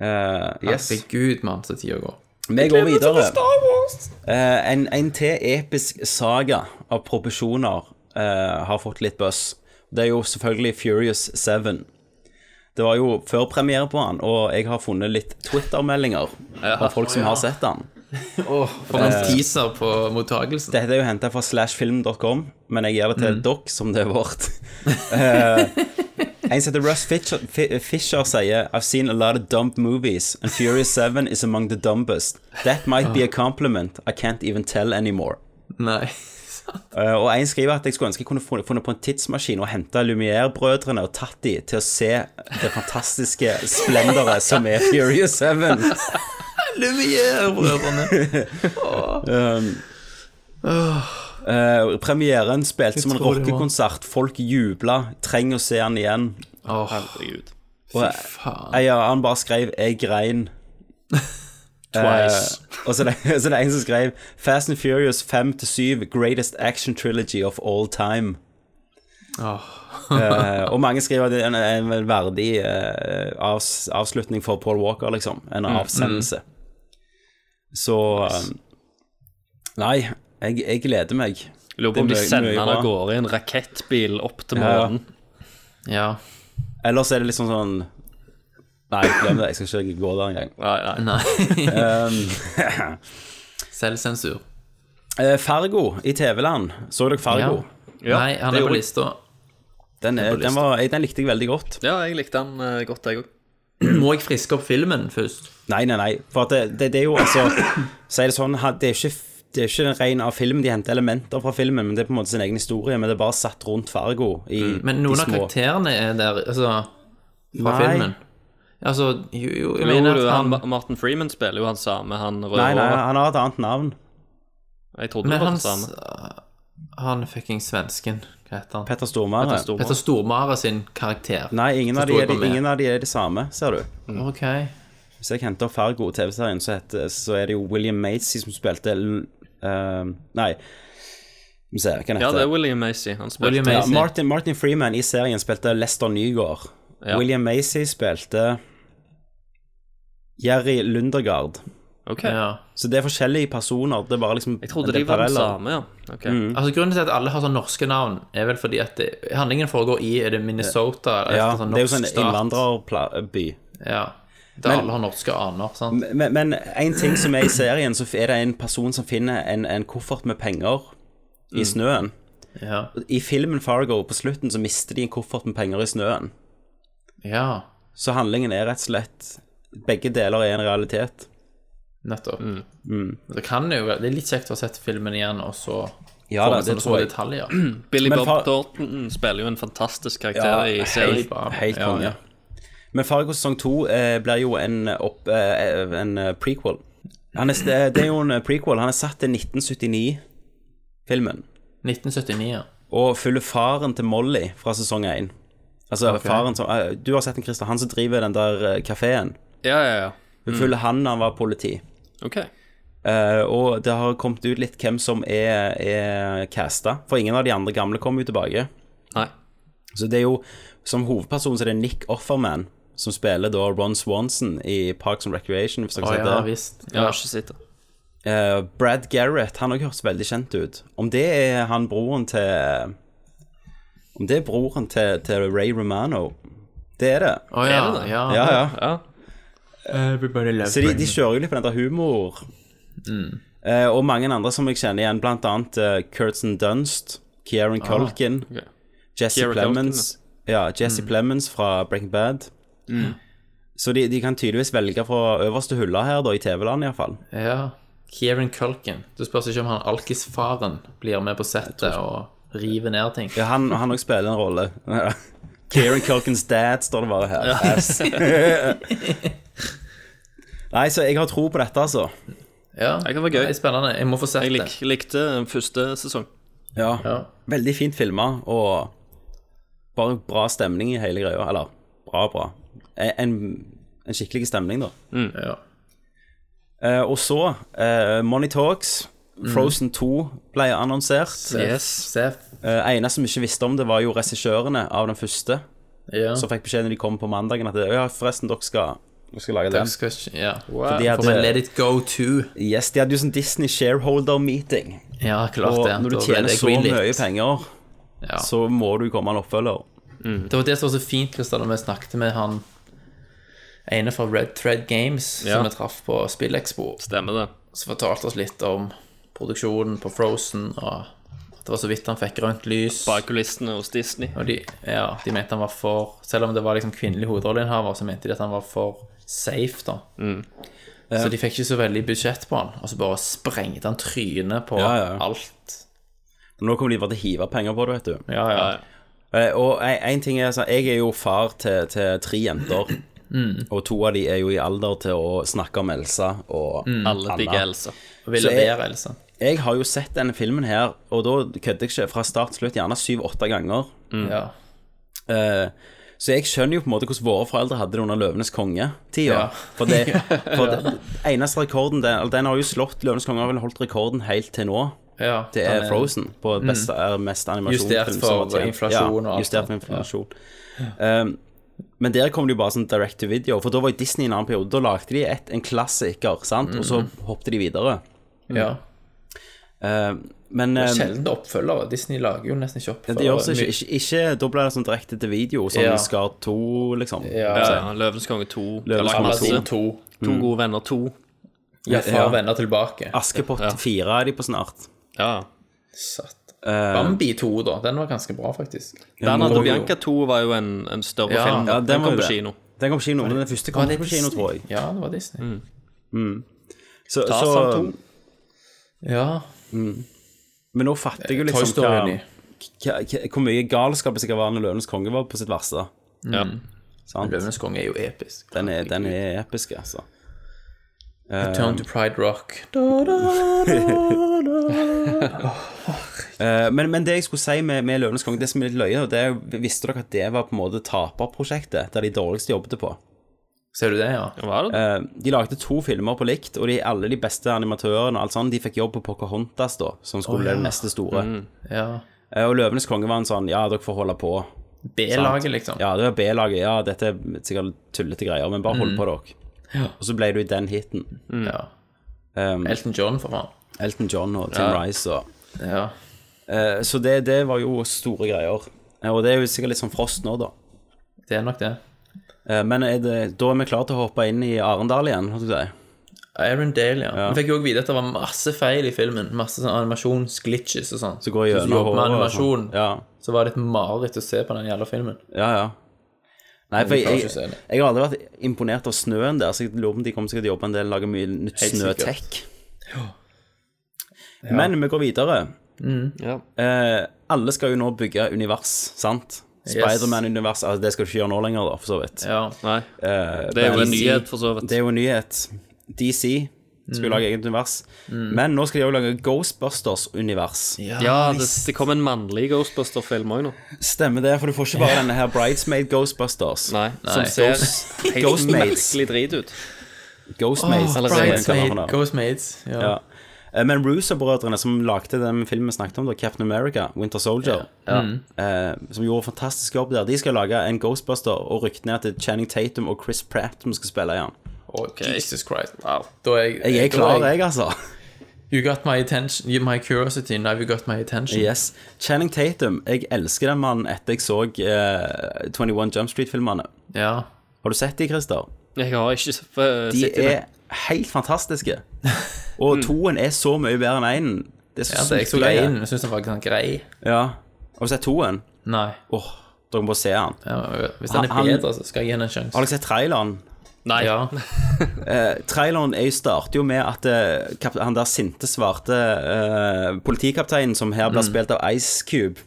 S8: Eh, yes.
S10: Herregud, mann, så tida går.
S8: Vi går
S10: gleder meg til
S8: videre.
S10: å bli Star
S8: Eh, en, en til episk saga av proporsjoner eh, har fått litt buzz. Det er jo selvfølgelig Furious 7. Det var jo førpremiere på han, og jeg har funnet litt Twitter-meldinger fra folk som
S10: Å, ja.
S8: har sett han.
S10: For en
S8: Eh,
S10: teaser på mottagelsen.
S8: Dette er jo henta fra slashfilm.com, men jeg gir det til
S10: Mm.
S8: dere som det er vårt. Eh, en som heter Russ Fisher, Fi- Fisher sier I've seen a lot of dumb movies, and Furious 7 is among the dumbest. That might
S10: Ah.
S8: be a compliment I can't even tell anymore.
S10: Nei.
S8: Eh, og en skriver at jeg skulle ønske jeg kunne funnet funnet på en tidsmaskin og henta Lumière-brødrene og tatt de til å se det fantastiske splenderet som er Furious 7.
S10: Lumière-brødrene.
S8: Um, eh, premieren spilte
S10: Jeg
S8: som en
S10: tror det var-
S8: rockekonsert. Folk jubla. Trenger å se han igjen.
S9: Herregud.
S8: Og
S10: Fy faen.
S8: eh, ja, han bare skrev 'Jeg grein'.
S9: Twice.
S8: Eh, og så er, det, så er det en som skrev 'Fast and Furious 5-7 Greatest Action Trilogy of All Time'. Eh, og mange skriver at det er en, en verdig eh, avs, avslutning for Paul Walker, liksom. En
S10: Mm.
S8: avsendelse. Så eh, Nei, jeg, jeg gleder meg.
S9: Lurer på om de
S8: Det er mye-
S9: sender
S8: mye
S9: han
S8: bra.
S9: av gårde i en rakettbil opp til
S8: Ja, ja.
S9: månen.
S10: Ja.
S8: Ellers er det liksom sånn Nei, glem det. Jeg skal ikke gå der engang.
S10: Nei.
S8: Um,
S10: Selvsensur.
S8: eh, Fargo i TV-land. Så dere Fargo?
S10: Ja. Nei, han er på
S8: Det gjorde jeg.
S10: lista.
S8: Den, er,
S10: på lista.
S8: den, var, jeg- den likte jeg veldig godt.
S9: Ja, jeg likte han eh, godt, jeg òg.
S10: Må jeg friske opp filmen først?
S8: Nei, nei, nei. For at det, det, det er jo altså Si det sånn, ha- det er ikke det er ikke en ren av film, de henter elementer fra filmen, men det er på en måte sin egen historie. Men det er bare satt rundt Fargo i
S10: Men noen
S8: de
S10: av
S8: små
S10: karakterene er der, altså Fra
S8: Nei.
S10: filmen. Altså, jo, jo jeg
S9: Men
S10: mener
S9: jo,
S10: at
S9: han,
S10: han
S9: Martin Freeman spiller jo han samme, han røde
S8: Nei, nei,
S9: håret.
S8: han har et annet navn.
S9: Jeg trodde
S10: Men
S9: det var
S10: han,
S9: den samme.
S10: han fucking svensken, hva heter han?
S8: Petter Stormare.
S10: Petter Stormare, Petter Stormare sin karakter.
S8: Nei, ingen av, de
S10: Forstår jeg
S8: er,
S10: hva
S8: de-
S10: med.
S8: ingen av de er det samme, ser du.
S10: Ok.
S8: Hvis jeg henter opp Fargo i TV-serien, så, heter- så er det jo William Macy som spilte L- ehm, Nei, vi ser hva han
S9: Ja,
S8: heter.
S9: det er William Macy. Han spilte
S8: Ja, Martin, Martin Freeman i serien spilte Lester Nygaard.
S9: Ja.
S8: William Macy spilte Jerry Lundergaard.
S9: Ok.
S10: Ja.
S8: Så det er forskjellige personer. Det er bare liksom
S9: Jeg trodde
S8: det er
S9: de var den
S8: paralleller.
S9: samme, ja. Ok.
S8: Mm.
S10: Altså Grunnen til at alle har sånn norske navn, er vel fordi at det, handlingen foregår i Er det Minnesota? eller
S8: Ja,
S10: et sånt
S8: det er jo sånn eh,
S10: norsk stat?
S8: innvandrerby.
S10: Ja. Der
S8: Men-
S10: alle har norske aner. sant?
S8: Men, men en ting som er i serien, så er det en person som finner en, en koffert med penger i snøen.
S10: Ja.
S8: I filmen Fargo på slutten så mister de en koffert med penger i snøen.
S10: ja.
S8: Så handlingen er rett og slett Begge deler er en realitet.
S10: Nettopp.
S8: Mm.
S10: Det kan jo være Det er litt kjekt å ha sett filmen igjen, og så
S8: Ja,
S10: få
S8: da,
S10: med
S8: det
S10: sånne
S8: tror
S10: små
S8: jeg.
S10: detaljer.
S9: Billy
S8: Men
S9: Bob
S8: fa-
S9: Thornton spiller jo en fantastisk
S8: Ja,
S9: karakter i serien.
S8: helt, helt konge. Men Fargo sesong to eh, blir jo en, opp, eh, en eh, prequel. Han er, det det er jo en prequel. Han er satt til 1979-filmen.
S10: 1979, ja.
S8: Og følger faren til Molly fra sesong 1. Altså
S10: Ok.
S8: faren som eh, Du har sett den, Christer. Han som driver den der kafeen.
S9: Ja, ja, ja.
S8: Hun følger han da han var politi.
S9: Ok.
S8: Eh, og det har kommet ut litt hvem som er, er casta. For ingen av de andre gamle kommer jo tilbake.
S9: Nei.
S8: Så det er jo Som hovedperson så er det Nick Offerman som spiller da Ron Swanson i Parks and Recreation, hvis dere
S10: Å
S8: har sett
S10: ja,
S8: det.
S10: visst.
S9: Jeg har ikke sett det.
S8: Eh, Brad Garrett, han har også hørt veldig kjent ut. Om det er han broren til Om det er broren til, til Ray Romano Det er det.
S10: Å ja,
S9: Er det det?
S10: ja.
S8: Ja, ja.
S10: Everybody loves
S8: Så de, de
S10: Britney.
S8: kjører jo litt på den der humor. Eh, og mange andre som jeg kjenner igjen, blant annet uh, Kurtzen Dunst, Kieran
S10: Ah,
S8: Culkin,
S9: ok.
S8: Jesse
S9: Keira
S8: Plemons ja, Jesse Plemons fra Breaking Bad. Så de, de kan tydeligvis velge fra øverste hylla her, da, i TV-land iallfall.
S10: Ja. Kieran Culkin. Det spørs ikke om han alkisfaren blir med på settet og river ned ting.
S8: Ja, han han òg spiller en rolle. Kieran Culkins dad står det bare her. Ass. Nei, så jeg har tro på dette, altså.
S10: Ja,
S9: Det kan være gøy.
S10: det er spennende. Jeg må få sett
S9: Jeg
S10: det.
S9: lik, likte den første sesong.
S8: Ja.
S10: Ja.
S8: Veldig fint filma, og bare bra stemning i hele greia. Eller Eh, bra, bra. En, en skikkelig stemning, da.
S10: Ja.
S8: Eh, og så eh, Money Talks.
S10: Mm.
S8: Frozen 2 ble annonsert. Eh, ene som ikke visste om det, var jo regissørene av den første.
S10: Ja.
S8: Som fikk beskjed når de kom på mandagen at det, ja, forresten, dere skal, dere skal lage
S10: Dere
S8: den. eh,
S10: skal- ja.
S8: For
S10: Wow.
S8: de
S10: For vi
S8: hadde,
S10: let it go to.
S8: yes, de hadde jo sånn Disney shareholder meeting.
S10: Ja, klart
S8: og
S10: det. Da
S8: når du
S10: ble
S8: tjener
S10: det
S8: så
S10: greenlit.
S8: mye penger,
S10: Ja.
S8: så må du komme en oppfølger.
S10: Det var det som var så fint, Kristian, når vi snakket med han ene fra Red Thread Games,
S9: Ja.
S10: som vi traff på Spillekspo.
S9: Stemmer det.
S10: Som fortalte oss litt om produksjonen på Frozen, og at det var så vidt han fikk grønt lys. Bak
S9: kulissene hos Disney.
S10: Og de, ja, de mente han var for Selv om det var liksom kvinnelig hovedrolleinnehaver, så mente de at han var for safe, da.
S8: Mm.
S10: Så de fikk ikke så veldig budsjett på han, og så bare sprengte han trynet på
S8: Ja, ja.
S10: alt.
S8: Nå kommer de bare til å hive penger på det, vet du.
S10: Ja, ja.
S8: Eh, og en, en ting er sånn, Jeg er jo far til, til tre jenter.
S10: Mm.
S8: Og to av de er jo i alder til å snakke om Elsa og
S10: Mm. Alle
S8: Anna.
S10: digger Elsa. Og vil
S8: Så jeg-
S10: være Elsa.
S8: Jeg har jo sett denne filmen her, og da kødder jeg ikke, fra start til slutt gjerne syv-åtte ganger.
S10: Ja.
S8: Eh, så jeg skjønner jo på en måte hvordan våre foreldre hadde det under Løvenes
S10: Ja.
S8: konge-tida. For, det, for
S10: Ja.
S8: det, eneste rekorden den, eller den har jo slått Løvenes konge, har vel holdt rekorden helt til nå.
S10: Ja,
S8: det er
S10: den er-
S8: Frozen på best,
S10: Mm.
S8: er mest animasjon.
S10: Justert
S8: film som har
S10: for
S8: tjent-
S10: inflasjon og
S8: ja,
S10: alt
S8: Justert for
S10: sånt. Ja.
S8: inflasjon. Um, men der kom det jo bare sånn direct to video, for da var jo Disney i en annen periode. Da lagde de et, en klassiker, sant, og så
S10: Mhm.
S8: hoppet de videre.
S10: Ja.
S8: Eh, men
S10: Det
S8: eh,
S10: er sjelden oppfølgere. Disney lager jo nesten ikke
S8: ja,
S10: oppfølgere.
S8: det gjør seg ikke, ikke, ikke Da blir det sånn direkte til video, sånn
S10: Ja.
S8: Skar 2, liksom.
S10: Ja.
S8: Så-
S9: Ja, Løvens konge 2.
S8: Løvens
S9: Eller
S8: konge
S9: Aladdin
S8: 2.
S9: To
S8: Mm.
S9: gode venner 2.
S10: Ja, far vender tilbake.
S8: Askepott 4 er de på snart.
S9: Ja.
S10: Satt.
S8: Eh,
S10: Bambi 2, da. Den var ganske bra, faktisk.
S9: Bernhard og Bianca 2 var jo en, en større
S10: Ja.
S9: film.
S10: Ja,
S9: den,
S10: den var
S9: kom
S10: det.
S9: på kino.
S8: Den kom på kino, men den første kom
S10: Var det
S8: på kino,
S10: Disney?
S8: tror jeg.
S10: Ja, det var Disney.
S8: Mm. Så,
S10: Tarzan
S8: så
S10: Ja.
S8: Mm. Men nå fatter jeg jo
S10: Toy
S8: liksom
S10: Story.
S8: hva, hva, hva, hvor mye galskap det sikkert var når Løvenes konge var på sitt verste.
S10: Ja.
S8: Sant?
S10: Løvenes konge er jo episk.
S8: Den er, den er episk, altså.
S10: Return to Pride Rock.
S8: Eh, men, men det jeg skulle si med, med Løvenes konge, det som er litt løye, det er jo, visste dere at det var på en måte taperprosjektet, der de dårligste jobbet på?
S10: Ser du det, ja?
S8: Eh, de lagde to filmer på likt, og de, alle de beste animatørene og alt sånt, de fikk jobb på Pocahontas, da, som
S10: Å,
S8: skulle bli
S10: ja.
S8: det neste store.
S10: Mm. Ja.
S8: Eh, og Løvenes konge var en sånn Ja, dere får holde på.
S10: B-laget,
S8: Sant?
S10: liksom.
S8: Ja, det var B-laget. Ja, dette er sikkert tullete greier, men bare hold
S10: Mm.
S8: på dere.
S10: Ja.
S8: Og så ble du i den hiten.
S10: Ja.
S8: Um,
S10: Elton John, for faen.
S8: Elton John og Tim
S10: Ja.
S8: Rice og
S10: Ja.
S8: Eh, Så det, det var jo store greier. Eh, Og det er jo sikkert litt sånn frost nå, da.
S10: Det er nok det.
S8: Eh, Men er det, da er vi klare til å hoppe inn i Arendal igjen, holdt jeg på å si.
S10: Iron Dale, ja.
S8: Ja.
S10: Vi fikk jo også vite at det var masse feil i filmen. Masse sånn animasjonsglitches og sånn. Så
S8: går jeg
S10: Hvis du
S8: gjennom
S10: jobber med
S8: håret og sånn.
S10: animasjon, så var det et mareritt å se på den jævla filmen.
S8: Ja, ja. Nei,
S10: Men
S8: for
S10: vi klarer
S8: jeg,
S10: ikke å se
S8: jeg,
S10: det.
S8: har aldri vært imponert av snøen der, så jeg lurer på om de kommer sikkert til å jobbe en del, lage mye nytt
S10: Helt sikkert.
S8: snøtech.
S10: Ja.
S8: Men vi går videre.
S10: Mm.
S8: Eh, alle skal jo nå bygge univers, sant?
S10: Yes.
S8: Spiderman-univers, altså det skal du ikke gjøre nå lenger, da, for så vidt.
S10: Ja.
S8: Eh,
S9: Det er jo en
S8: DC
S9: nyhet, for så vidt.
S8: Det er jo en nyhet. DC skal jo
S9: Mm.
S8: lage eget univers.
S9: Mm.
S8: Men nå skal de òg lage Ghostbusters-univers.
S9: Ja, det, det kom en mannlig Ghostbuster-film òg nå.
S8: Stemmer det, for du får ikke bare denne her Bridesmaid Ghostbusters.
S9: Nei,
S8: Som ser
S9: helt
S8: Ghostmaids.
S9: merkelig drit ut.
S8: Ghostmaids.
S10: Åh,
S8: eller hva de kaller
S10: Bridesmaid,
S8: han da.
S10: Ghostmaids, ja.
S8: Eh, Men Russo-brødrene, som lagde den filmen vi snakket om, da, Captain America, Winter Soldier,
S10: Ja. Mm.
S8: eh, som gjorde en fantastisk jobb der, de skal lage en Ghostbuster, og ryktene er at det er Channing Tatum og Chris Pratt som skal spille igjen.
S10: Jesus Christ. Da er jeg,
S8: Jeg er
S10: da
S8: klar, jeg, altså.
S10: You got my attention, you- my curiosity, now you got my attention.
S8: Yes. Channing Tatum, jeg elsker den mannen etter jeg så eh, 21 Jump Street-filmene.
S10: Ja.
S8: Har du sett de, Christer?
S9: Jeg har ikke s- f-
S8: De
S9: sett i
S8: er
S9: det.
S8: helt fantastiske. Og toen er så mye bedre enn énen. Det er
S10: Mm. Ja,
S8: så
S10: det- jeg så
S8: sykt løye.
S10: én, jeg syns den var sånn grei.
S8: Ja. Har du sett toen?
S10: Nei.
S8: Åh, dere må se den.
S10: Hvis den er
S8: Han- han-
S10: bedre, så skal jeg gi den en sjanse.
S8: Har dere sett traileren?
S9: Nei.
S10: Ja.
S8: Eh, traileren er jo starter jo med at eh, kap- han der sinte, svarte eh, politikapteinen, som her blir
S10: Mm.
S8: spilt av Ice Cube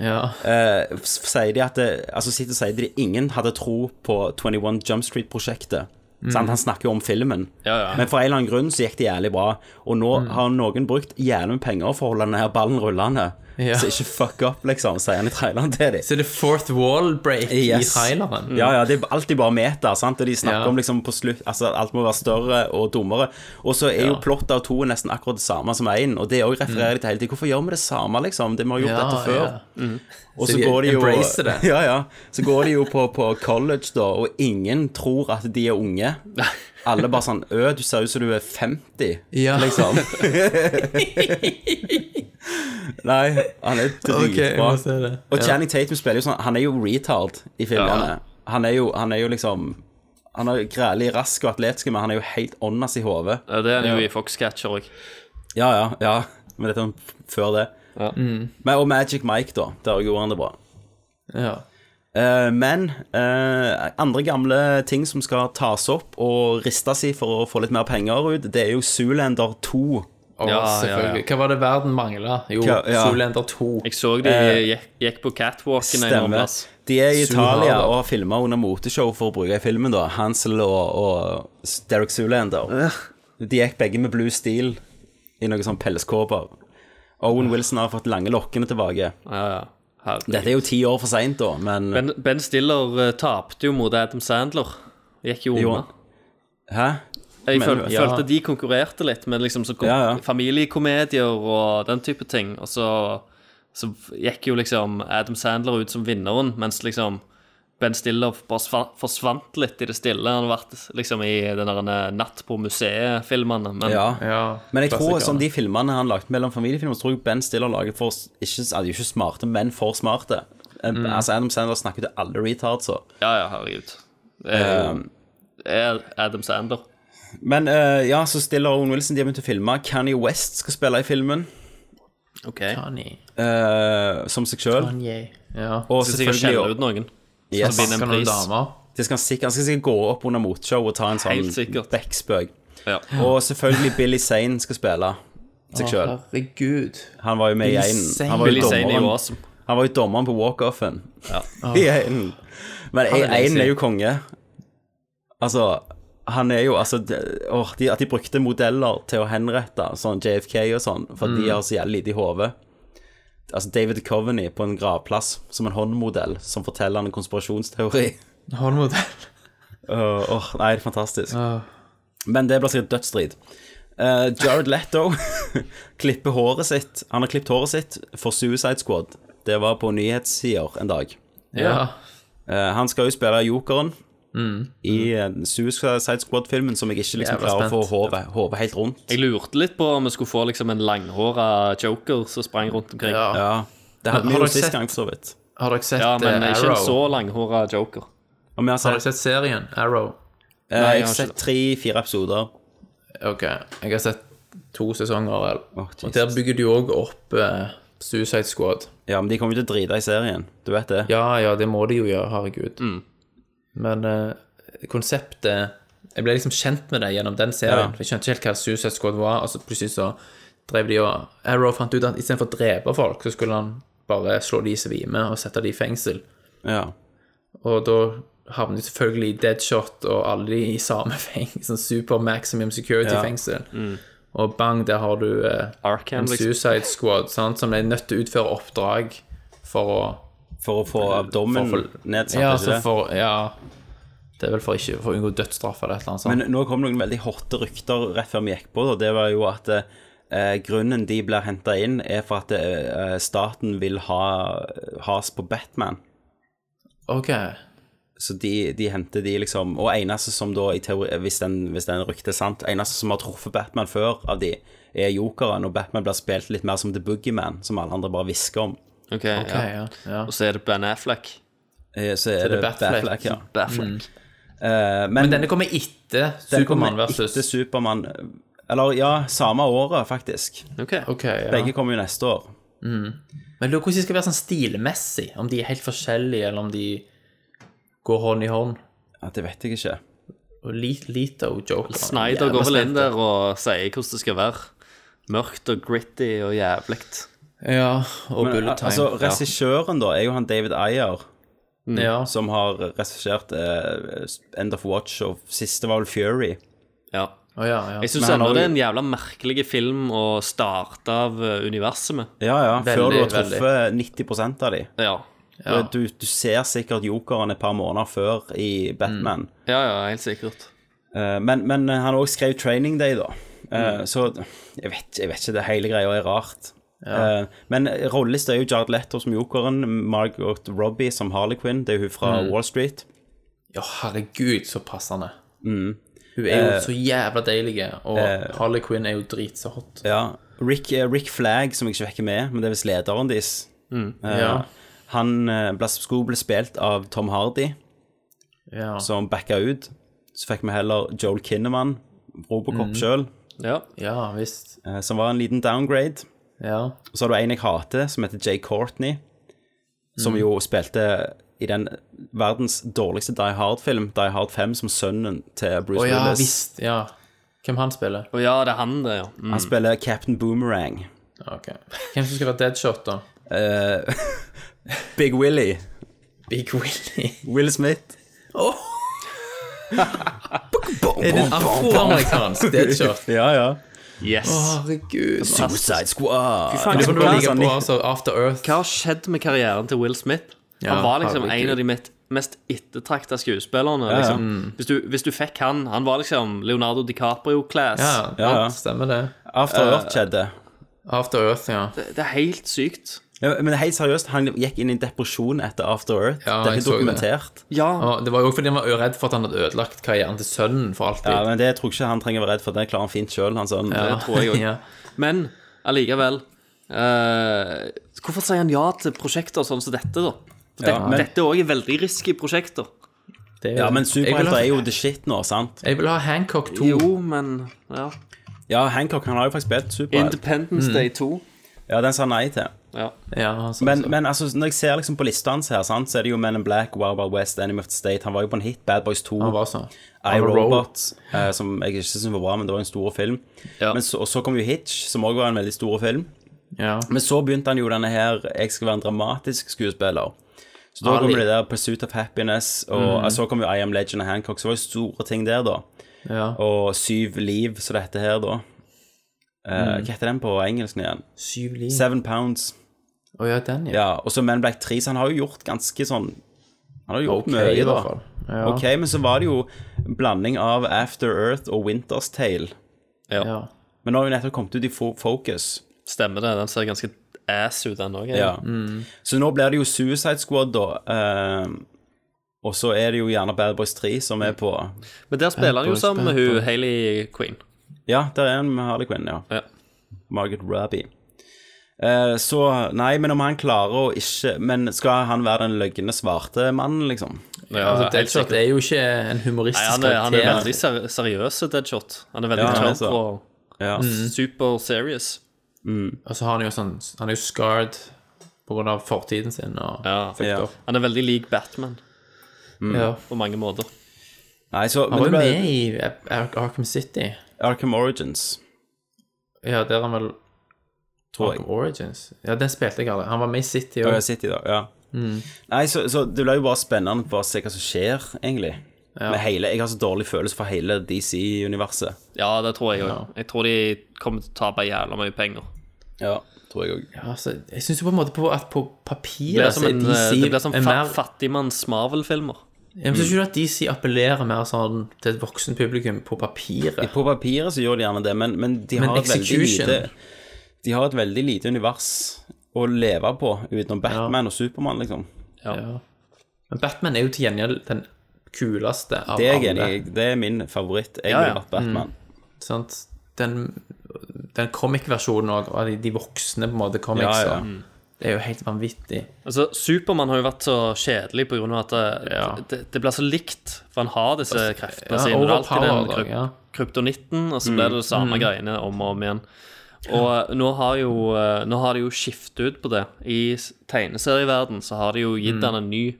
S10: Ja.
S8: eh, s- sier de at det, altså sitter og sier de at ingen hadde tro på 21 Jump Street-prosjektet.
S10: Mm.
S8: Sant? Han snakker jo om filmen.
S10: Ja, ja. Mm.
S8: Men for en eller annen grunn så gikk det jævlig bra. Og nå har noen brukt jævlig med penger for å holde denne her ballen rullende. Ja. Så ikke fuck up, liksom, sier han i traileren til dem.
S10: Så det er fourth wall break
S8: Yes.
S10: i traileren.
S8: Ja, ja, det er alltid bare meter, sant? og de snakker
S10: Ja.
S8: om liksom på slutt Altså, alt må være større og dummere. Og så er jo
S10: Ja. Mm.
S8: plottet av to nesten akkurat det samme som én, og det òg refererer de til hele tiden. Hvorfor gjør vi det samme, liksom? Det, vi har gjort
S10: Ja,
S8: dette før.
S10: ja. Mm.
S8: Og
S10: Så
S8: så
S10: de
S8: går de jo
S10: embracer det.
S8: Ja, ja. Så går de jo på, på college, da, og ingen tror at de er unge. Alle bare sånn Ø, du ser ut som du er 50,
S10: Ja.
S8: liksom. Nei, han er dritbra.
S10: Ok, jeg må se det.
S8: Og
S10: Ja.
S8: Channing Tatum spiller jo sånn Han er jo retard i filmene.
S10: Ja.
S8: Han, er jo, han er jo liksom Han er jo grælig rask og atletisk, men han er jo helt åndas i hodet.
S9: Ja, det er han jo i Foxcatcher òg.
S8: Ja, ja. ja. Men dette er om før det.
S10: Mm.
S8: Men, og Magic Mike, da. Der gjorde han det bra.
S10: Ja.
S8: Eh, men eh, andre gamle ting som skal tas opp og ristes i for å få litt mer penger ut, det er jo Zoolander 2.
S10: Og selvfølgelig. Hva var det verden mangla? Jo,
S8: Hva- ja.
S10: Zoolander 2.
S9: Jeg så de
S8: Eh,
S9: gikk, gikk på catwalken en eller annen
S8: Stemmer.
S9: plass.
S8: De er i Italia
S9: Zoolander.
S8: og har filma under moteshow for å bruke i filmen, da. Hansel og, og Derek Zoolander. De gikk begge med blue steel i noen sånn pelskåper. Owen Wilson har fått lange lokkene tilbake. Dette er jo ti år for seint, da, men
S9: Ben, ben Stiller eh, tapte jo mot Adam Sandler. Gikk jo
S8: Jo.
S9: unna.
S8: Hæ?
S9: Jeg
S8: Men-
S9: føl,
S8: ja.
S9: følte de konkurrerte litt med liksom så kom,
S8: Ja, ja.
S9: familiekomedier og den type ting. Og så, så gikk jo liksom Adam Sandler ut som vinneren, mens liksom Ben Stiller bare sva- forsvant litt i det stille. Han har vært liksom i den der Natt på museet-filmene. Men
S8: ja. Men jeg tror
S9: klassikerne.
S8: sånn de filmene han lagt mellom familiefilmer, så tror jeg Ben Stiller laget for ikke, ja, de er jo ikke smarte, men for smarte. Eh,
S9: Mm.
S8: Altså Adam Sandler snakker til alle retardser.
S9: Ja, ja, herregud. Det er jo-
S8: Um,
S9: det er Adam Sandler.
S8: Men eh, ja, så Stiller og Owen Wilson de har begynt å filme. Kanye West skal spille i filmen
S9: OK.
S8: eh, som seg sjøl.
S10: Ja.
S8: Og
S9: Skal sikkert
S8: selvfølgelig-
S9: skjelle ut noen. Skal
S8: Yes.
S9: vinne en Skal noen pris. damer.
S8: Det skal han, sikkert, han skal sikkert gå opp under motshow og ta en
S9: Helt
S8: sånn
S9: sikkert.
S8: backspøk.
S9: Ja.
S8: Og selvfølgelig Billy Zane skal spille seg
S10: Å,
S8: sjøl.
S10: herregud.
S8: Han var jo med i
S10: Billy
S8: einen.
S10: Zane.
S8: Han var jo
S10: Billy Zane er jo
S8: dommeren-
S10: awesome.
S8: Han var jo dommeren på walkoffen.
S10: Ja.
S8: I einen. Men
S10: Han er
S8: en- einen
S10: lazy.
S8: er jo konge. Altså, han er jo altså det- åh, de, At de brukte modeller til å henrette sånn JFK og sånn, for
S10: Mm.
S8: de har så jævlig lite i hodet. Altså David Coveney på en gravplass som en håndmodell som forteller en konspirasjonsteori.
S10: Håndmodell.
S8: Åh, åh, nei, det er fantastisk. Men det blir sikkert dødsstrid. Eh, Jared Letto klipper håret sitt. Han har klippet håret sitt for Suicide Squad. Det var på nyhetssider en dag.
S10: Ja.
S8: Eh, han skal jo spille Jokeren
S10: Mm.
S8: i eh, Suicide Squad-filmen, som jeg ikke liksom
S9: Jævla
S8: klarer å få
S9: spent.
S8: hodet- hodet helt rundt.
S9: Jeg lurte litt på om vi skulle få liksom en langhåra joker som sprang rundt omkring.
S10: Ja.
S8: Ja. Det hadde vi jo sist gang, for så vidt.
S10: Har dere sett
S9: Ja, men
S10: eh,
S9: ikke en
S10: Arrow?
S9: så langhåra joker.
S8: Om jeg har
S10: Har
S8: sett,
S10: dere sett serien Arrow?
S8: Eh,
S10: Nei,
S8: jeg har sett tre-fire episoder.
S10: Ok, jeg har sett to sesonger, vel. og der bygger de òg opp eh, Suicide Squad.
S8: Ja, men de kommer jo til å drite i serien. Du vet det?
S10: Ja, ja, det må de jo gjøre, herregud.
S8: Mm.
S10: Men eh, konseptet Jeg ble liksom kjent med det gjennom den serien.
S8: Ja.
S10: for Jeg skjønte ikke helt hva Suicide Squad var, og så plutselig så drev de og Arrow fant ut at istedenfor å drepe folk, så skulle han bare slå de i svime og sette de i fengsel.
S8: Ja.
S10: Og da havnet selvfølgelig Deadshot og alle de i samme fengsel, sånn super maximum
S8: Ja.
S10: security-fengsel.
S8: Mm.
S10: Og bang, der har du eh,
S9: Arkham,
S10: en
S9: liksom.
S10: Suicide Squad sant, som er nødt til å utføre oppdrag for å
S8: For å få dommen
S10: for å få-
S8: nedsatt,
S10: Ja,
S8: er ikke
S10: så
S8: det?
S10: for, ja, det er vel for ikke for å unngå dødsstraff eller et eller annet sånt.
S8: Men nå kom noen veldig hotte rykter rett før vi gikk på, og det var jo at eh, grunnen de blir henta inn, er for at eh, staten vil ha has på Batman.
S10: Ok.
S8: Så de, de henter de liksom Og eneste som da, i teori, hvis den, hvis den ryktet er sant Eneste som har truffet Batman før av de, er jokeren, og Batman blir spilt litt mer som The Boogeyman, som alle andre bare hvisker om.
S9: Ok,
S10: ja.
S9: Og så er det Ben Affleck.
S8: Eh, Så er det, Batfleck, ja.
S9: Batfleck.
S8: Eh, men,
S10: Men denne kommer etter
S8: Den
S10: Supermann
S8: kommer
S10: versus
S8: Etter Supermann Eller ja, samme året, faktisk.
S10: Ok, ja.
S8: Begge kommer jo neste år.
S10: Mm. Men lurer på hvordan de skal være sånn stilmessig, om de er helt forskjellige, eller om de går hånd i hånd.
S8: Ja, Det vet jeg ikke.
S10: Og Lit- Lito Joker.
S9: Snyder går vel inn der og sier hvordan det skal være. Mørkt og gritty og jævlig.
S10: Ja, og
S8: Men,
S10: Bullet Time.
S8: Altså,
S10: Ja.
S8: regissøren, da, er jo han David Ayer.
S10: Mm. Ja.
S8: Som har regissert eh, End of Watch og siste var vel Fury.
S9: Ja.
S10: Å, ja, ja.
S9: Jeg syns
S10: Men han
S9: ennå
S10: har
S9: det
S10: jo-
S9: er en jævla merkelig film å starte av eh, universet med.
S8: Ja, ja. Før du har
S9: veldig.
S8: truffet 90 av de.
S9: Ja.
S8: Du- Du, du ser sikkert jokeren et par måneder før i Batman.
S9: Ja, ja, helt sikkert.
S8: Eh, Men, men han òg skrev 'Training Day', da. Eh,
S9: Mm.
S8: Så jeg vet, jeg vet ikke, det hele greia er rart.
S10: Ja.
S8: Eh, Men rollelista er jo Jared Leto som jokeren, Margot Robbie som Harley Quinn, det er hun fra
S10: Mm.
S8: Wall Street.
S10: Ja, herregud, så passende.
S8: Mm.
S10: Hun er jo
S8: Eh,
S10: så jævla deilig, og
S8: eh,
S10: Harley Quinn er jo dritså hot.
S8: Ja. Rick, eh, Rick Flagg, som jeg ikke vekker med, men det er visst lederen deres.
S10: Mm.
S8: Eh,
S10: Ja.
S8: Han eh, ble, skulle bli spilt av Tom Hardy,
S10: Ja.
S8: som backa ut. Så fikk vi heller Joel Kinnaman, Robocop
S10: Mm.
S8: selv
S9: Ja.
S10: visst.
S8: eh, som var en liten downgrade.
S10: Ja.
S8: Og så har du en jeg hater, som heter Jay Courtney, som
S10: Mm.
S8: jo spilte i den verdens dårligste Die Hard-film, Die Hard 5, som sønnen til Bruce
S10: Å ja,
S8: Willis.
S10: visst. Ja. Hvem han spiller?
S9: Å ja, det er han, det, ja. Mm.
S8: Han spiller Captain Boomerang.
S10: Ok. Hvem som skal være Deadshot, da?
S8: Eh, Big Willy.
S10: Big Willy.
S8: Will Smith.
S10: Er det en afroamerikansk Deadshot?
S8: ja, ja.
S9: Yes.
S10: Å, herregud.
S8: Suicide Squad.
S9: Fy faen,
S10: Det
S9: hva-
S10: får du
S9: hva-
S10: ligge på, altså. After Earth.
S9: Hva har skjedd med karrieren til Will Smith?
S10: Ja,
S9: han var liksom
S10: herregud.
S9: en av de mitt- mest ettertrakta skuespillerne.
S10: Ja, ja.
S9: Liksom.
S10: Mm.
S9: Hvis, du, hvis du fikk han Han var liksom Leonardo DiCaprio-class.
S10: Ja, ja, stemmer det.
S8: After
S9: Eh,
S8: Earth skjedde.
S10: After Earth, ja.
S9: Det, det er helt sykt.
S8: Ja, men helt seriøst, han gikk inn i depresjon etter After Earth.
S10: Ja,
S8: det er
S10: jeg
S8: ikke
S10: så det.
S8: dokumentert.
S9: Ja.
S10: Og det var jo også fordi han var redd for at han hadde ødelagt karrieren til sønnen for alltid.
S8: Ja, men det tror jeg ikke han trenger å være redd for. Det klarer han fint sjøl. Sånn,
S9: Det tror jeg òg.
S10: Ja.
S9: Men allikevel eh, Hvorfor sier han ja til prosjekter sånn som dette, da? For det,
S8: Ja, men-
S9: Dette òg er veldig risky prosjekter.
S10: Det er-
S8: Ja, men
S10: Jeg vil
S8: superhelter
S10: ha-
S8: er jo the shit nå, sant?
S10: Jeg vil ha Hancock 2.
S9: Jo, men Ja.
S8: Ja, Hancock han har jo faktisk spilt superhelt.
S9: Independence
S8: Mm.
S9: Day 2.
S8: Ja, den sa han nei til.
S9: Ja.
S8: men, men altså, når jeg ser liksom på lista hans her, sant, så er det jo Men in Black, Wild Wild West, Enemy of the State Han var jo på en hit, Bad Boys 2.
S10: Han var sånn.
S8: I,
S10: Han var
S8: Robot, eh, som jeg ikke syns var bra, men det var en stor film.
S10: Ja.
S8: Men så, og så kom jo Hitch, som også var en veldig stor film.
S10: Ja.
S8: Men så begynte han jo denne her 'Jeg skal være en dramatisk skuespiller'. Så da
S10: Ali.
S8: kom det der 'Pursuit of Happiness', og
S10: Mhm.
S8: så kom jo 'I Am Legend' og 'Hancock', så det var jo store ting der, da.
S10: Ja.
S8: Og 'Syv liv', så det heter her, da. Eh,
S10: Mhm.
S8: Hva heter den på engelsk igjen?
S10: Syv liv.
S8: Seven Pounds.
S10: Å ja, den, ja.
S8: Ja, og så Men Black 3, så han har jo gjort ganske sånn Han har jo gjort
S10: Ok,
S8: mye,
S10: i
S8: da.
S10: hvert fall. Ja.
S8: Ok, men så var det jo en blanding av After Earth og Winter's Tale.
S10: Ja.
S8: Men nå har jo nettopp kommet ut i Fo- Focus.
S9: Stemmer det. Den ser ganske ass ut, den òg.
S8: Ja. Mm. Så nå blir det jo Suicide Squad, da. eh, og så er det jo gjerne Bad Boys 3 som er på
S9: Men der spiller han jo
S8: Boys,
S9: sammen med
S8: Bad
S9: hun
S8: Boys.
S9: Hayley Queen.
S8: Ja, der er han med Harley Quinn, ja.
S9: Ja.
S8: Margaret Robbie. Eh, så Nei, men om han klarer å ikke Men skal han være den løgne svarte mannen, liksom?
S10: altså, Deadshot er jo ikke en
S9: Nei,
S10: humoristisk
S9: han er, han er
S10: karakter.
S9: veldig ser seriøs, Deadshot. Han er veldig
S10: Ja, han er
S9: tørr
S10: så.
S9: og
S8: Ja.
S9: Mm. super serious.
S10: Og så har han jo sånn Han er jo scarred på grunn av fortiden sin og
S9: Ja.
S10: fucked opp.
S9: Han er veldig lik Batman
S10: Ja.
S9: på mange måter.
S8: Nei, så,
S10: Han var jo
S8: men det ble-
S10: med i Ar- Arkham City.
S8: Arkham Origins.
S10: Ja, der er han vel
S8: Tror jeg.
S10: Arkham Origins. Ja, den spilte jeg aldri. Han var med i City
S8: Ja,
S10: òg.
S8: jeg sitter i dag, ja.
S10: Mm.
S8: Nei, så, så det blir jo bare spennende bare å se hva som skjer, egentlig. Med hele, jeg har så dårlig følelse for hele DC-universet.
S9: Ja, det tror jeg òg. Jeg tror de kommer til å tape jævla mye penger.
S8: Ja, tror jeg òg.
S10: Ja, altså, jeg syns jo på en måte på at på
S9: Det
S10: papiret
S9: blir som,
S10: så er
S9: en, eh,
S10: DC
S9: det blir som
S10: en
S9: fa
S10: mer
S9: fattigmanns Marvel-filmer.
S10: Jeg syns ikke du at DC appellerer mer sånn til et voksen publikum på papiret?
S8: På papiret så gjør de gjerne det, men, men de
S10: Men
S8: har et veldig
S10: execution.
S8: lite De har et veldig lite univers å leve på utenom Batman og Supermann, liksom.
S9: Ja.
S10: Men Batman er jo til gjengjeld den kuleste av
S8: Det er jeg
S10: alle.
S8: enig i. Det er min favoritt. Jeg
S10: Ja,
S8: ville
S10: ja.
S8: vært Batman.
S9: Mm.
S10: Sant? Den, den comic-versjonen òg, av de, de voksne på en måte comics,
S9: Ja, ja.
S10: og- det er jo helt vanvittig.
S9: Altså, Supermann har jo vært så kjedelig pga. at det, det, det blir så likt. For han har disse kreftene
S10: ja,
S9: sine. Det er alltid den
S10: overpowered,
S9: kryp
S10: ja.
S9: kryptonitten, og så
S10: Mm.
S9: blir det det samme
S10: Mm.
S9: greiene om og om igjen. Og eh, nå har jo eh, Nå har de jo skiftet ut på det. I s- tegneserieverden så har de jo gitt
S8: Mm.
S9: han en ny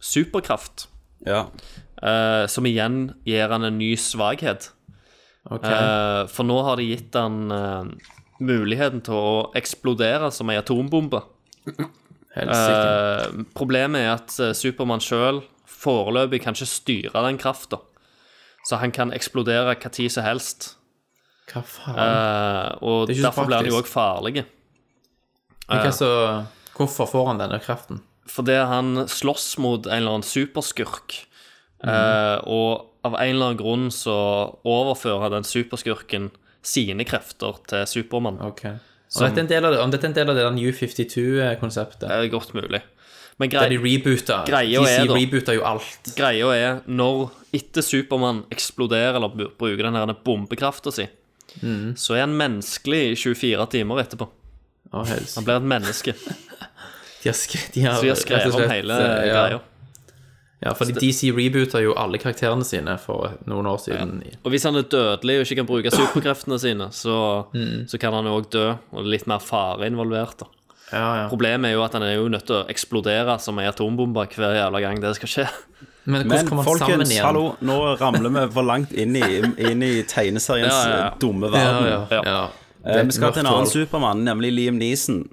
S9: superkraft.
S8: Ja.
S9: Eh, som igjen gir han en ny svakhet.
S10: Ok.
S9: Eh, for nå har de gitt han eh, muligheten til å eksplodere som ei atombombe.
S10: Helsike.
S9: Eh, problemet er at eh, Supermann sjøl foreløpig kan ikke styre den krafta. Så han kan eksplodere hva tid som helst.
S10: Hva faen?
S9: Eh, og
S10: Det er ikke så
S9: derfor blir han jo
S10: praktisk.
S9: òg farlig.
S10: Men hva så, hvorfor får han denne kraften?
S9: Fordi han slåss mot en eller annen superskurk. Eh,
S10: Mhm.
S9: og av en eller annen grunn så overfører den superskurken sine krefter til Supermann.
S10: Så dette er en del av det, om dette er en del av det der New 52-konseptet?
S9: Det er godt mulig. Men
S10: Der de rebooter.
S9: greia
S10: DC
S9: er da-
S10: rebooter jo alt.
S9: Greia er, når etter Supermann eksploderer eller bu- bruker den her bombekrafta si,
S10: Mhm.
S9: så er han menneskelig i 24 timer etterpå.
S10: helst.
S9: han blir et menneske.
S10: De har, sk- de har,
S9: så de har
S10: rett
S9: skrevet
S10: og slett,
S9: om hele
S10: eh, ja.
S9: greia.
S10: Ja, fordi
S9: Så det-
S10: DC rebooter jo alle karakterene sine for noen år siden. i-
S9: Og hvis han er dødelig og ikke kan bruke superkreftene sine, så,
S8: Mm.
S9: så kan han òg dø, og det er litt mer fare involvert. da. Problemet er jo at han er jo nødt til å eksplodere som ei atombombe hver jævla gang det skal skje.
S8: Men folkens, hallo, nå ramler vi for langt inn i, inn i tegneseriens
S9: Ja, ja, ja.
S8: dumme verden.
S9: Ja, ja, ja.
S8: Eh,
S9: Det er et
S8: vi skal til en
S9: mørkt
S8: annen
S9: hull.
S8: Supermann, nemlig Liam Neeson.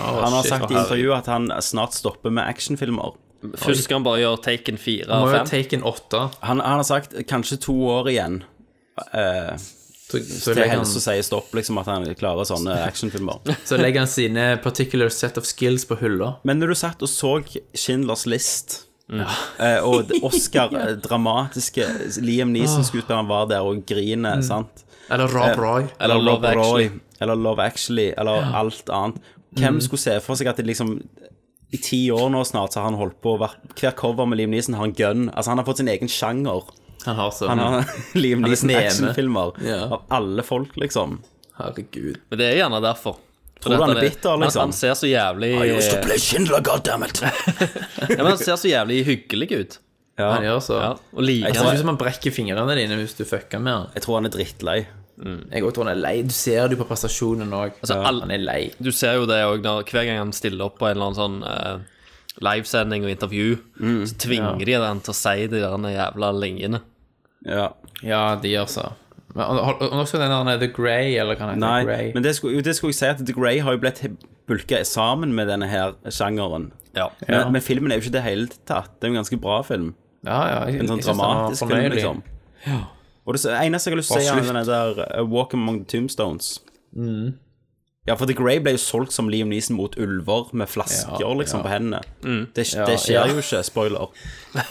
S10: Ah,
S8: han har
S9: shit.
S8: sagt i
S9: Å,
S8: intervjuet at han snart stopper med actionfilmer.
S9: Først skal han bare gjøre Taken 4
S8: Han må
S9: og
S8: jo
S9: 5.
S10: Taken 8.
S8: Han, han har sagt kanskje to år igjen. Eh,
S10: så
S8: til
S10: legger han-
S8: helst så sier stopp, liksom, at han klarer sånne actionfilmer.
S10: Så legger han sine particular set of skills på hylla.
S8: Men når du satt og så Schindlers List
S9: Mm.
S8: eh, og Oscar, eh, dramatiske Liam Neeson-skuespilleren var der og griner,
S10: Ah. Mm.
S8: sant?
S10: Eller Rob
S8: Eh,
S10: Roy. Eller
S8: Eller Rob
S10: Love
S8: Roy.
S10: Actually.
S8: Eller Love Actually, eller alt annet. Hvem
S10: Mm.
S8: skulle se for seg at det liksom i ti år nå snart så har han holdt på å være- Hver cover med Liam Neeson har en gun. Altså, han har fått sin egen sjanger.
S10: Han har så
S8: Han har Liam
S10: Han er
S8: Neeson
S10: sneme.
S8: actionfilmer
S10: Ja.
S8: av alle folk, liksom.
S10: Herregud.
S9: Men det er gjerne derfor.
S8: Tror du
S9: Fordi at
S8: han er
S9: det-
S8: bitter, liksom?
S9: Han, han ser så jævlig
S8: I used to play Schindler, goddammit!
S9: ja, men han ser så jævlig hyggelig ut.
S8: Ja.
S10: Han gjør så.
S9: Ja, og liker
S10: jeg tror
S9: det.
S10: ikke man brekker fingrene dine hvis du fucker med han.
S8: Jeg tror han er drittlei.
S10: Jeg også tror han er lei. Du ser det jo på prestasjonen òg.
S9: Altså, all-
S10: han er lei.
S9: Du ser jo det òg hver gang han stiller opp på en eller annen sånn eh, livesending og intervju,
S8: Mm.
S9: så tvinger de han til å si de der jævla linjene.
S8: Ja,
S10: de gjør så. Men og- og- og også den der The Grey, eller hva den heter.
S8: Nei,
S10: Grey.
S8: men det skulle, jo, det skulle jeg si at The Grey har jo blitt bulka sammen med denne her sjangeren.
S9: Ja.
S8: Men,
S10: Ja.
S8: men filmen er jo ikke det hele tatt. Det er jo en ganske bra film.
S10: ja, jeg-
S8: en sånn
S10: jeg synes den var
S8: dramatisk film,
S10: fornøyelig.
S8: liksom.
S10: Ja.
S8: Og det eneste jeg har lyst til å si,
S10: Bare
S8: er den der uh, Walk Among the Tombstones.
S10: Mm.
S8: Ja, for The Grey ble jo solgt som Liam Neeson mot ulver med flasker
S10: Ja, ja.
S8: liksom på hendene.
S10: Mm.
S8: Det, det
S10: Ja,
S8: skjer
S10: ja.
S8: jo ikke, spoiler,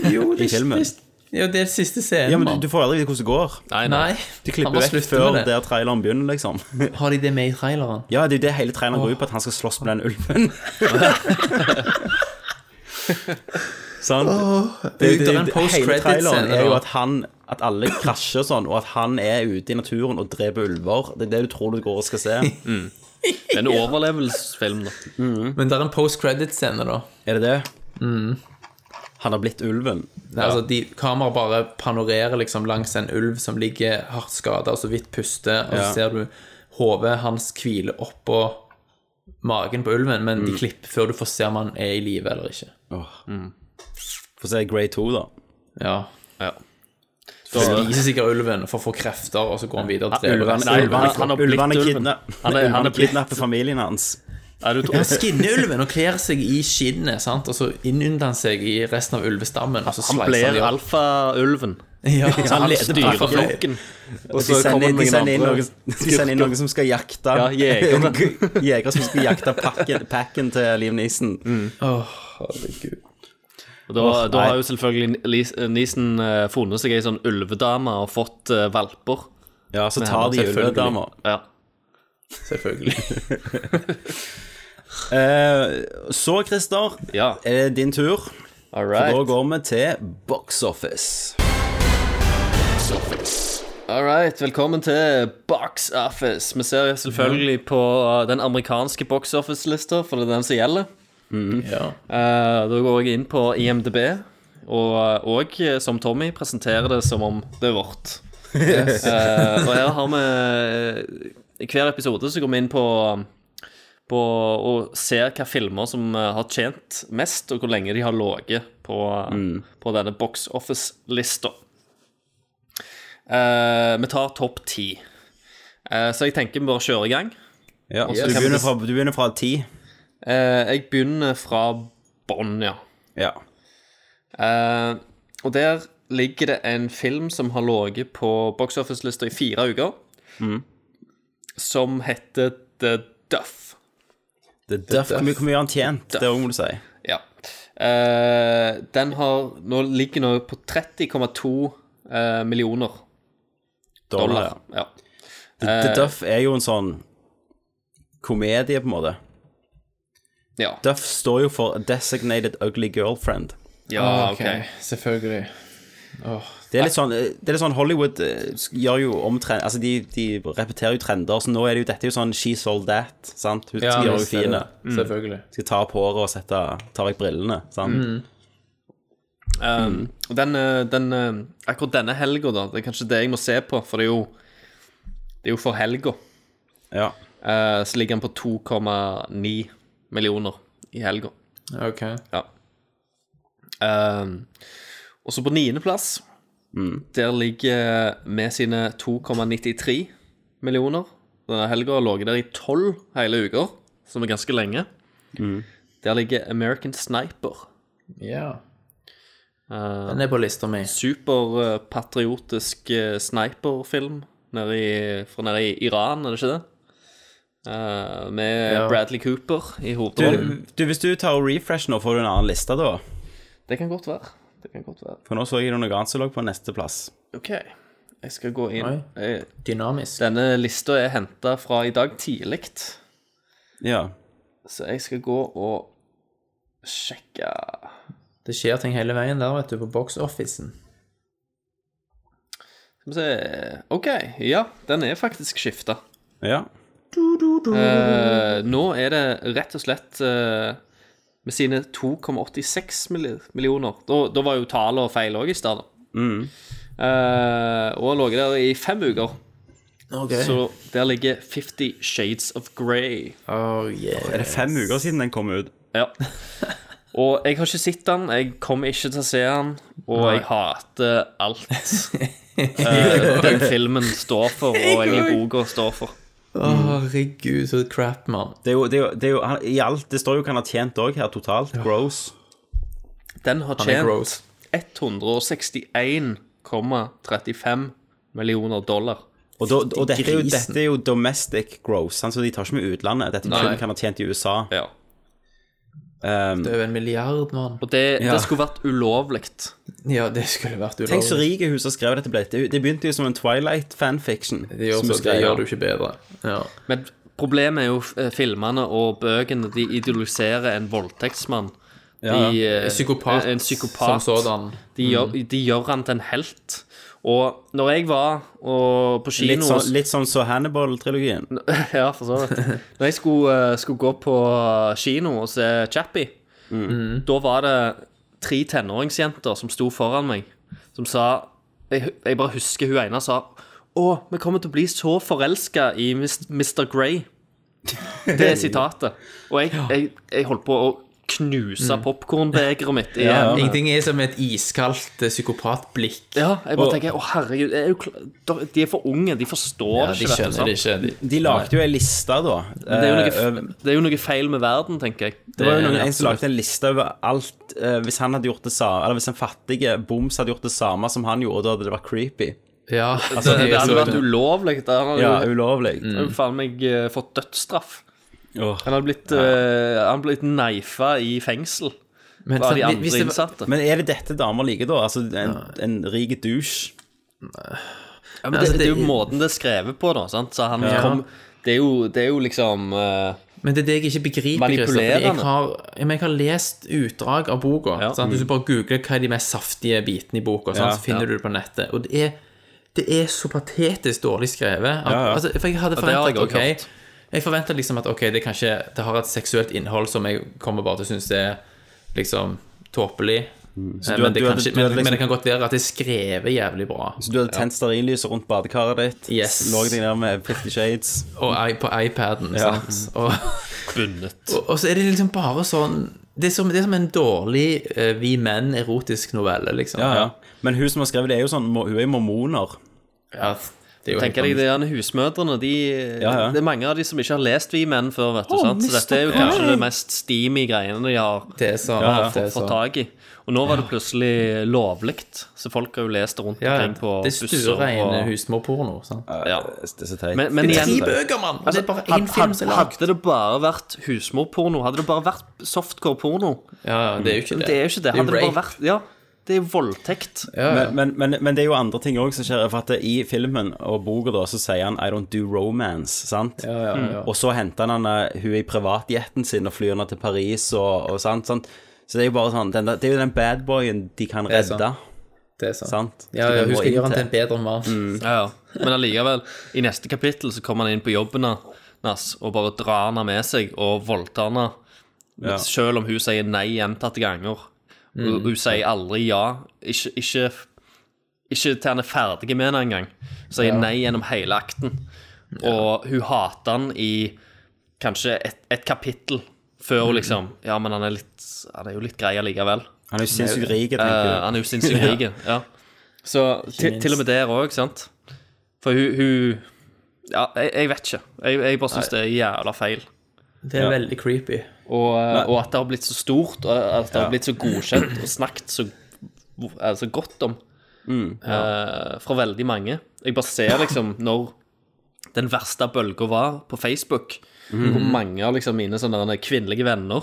S10: Jo,
S8: i
S10: det-
S8: filmen.
S10: det- Jo, det er siste scenen.
S8: Ja, men
S10: mann.
S8: du, du får aldri vite hvordan det går.
S9: Nei,
S10: nei.
S8: De
S10: Han
S8: klipper
S10: bare
S8: vekk
S10: slutter
S8: før
S10: med det.
S8: der traileren begynner, liksom.
S10: Har de det med i traileren?
S8: Ja, det er jo det hele traileren går ut på, at han skal slåss med den ulven. Sant?
S10: Åh, det er en
S8: hele
S10: post-credit-scene
S8: traileren er jo
S10: da.
S8: at han At alle krasjer sånn, og at han er ute i naturen og dreper ulver. Det er det du tror du går og skal se.
S9: Det er en overlevelsesfilm, da.
S10: Men det er en post-credit-scene, da.
S8: Er det det? Han har blitt ulven.
S10: Nei, altså, de, kameraet bare panorerer liksom langs en ulv som ligger hardt skada og så vidt puster, og
S8: Ja.
S10: så ser du hodet hans hvile oppå magen på ulven, men de
S8: Mm.
S10: klipper før du får se om han er i live eller ikke. Mm.
S8: Få se Grey 2, da.
S10: Ja.
S9: ja.
S10: Så spiser sikkert ulven for å få krefter, og så går han videre til
S8: Ulvene
S10: Nei, ulven-
S8: ulvene- ulvene kidna-
S10: Han er- han er
S8: ulvene
S10: blitt-
S8: kidnapper familien hans.
S10: Ja, han skinner ulven og kler seg i skinnet, sant? og så innunder han seg i resten av ulvestammen. Og så
S9: Han
S10: slicer
S9: blir
S10: de opp.
S9: alfaulven.
S10: Ja,
S9: Så han,
S10: han
S9: styrer
S10: styrer
S9: flokken.
S8: Og de sender, de, sender inn noen, de sender inn noen som skal jakte
S9: Ja, jegere.
S8: Jegere som skal jakte pakken, pakken til Liam Neeson.
S9: Mm.
S10: herregud.
S9: Og da,
S8: Åh,
S9: da
S8: nei.
S9: har jo selvfølgelig Lis- Nisen eh, funnet seg ei sånn ulvedame og fått eh, valper.
S8: Ja, så
S9: Med
S8: tar
S9: henne,
S8: de
S9: selvfølgelig.
S8: ulvedama.
S9: Ja.
S10: Selvfølgelig.
S8: Eh, så, Christer, er det din tur.
S9: right.
S8: For da går vi til Box Office.
S9: All right, velkommen til Box Office. Vi ser jo selvfølgelig på eh, den amerikanske Box Office-lista, for det er den som gjelder.
S10: Ja.
S9: Eh, da går jeg inn på IMDb, og òg, som Tommy, presenterer det som om det er vårt.
S10: Yes.
S9: Eh, og her har vi eh, I hver episode så går vi inn på um, På å se hvilke filmer som eh, har tjent mest, og hvor lenge de har ligget på, uh,
S10: Mm.
S9: på denne box office-lista. Eh, vi tar topp ti. Eh, så jeg tenker vi bare kjører i gang.
S8: Ja,
S9: Og
S8: så
S9: så
S8: du,
S9: kan vi-
S8: begynner fra, du begynner fra ti.
S9: Eh, jeg begynner fra bånn, ja.
S8: Ja.
S9: Eh, og der ligger det en film som har ligget på box office-lista i fire uker, som heter The Duff.
S8: The Duff, Hvor mye- hvor mye har han tjent? Det òg må du si.
S9: Ja. Eh, den har nå ligger nå på 30,2 eh, millioner dollar.
S8: Dollar,
S9: ja.
S8: The, The
S9: Eh,
S8: Duff er jo en sånn komedie, på en måte. Duff står jo for Designated Ugly Girlfriend.
S10: Ah, Selvfølgelig. Åh.
S8: Det er litt sånn, det er litt sånn Hollywood eh, gjør jo om trend, altså de, de repeterer jo trender, så nå er det jo dette er jo sånn She Sold That, sant? Hun
S10: Ja,
S8: skal gjøre
S10: visst er Mm. det
S8: henne
S10: det.
S8: fin.
S10: Selvfølgelig.
S8: Skal ta opp håret og sette, ta vekk brillene, sant?
S9: Mm. Eh, og den, eh, den, eh, akkurat denne helga, da, det er kanskje det jeg må se på, for det er jo, det er jo for helga.
S8: Ja.
S9: så ligger den på 2,9 millioner i helga.
S10: Ok.
S9: Ja. Ehm, og så på niendeplass, der ligger med sine 2,93 millioner. Denne helga har ligget der i tolv hele uker, som er ganske lenge. Der ligger American Sniper.
S10: Ja.
S9: Eh,
S10: Den er på lista mi.
S9: Superpatriotisk eh, sniperfilm nede i, fra nede i Iran, er det ikke det? Eh, med
S8: Ja.
S9: Bradley Cooper i hovedrollen.
S8: Du, du, hvis du tar og refresh nå, får du en annen liste da?
S9: Det kan godt være. Det kan godt være.
S8: For nå så jeg det noe annet som lå på neste plass.
S9: OK, jeg skal gå
S8: Oi.
S9: inn. Eh,
S10: Dynamisk.
S9: Denne lista er henta fra i dag tidlig,
S8: Ja.
S9: så jeg skal gå og sjekke
S10: Det skjer ting hele veien der, vet du, på box-officen.
S9: Skal vi se OK, ja, den er faktisk skifta.
S8: Ja.
S9: Eh, nå er det rett og slett eh, med sine 2,86 milli- millioner. Da, da var jo tallene feil òg i stad. da.
S8: Mm.
S9: Eh, og har ligget der i fem uker.
S10: Ok.
S9: Så der ligger 'Fifty Shades of Grey'.
S10: Oh, yes.
S8: Er det fem uker siden den kom ut?
S9: Ja. Og jeg har ikke sett den, jeg kommer ikke til å se den, og
S8: Nei.
S9: jeg hater alt eh, den filmen står for, og jeg i boka står for.
S10: Herregud, så crap, mann.
S8: Det er jo, det er jo, det er jo han, i alt, det står jo hva han har tjent òg her totalt. Gross.
S9: Den har
S8: Han er gross.
S9: tjent 161,35 millioner dollar.
S8: Og, da, og dette, er jo, dette er jo domestic gross, sant? så de tar ikke med utlandet. Dette er
S9: Nei.
S8: kun hva han har tjent i USA.
S9: Ja.
S8: Um,
S10: Det er jo en milliard, mann.
S9: Og det,
S8: Ja.
S9: det skulle vært ulovlig.
S10: Ja, det skulle vært ulovlig.
S8: Tenk så rike hun som skrev dette. ble. Det det begynte jo som en Twilight-fanfiction.
S10: Det gjør
S8: som hun
S10: så- det
S8: skrev.
S10: gjør det jo ikke bedre.
S9: Men problemet er jo eh, filmene og bøkene, de idoliserer en voldtektsmann.
S10: Ja,
S9: De,
S10: ja.
S9: eh,
S10: En psykopat
S9: en
S10: som
S9: psykopat.
S10: sådan.
S9: De, gjør,
S8: Mm.
S9: de gjør han til en helt. Og når jeg var og på kino
S8: Litt sånn- litt sånn så Hannibal-trilogien.
S9: Ja, for så vidt. Når jeg skulle, eh, skulle gå på kino og se Chappie,
S10: Mm.
S9: da var det tre tenåringsjenter som sto foran meg, som sa Jeg, jeg bare husker hun ene sa Å, vi kommer til å bli så forelska i Mis- Mr. Grey. Det er sitatet. Og jeg, jeg, jeg holdt på å knuse
S10: Mm.
S9: popkornbegeret mitt. i
S10: Ja,
S9: hjernen.
S10: Ingenting er som et iskaldt eh, psykopatblikk.
S9: Ja, jeg bare
S10: Og-
S9: tenker Å, herregud, det er jo kla- de er for unge. De forstår
S10: Ja, de
S9: ikke dette.
S10: skjønner det
S9: sant?
S10: ikke, de-
S8: De lagde jo ei liste, da.
S9: Men det er, jo
S8: Eh,
S9: noe, det er jo noe feil med verden, tenker jeg.
S8: Det var jo
S9: er
S8: noen en som
S9: absolutt.
S8: lagde en liste over alt eh, Hvis han hadde gjort det samme Eller hvis en fattig boms hadde gjort det samme som han gjorde, da hadde det vært creepy.
S10: Ja,
S9: Altså, det, det hadde vært ulovlig. Det hadde
S8: Ja,
S10: Mm.
S9: jo-
S8: ulovlig.
S9: hadde jo faen meg eh, fått dødsstraff.
S8: Åh.
S9: Han hadde blitt, uh, han blitt neifa i fengsel
S8: Men,
S9: av de
S8: sant,
S9: andre
S8: hvis det var-
S9: innsatte.
S8: men er det dette damer liker, da? Altså en, en rik douche?
S9: Ja, men det,
S8: Altså,
S9: det, er jo måten det er skrevet på, da. Sant? Så han
S10: Ja.
S9: kom, det, er jo, det er jo liksom eh,
S10: Men det er det jeg ikke begriper, Christopher. Jeg
S9: Manipulerende.
S10: har, jeg, jeg har lest utdrag av boka. Sant? Hvis du bare googler hva er de mest saftige bitene i boka, sant?
S8: Mm. Ja,
S10: så finner
S8: ja.
S10: du det på nettet. Og det er, det er så patetisk dårlig skrevet. at-
S8: Ja, ja.
S10: Altså, for jeg
S8: Ja,
S10: hadde
S8: det har jeg
S10: forventet
S8: også
S10: ok, jeg forventet liksom at ok, det, er kanskje, det har et seksuelt innhold som jeg kommer bare til å synes er liksom tåpelig.
S8: Mm. Så
S10: Eh, Men,
S8: du
S10: det
S8: hadde- du
S10: kan
S8: hadde-
S10: ikke-
S8: du
S10: men, men
S8: hadde
S10: det
S8: liksom-
S10: kan godt være at det er skrevet jævlig bra.
S8: Så du hadde tent stearinlyset rundt badekaret ditt,
S10: Yes.
S8: lå deg ned med Fifty Shades
S10: Og i- på iPaden,
S8: Ja. Mm.
S10: sant. Og, og, og så er det liksom bare sånn Det er som, det er som en dårlig eh, Vi menn-erotisk novelle, liksom.
S8: Ja, ja. Men hun som har skrevet det, er jo sånn Hun er jo mormoner.
S10: Ja, Det er jo
S9: Tenker deg
S10: helt
S9: det er husmødrene de,
S10: Ja, ja.
S9: Det er mange av de som ikke har lest Vi menn før, vet du,
S10: Oh,
S9: sant? så
S10: Mr.
S9: dette er jo
S10: Bean.
S9: kanskje det mest steamy greiene de har,
S10: sant,
S9: har
S10: det er
S9: fått, fått
S10: sant.
S9: tak i. Og nå var det plutselig lovlig, så folk har jo lest det rundt
S10: Ja,
S9: omkring på
S10: det er
S9: busser.
S10: stuereine
S9: og-
S10: husmorporno. sant?
S9: Ja.
S10: teit.
S9: Men, men
S10: Det er
S9: igjen, altså,
S10: tre bøker, mann, og det er bare én
S9: had-
S10: film
S9: had-
S10: som er lagd.
S9: Hadde det bare vært husmorporno, hadde det bare vært softcore-porno
S10: Ja, det er jo ikke det.
S9: Mm. Det er jo ikke det.
S10: Det er
S9: Hadde det bare
S10: rape.
S9: vært Ja, det er jo voldtekt.
S8: Men, men, men, men det er jo andre ting òg som skjer. For at det, I filmen og boka da, så sier han 'I don't do romance'. sant?
S10: ja, ja.
S8: Og så henter han henne hun i privatjeten sin og flyr henne til Paris og, og sant, sant. Så det er jo bare sånn, den, der- det er jo den badboyen de kan
S10: Det er sant.
S8: redde.
S10: Det er sant.
S8: sant?
S10: Ja, ja, hun skal gjøre han til en bedre mann.
S8: Mm.
S9: Ja, ja. Men allikevel, i neste kapittel så kommer han inn på jobben hans og bare drar henne med seg og voldtar henne.
S10: Ja.
S9: Selv om hun sier nei gjentatte ganger. Og
S10: Mm.
S9: Hun sier aldri ja. Ikke, ikke, ikke til han er ferdig med henne engang. Hun sier
S10: Ja.
S9: nei gjennom hele akten. Og hun hater han i kanskje et, et kapittel før hun liksom Ja, men han er, litt, han er jo litt grei allikevel.
S8: Han er jo sinnssykt rik, tenker
S9: Eh,
S8: jeg.
S9: Han er jo sinnssykt
S8: Ja.
S9: rik, ja. Så til,
S8: minst.
S9: til og med der òg, sant. For hun, hun Ja, jeg, jeg vet ikke. Jeg, jeg bare syns det er jævla feil.
S10: Det er
S9: Ja.
S10: veldig creepy.
S9: Og, eh, og at det har blitt så stort, og at det
S10: Ja.
S9: har blitt så godkjent og snakket så altså godt om
S10: Mm,
S9: eh, fra veldig mange. Jeg bare ser liksom når den verste bølga var på Facebook,
S10: Mhm.
S9: hvor mange av liksom mine sånne der kvinnelige venner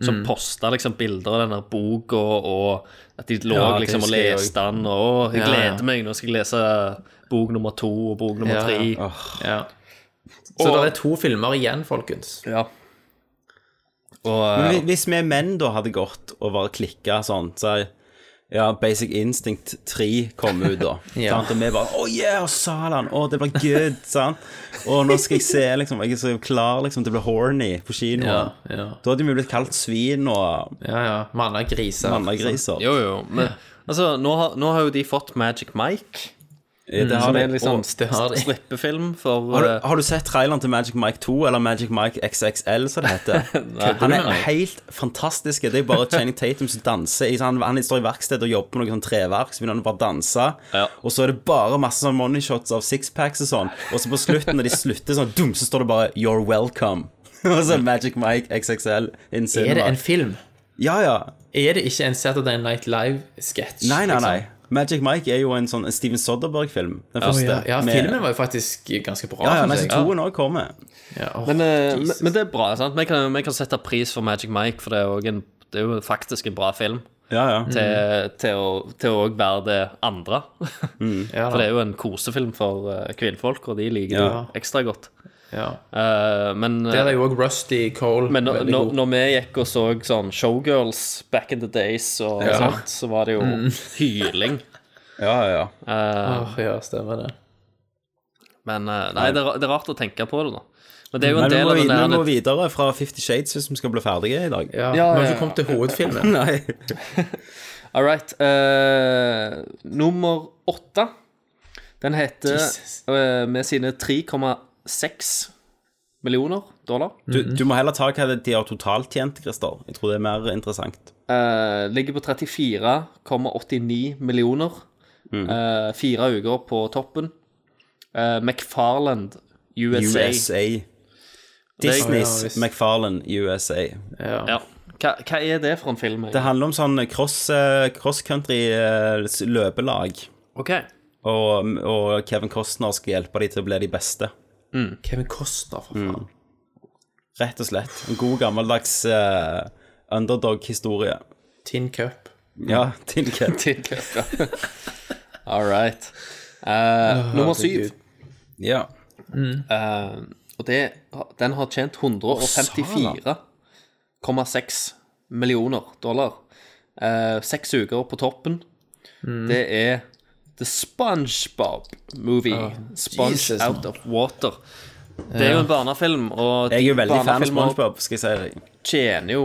S9: som
S10: Mm.
S9: posta liksom bilder av denne boka, og at de lå
S10: Ja, det
S9: liksom og
S10: husker jeg
S9: leste
S10: også.
S9: den, og «Å, jeg
S10: Ja, ja.
S9: gleder meg, nå skal jeg lese bok nummer to og bok nummer
S10: Ja, ja.
S9: tre.
S10: Ja. Så
S9: Og-
S10: det er to filmer igjen, folkens.
S9: Ja. Og, eh,
S8: Men hvi- hvis vi menn da hadde gått og bare klikka sånn, så ja, Basic Instinct 3 kom ut da.
S10: Ja.
S8: sant? Og vi bare Å, yeah, Salan! Å, det blir good! sant? Og nå skal jeg se, liksom. Jeg er så klar liksom, til å bli horny på kino.
S10: Ja, ja.
S8: Da hadde vi blitt kalt svin og
S10: Ja, ja. Manna griser.
S8: Mannagriser.
S9: Jo, jo, men altså, nå har, nå har jo de fått Magic Mike.
S8: Ja,
S10: Mm.
S8: det har
S9: som
S8: de.
S9: er en liksom
S8: Å, det har de.
S9: strippefilm for
S8: Har du,
S9: eh,
S8: har du sett traileren til Magic Mike 2, eller Magic Mike XXL, som det heter?
S9: Nei.
S8: han
S9: Kødder du
S8: er
S9: med meg?
S8: helt fantastisk. Det er bare Channing Tatum som danser. i- sånn- Han, han står i verksted og jobber med noe sånn treverk, så begynner han å bare danse. Og så er det bare masse sånn money shots av sixpacks og sånn. Og så på slutten, når de slutter sånn, dum, så står det bare 'You're welcome'. og så er Magic Mike XXL in cinema.
S10: Er det en film?
S8: Ja, ja.
S10: Er det ikke en Saturday Night Live-sketsj?
S8: Nei, nei,
S10: liksom?
S8: nei. Magic Mike er jo en sånn en Steven Sodderberg-film. Den
S10: Ja,
S8: første.
S10: ja, ja,
S8: med-
S10: filmen var jo faktisk ganske bra.
S8: Ja, ja,
S10: synes
S8: nei, så
S10: jeg.
S8: toen også kommer.
S9: men, eh, men, men det er bra. sant? Vi kan, vi kan sette pris for Magic Mike, for det er, jo en, det er jo faktisk en bra film.
S8: Ja, ja.
S9: Til,
S8: Mm.
S9: til, å, til å være det andre.
S10: Ja,
S9: for det er jo en kosefilm for eh, kvinnfolk, og de liker det
S10: Ja.
S9: jo ekstra godt.
S10: Ja.
S9: Eh, men
S10: Der er jo òg Rusty Cole.
S9: Men når,
S10: veldig
S9: når,
S10: god.
S9: når vi gikk og så sånn showgirls back in the days, og
S10: Ja.
S9: sånt, så var det jo
S10: Mm.
S9: hyling.
S8: ja, ja.
S10: Åh, ja, stemmer det.
S9: Men eh, nei, det er, ra- det er rart å tenke på det, da. Men det er jo
S8: Men
S9: en
S8: vi Mm. må
S9: del av
S8: vi-
S9: den
S8: Vi må
S9: der
S8: videre fra Fifty Shades hvis vi skal bli ferdige i dag.
S9: Ja, Ja, vi har ikke ja. kommet
S10: til hovedfilmen.
S8: Nei.
S9: All right. eh, nummer åtte. Den heter
S8: Jesus.
S9: eh, med sine 3,6 millioner dollar.
S8: Du, du må heller ta hva det- de har totalt tjent, Christer. Jeg tror det er mer interessant.
S9: Eh, ligger på 34,89 millioner.
S8: Mm.
S9: Eh, fire uker på toppen. Eh, McFarland USA.
S8: USA.
S9: Det-
S8: Disneys
S9: Ja, visst.
S8: McFarlane USA.
S9: Ja. Hva, hva er det for en film?
S8: Det handler om sånn cross, eh, cross-country eh, s- løpelag.
S9: Ok.
S8: Og, og Kevin Costner skal hjelpe dem til å bli de beste.
S10: Kevin Costner, for faen.
S8: Rett og slett. En god, gammeldags eh, underdog-historie.
S10: Tin Cup.
S8: Ja, Tin Cup.
S9: Tin Cup, ja. All right. Eh,
S8: Åh,
S9: nummer
S8: herregud.
S9: syv.
S8: Ja.
S9: Eh, og det, den har tjent 154,6 millioner dollar. Eh, seks uker på toppen.
S10: Mm.
S9: Det er The SpongeBob Movie.
S8: Ah.
S10: Åh,
S9: Sponge
S10: Jesus,
S9: Out
S10: mann.
S9: of Water. Det er jo en barnefilm, og
S8: Jeg er jo veldig fan av
S9: barnefilmer
S8: SpongeBob, skal jeg si deg.
S9: tjener jo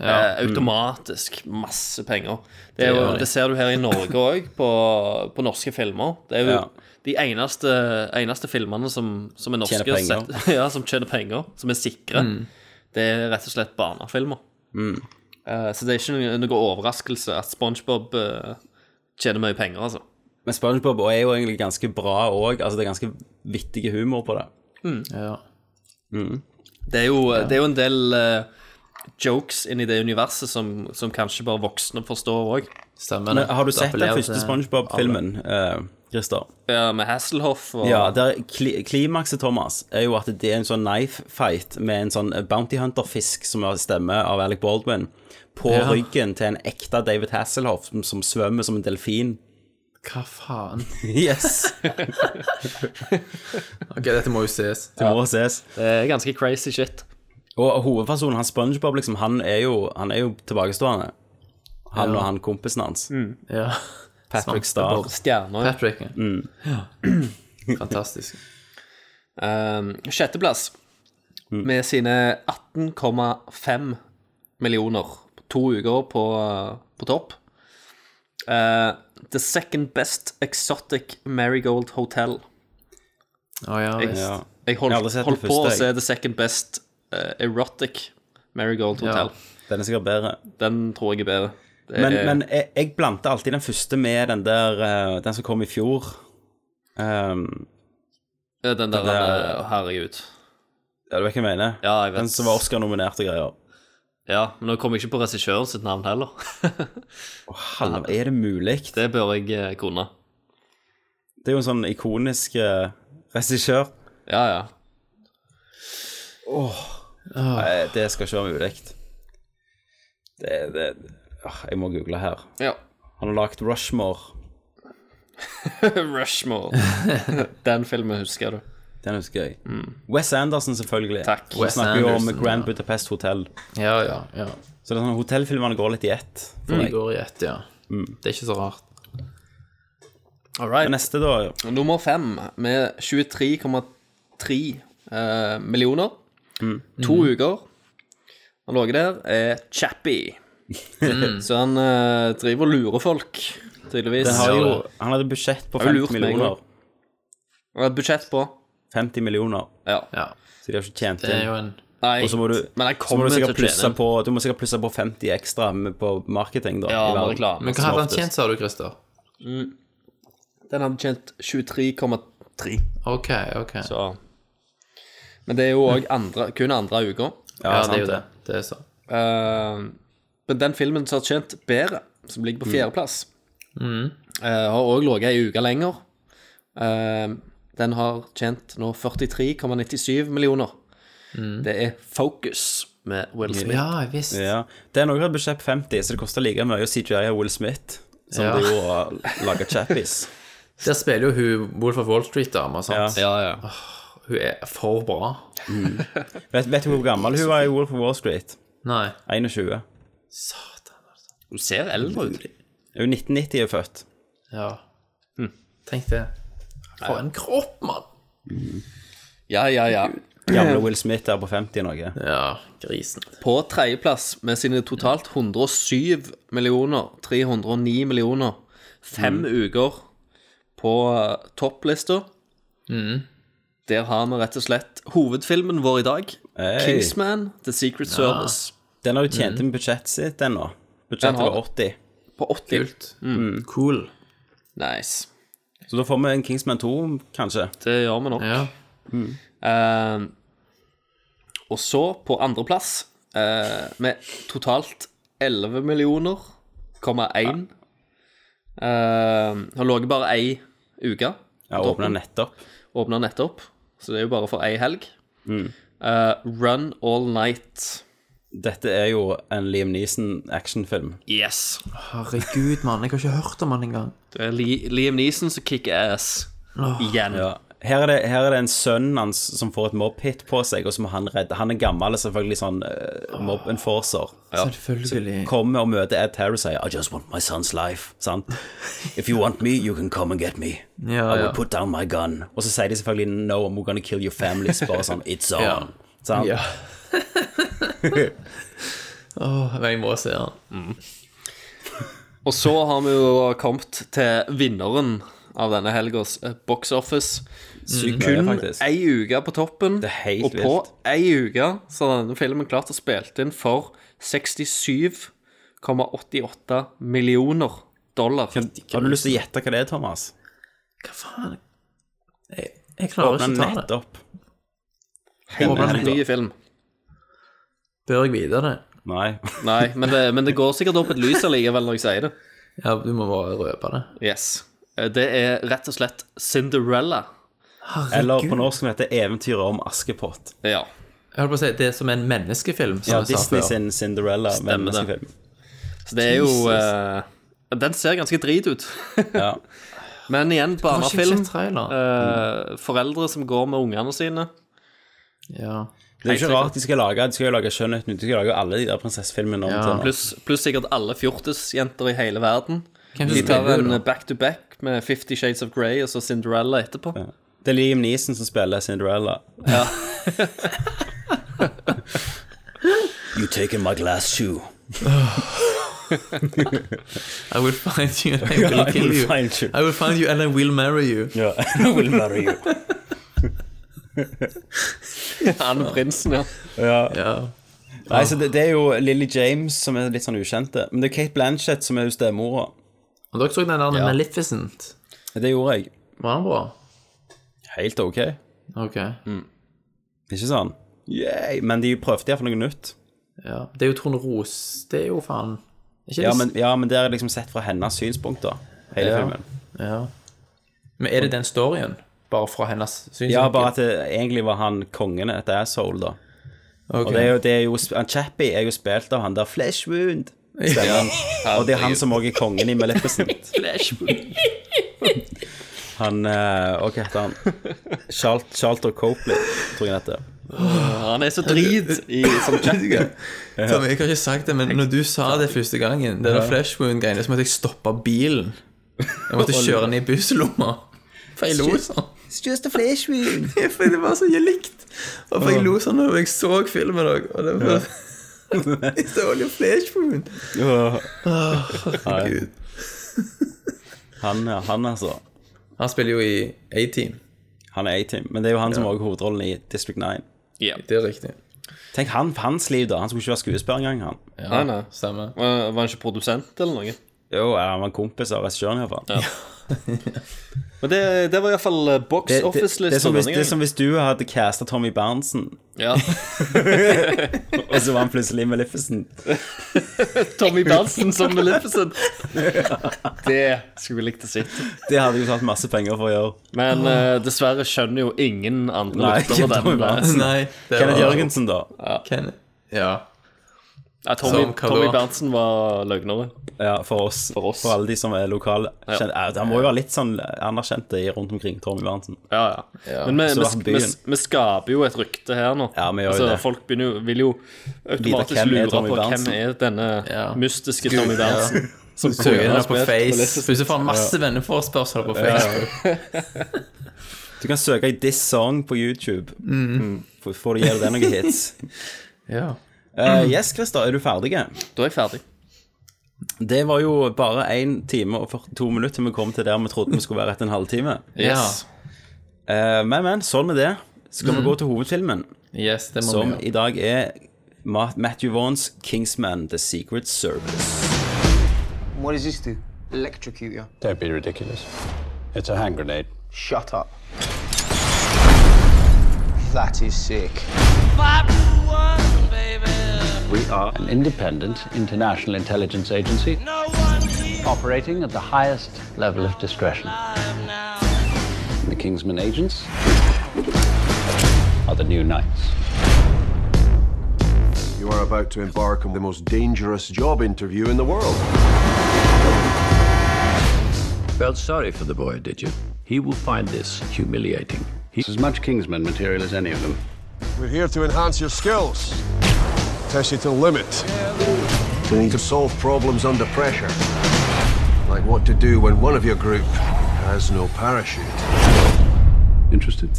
S8: Ja. Mm.
S9: eh, automatisk masse penger. Det, er
S8: Det
S9: jo,
S8: gjør de.
S9: det ser du her i Norge òg, på, på norske filmer. Det er jo
S8: Ja.
S9: de eneste, eneste filmene som, som er norske
S8: Tjener penger.
S9: og sett- ja, som tjener penger, som er sikre.
S8: Mm.
S9: Det er rett og slett barnefilmer.
S8: Mm.
S9: Eh, så det er ikke noe, noe overraskelse at SpongeBob eh, tjener mye penger, altså.
S8: Men SpongeBob er jo egentlig ganske bra òg. Altså, det er ganske vittig humor på det.
S9: Mm.
S10: Ja.
S8: Mm.
S9: Det, er jo, det er jo en del eh, jokes inni det universet som, som kanskje bare voksne forstår òg.
S10: Stemmer
S8: Men har du sett den første SpongeBob-filmen, eh, Christer?
S9: Ja, med Hasselhoff og
S8: Ja, der, kli, klimakset, Thomas, er jo at det er en sånn knife fight med en sånn Bounty Hunter-fisk som har stemme av Alec Baldwin, på
S10: Ja.
S8: ryggen til en ekte David Hasselhoff som, som svømmer som en delfin.
S10: Hva faen?
S8: Yes!
S10: ok, dette må jo ses.
S8: Det må ses.
S9: Det er ganske crazy shit.
S8: Og hovedpersonen, han SpongeBob, liksom, han er jo, han er jo tilbakestående. Han
S10: Ja. Mm.
S8: og han kompisen hans.
S10: Ja.
S8: Patrick Star.
S9: Stjerner.
S10: Patrick, ja.
S8: Mm.
S10: Fantastisk.
S9: Um, sjetteplass
S10: Mm.
S9: med sine 18,5 millioner på to uker på, på topp. Uh, the second best exotic marigold hotel.
S10: Å ja,
S9: Jeg,
S10: visst.
S9: jeg
S8: Jeg
S9: holdt,
S8: har aldri sett
S9: holdt
S8: det
S9: på å
S8: første,
S9: se
S8: jeg.
S9: the second best eh, erotic marigold
S8: Ja.
S9: hotel.
S8: Den er sikkert bedre.
S9: Den tror jeg er bedre. Det
S8: Men,
S9: er-
S8: men jeg, jeg blandet alltid den første med den der eh, Den som kom i fjor. Ehm,
S9: Ja, den der,
S8: Den der-
S9: eh, herregud.
S8: ja, du vet hva jeg mener?
S9: Ja, jeg vet.
S8: Den som var Oscar-nominert og greier.
S9: Ja, men nå kom jeg ikke på regissøren sitt navn heller.
S8: Halv, er det mulig?
S9: Det bør jeg eh, kunne.
S8: Det er jo en sånn ikonisk eh, regissør.
S9: Ja, ja.
S8: Åh. Nei, det skal ikke være mulig. Det, det åh, Jeg må google her.
S9: Ja.
S8: Han har lagd Rushmore.
S9: Rushmore. Den filmen husker du.
S8: Den husker jeg. Wes Anderson, selvfølgelig.
S9: Mm. Takk.
S8: Vi
S9: Wes
S8: snakker jo om
S9: Anderson,
S8: Grand
S9: ja.
S8: Budapest Hotel.
S10: Ja, ja, ja.
S8: Så det er sånn hotellfilmene går litt i ett.
S9: Mm.
S8: for
S10: De
S8: meg.
S10: går i ett, ja. Det er ikke så rart.
S9: All right.
S8: Neste, da.
S9: Nummer fem med 23,3 eh, millioner.
S8: Mm.
S9: To uker. Han lå der er Chappie. Så han eh, driver og lurer folk, tydeligvis.
S8: Den har jo, han hadde budsjett på
S9: Har jo lurt
S8: 50
S9: meg
S8: millioner.
S9: også. Han hadde budsjett på
S8: 50 millioner.
S9: Ja.
S8: Så de har ikke tjent
S10: Det er jo en-
S9: Nei,
S8: Og så må du,
S9: men han
S8: så må
S9: kommer
S8: du sikkert
S9: til å
S8: plusse
S9: tjene.
S8: på Du må sikkert plusse på 50 ekstra med- på marketing, da.
S9: Ja,
S8: i
S9: med
S8: verden,
S9: reklame.
S10: Men
S8: som
S10: hva hadde han
S8: oftest.
S10: tjent, sa du, Christer?
S9: Mm. Den hadde tjent 23,3.
S10: Ok, ok.
S9: Så Men det er jo òg andre, kun andre uka.
S10: Ja, det er jo det. Det er så.
S9: Eh, men den filmen som har tjent bedre, som ligger på fjerdeplass,
S10: Mm.
S9: eh, har òg ligget ei uke lenger. Eh, den har tjent nå 43,97 millioner. Det er Focus med Will Smith.
S10: Ja, visst.
S8: Ja. Den òg hadde budsjett 50, så det kosta like mye å CGI av Will Smith som
S10: Ja.
S8: det gjorde å lage Chappies.
S10: Der spiller jo hun Wolf of Wall Street-dama, sant?
S8: Ja.
S10: Åh, hun er for bra.
S8: Vet, vet du hvor gammel hun var i Wolf of Wall Street?
S10: Nei.
S8: 21.
S9: Hun ser eldre ut.
S8: Hun 1990 er født.
S10: Ja.
S8: Hm.
S10: Tenk det. For en kropp, mann!
S9: Ja, ja, ja.
S8: Gamle Will Smith der på 50 noe.
S10: Ja, grisen.
S9: På tredjeplass med sine totalt 107 millioner, 309 millioner, fem uker på eh, topplista.
S10: Mm.
S9: Der har vi rett og slett hovedfilmen vår i dag.
S8: Hey.
S9: Kingsman, The Secret Service.
S8: Den har jo tjent inn budsjettet sitt, den nå.
S9: Mhm. Den
S8: Budsjettet
S9: har
S8: var 80.
S9: På 80.
S10: Kult.
S8: Mm.
S10: Cool.
S9: Nice.
S8: Så da får vi en Kingsman 2, kanskje.
S9: Det gjør vi nok.
S10: Ja.
S9: Eh, og så, på andreplass, eh, med totalt 11 millioner, komma 1 eh, Har ligget bare ei uke.
S8: Ja, åpna nettopp.
S9: Åpna nettopp. Så det er jo bare for ei helg.
S8: Mm.
S9: Eh, Run All Night.
S8: Dette er jo en Liam Neeson-actionfilm.
S9: Yes.
S10: Herregud, mann. Jeg har ikke hørt om han engang.
S9: Det er Li Liam Neeson som kicker ass. Igjen.
S8: Ja. Her, er det- her er det en sønn hans som får et mobbhit på seg, og så må han redde Han er gammel, selvfølgelig sånn eh, mob-enforcer.
S10: Selvfølgelig.
S8: Kommer og møter Ed Terry og sier I just want my son's life. Sant? If you want me, you can come and get me.
S10: Ja,
S8: I will
S10: ja.
S8: put down my gun. Og så sier de selvfølgelig no, we're gonna kill your families. Bare sånn, it's on.
S10: Ja.
S8: Sant?
S10: Ja. Åh, men jeg må se han.
S9: Og så har vi jo kommet til vinneren av denne helgas eh, Box Office.
S8: Sykt
S9: Kun
S8: nøye, Mm, faktisk.
S9: ei uke på toppen,
S8: helt
S9: og på ei uke så har denne filmen klart å spille inn for 67,88 millioner dollar.
S8: Kan, har du lyst til å gjette hva det er, Thomas?
S10: Hva faen? Jeg, jeg klarer ikke å ta det.
S8: Nettopp.
S9: Helt ny film.
S10: Bør jeg vite det?
S8: Nei.
S9: Nei, men det, men det går sikkert opp et lys allikevel når jeg sier det.
S10: Ja, du må bare røpe det.
S9: Yes. Eh, Det er rett og slett Cinderella.
S8: Eller på norsk som heter Eventyret om Askepott.
S9: Ja.
S10: Jeg holdt på å si, Det er som en menneskefilm. Som
S8: Ja,
S10: jeg sa
S8: Disney
S10: før.
S8: sin Cinderella
S9: Stemmer det.
S8: menneskefilm.
S9: Så det er jo
S10: Jesus.
S9: eh, Den ser ganske drit ut. Men igjen,
S10: ikke jeg
S9: barnefilm.
S10: sett trailer.
S9: Eh, foreldre som går med ungene sine.
S10: Ja.
S8: Det er jo ikke rart de skal lage De skal jo lage skjønnhet nå. De skal lage alle de der prinsessefilmene om til nå.
S9: Pluss pluss sikkert alle fjortisjenter i hele verden.
S10: Hvem
S9: de
S10: som
S9: tar
S10: spiller
S9: en
S10: det da?
S9: back-to-back med Fifty Shades of Grey og så Cinderella etterpå.
S8: Det er Liam Neeson som spiller Cinderella.
S9: Ja.
S8: You taken my glass shoe.
S10: I will find you and I will kill you. I will find you and I will marry you.
S8: Ja, I will marry you.
S9: Han er prinsen, ja.
S8: Ja. Nei, så det, det er jo Lily James som er litt sånn ukjente. Men det er Kate Blanchett som er jo stemora.
S10: Og dere så den der
S8: Ja.
S10: Maleficent.
S8: Det gjorde jeg.
S10: Var den bra?
S8: Helt ok.
S10: Ok.
S8: Ikke sånn Yay! Men de prøvde iallfall noe nytt.
S10: Ja. Det er jo Trond Ros. Det er jo faen Ikke
S8: Ja
S10: det-
S8: men, ja, men det er liksom sett fra hennes synspunkt, da. Hele
S10: Ja.
S8: filmen.
S10: Ja. Men er det den storyen? Bare fra hennes synsvinkel?
S8: Ja, bare at det egentlig var han kongen et asshole, da. Og det er jo, det er jo han Chappie er jo spilt av han der Fleshwound. Stemmer. Og det er han som òg er kongen i Maleficent. Han eh, Hva heter han? Charl- Charlton Copley, tror jeg han heter.
S9: Han er så drit i, som Jack.
S10: Tom, jeg har ikke sagt det, men når du sa det første gangen, det
S8: Ja.
S10: der flash wound-greiene, så måtte jeg stoppe bilen. Jeg måtte kjøre den i busslomma. For jeg lo sånn.
S8: It's just a flesh wound.
S10: For det var så jeg likt. Og for jeg lo sånn når jeg så filmen òg. Og det var It's only a flash wound. Åh, herregud.
S8: Han, ja, han altså.
S10: Han spiller jo i A-Team.
S8: Han er A-Team, men det er jo han som òg har hovedrollen i District 9.
S9: Ja.
S10: Det er riktig.
S8: Tenk han, hans liv, da. Han skulle ikke være skuespiller engang, han.
S9: Nei, nei.
S10: Stemmer.
S9: Var var han ikke produsent eller noe?
S8: Jo, han var en kompis av regissøren, iallfall. Ja.
S9: Men det, det var iallfall eh, box
S8: Det, det, det, er
S9: office-lista
S8: som hvis,
S9: denne
S8: det er som
S9: gangen.
S8: hvis du hadde casta Tommy Berntsen,
S9: Ja.
S8: og så var han plutselig Maleficent.
S9: Tommy Berntsen som Maleficent. Det skulle vi likt å sitte.
S8: Det hadde jo tatt masse penger for å gjøre.
S9: Men eh, dessverre skjønner jo ingen andre
S8: Nei,
S9: lyttere
S8: ikke Tommy
S9: denne.
S8: Berntsen.
S10: Nei, det
S8: Hm. Kenneth
S10: var-
S8: Jørgensen, da.
S10: Ken, ja.
S9: Ja, Tommy,
S8: Sånn,
S10: Som hva
S9: Tommy
S10: da?
S9: Berntsen var løgnere.
S8: Ja, for oss. For alle de som er lokale. Kjent, ja. Han må jo være litt sånn anerkjente i- rundt omkring, Tommy Berntsen.
S9: Ja, ja. Men vi,
S8: Så
S9: vi,
S8: var
S9: vi,
S8: byen.
S9: vi skaper jo et rykte her nå.
S8: Ja, vi gjør jo
S9: altså,
S8: det.
S9: Folk begynner, jo- vil jo automatisk
S8: hvem er
S9: lure på
S8: Tommy
S9: hvem
S8: Berntsen?
S9: er denne mystiske Tommy
S10: Ja.
S9: Berntsen.
S10: Som søker
S9: kunne
S10: den
S9: ha
S10: opp på
S9: spilt
S10: Face.
S9: Maleficent.
S10: Plutselig får han masse
S9: Ja.
S10: venneforespørsler på
S8: Ja.
S10: Facebook.
S8: Du kan søke i 'This Song' på YouTube.
S10: Mhm.
S8: Mm. For, for å gjøre det noen hits.
S10: Ja.
S8: Eh, yes, Christer, er du ferdig?
S9: Da er jeg ferdig.
S8: Det var jo bare 1 time og 42 minutter til vi kom til der vi trodde vi skulle være etter en halvtime.
S10: Yes.
S8: Eh, men, men, sånn med det. Skal vi
S10: Mm.
S8: gå til hovedfilmen,
S10: Yes, det må
S8: som
S10: vi gjøre.
S8: i dag er Ma- Matthew Vaughns 'Kingsman The Secret Service'.
S20: What does this do? Electrocute you.
S21: Don't be ridiculous. It's a hand grenade.
S20: Shut up. That is sick.
S21: We are an independent international intelligence agency operating at the highest level of discretion. The Kingsman agents are the new knights.
S22: You are about to embark on the most dangerous job interview in the world.
S21: Felt sorry for the boy, did you? He will find this humiliating. He's as much Kingsman material as any of them.
S22: We're here to enhance your skills, test you to the limit. We need to solve problems under pressure, like what to do when one of your group has no parachute.
S21: Interested?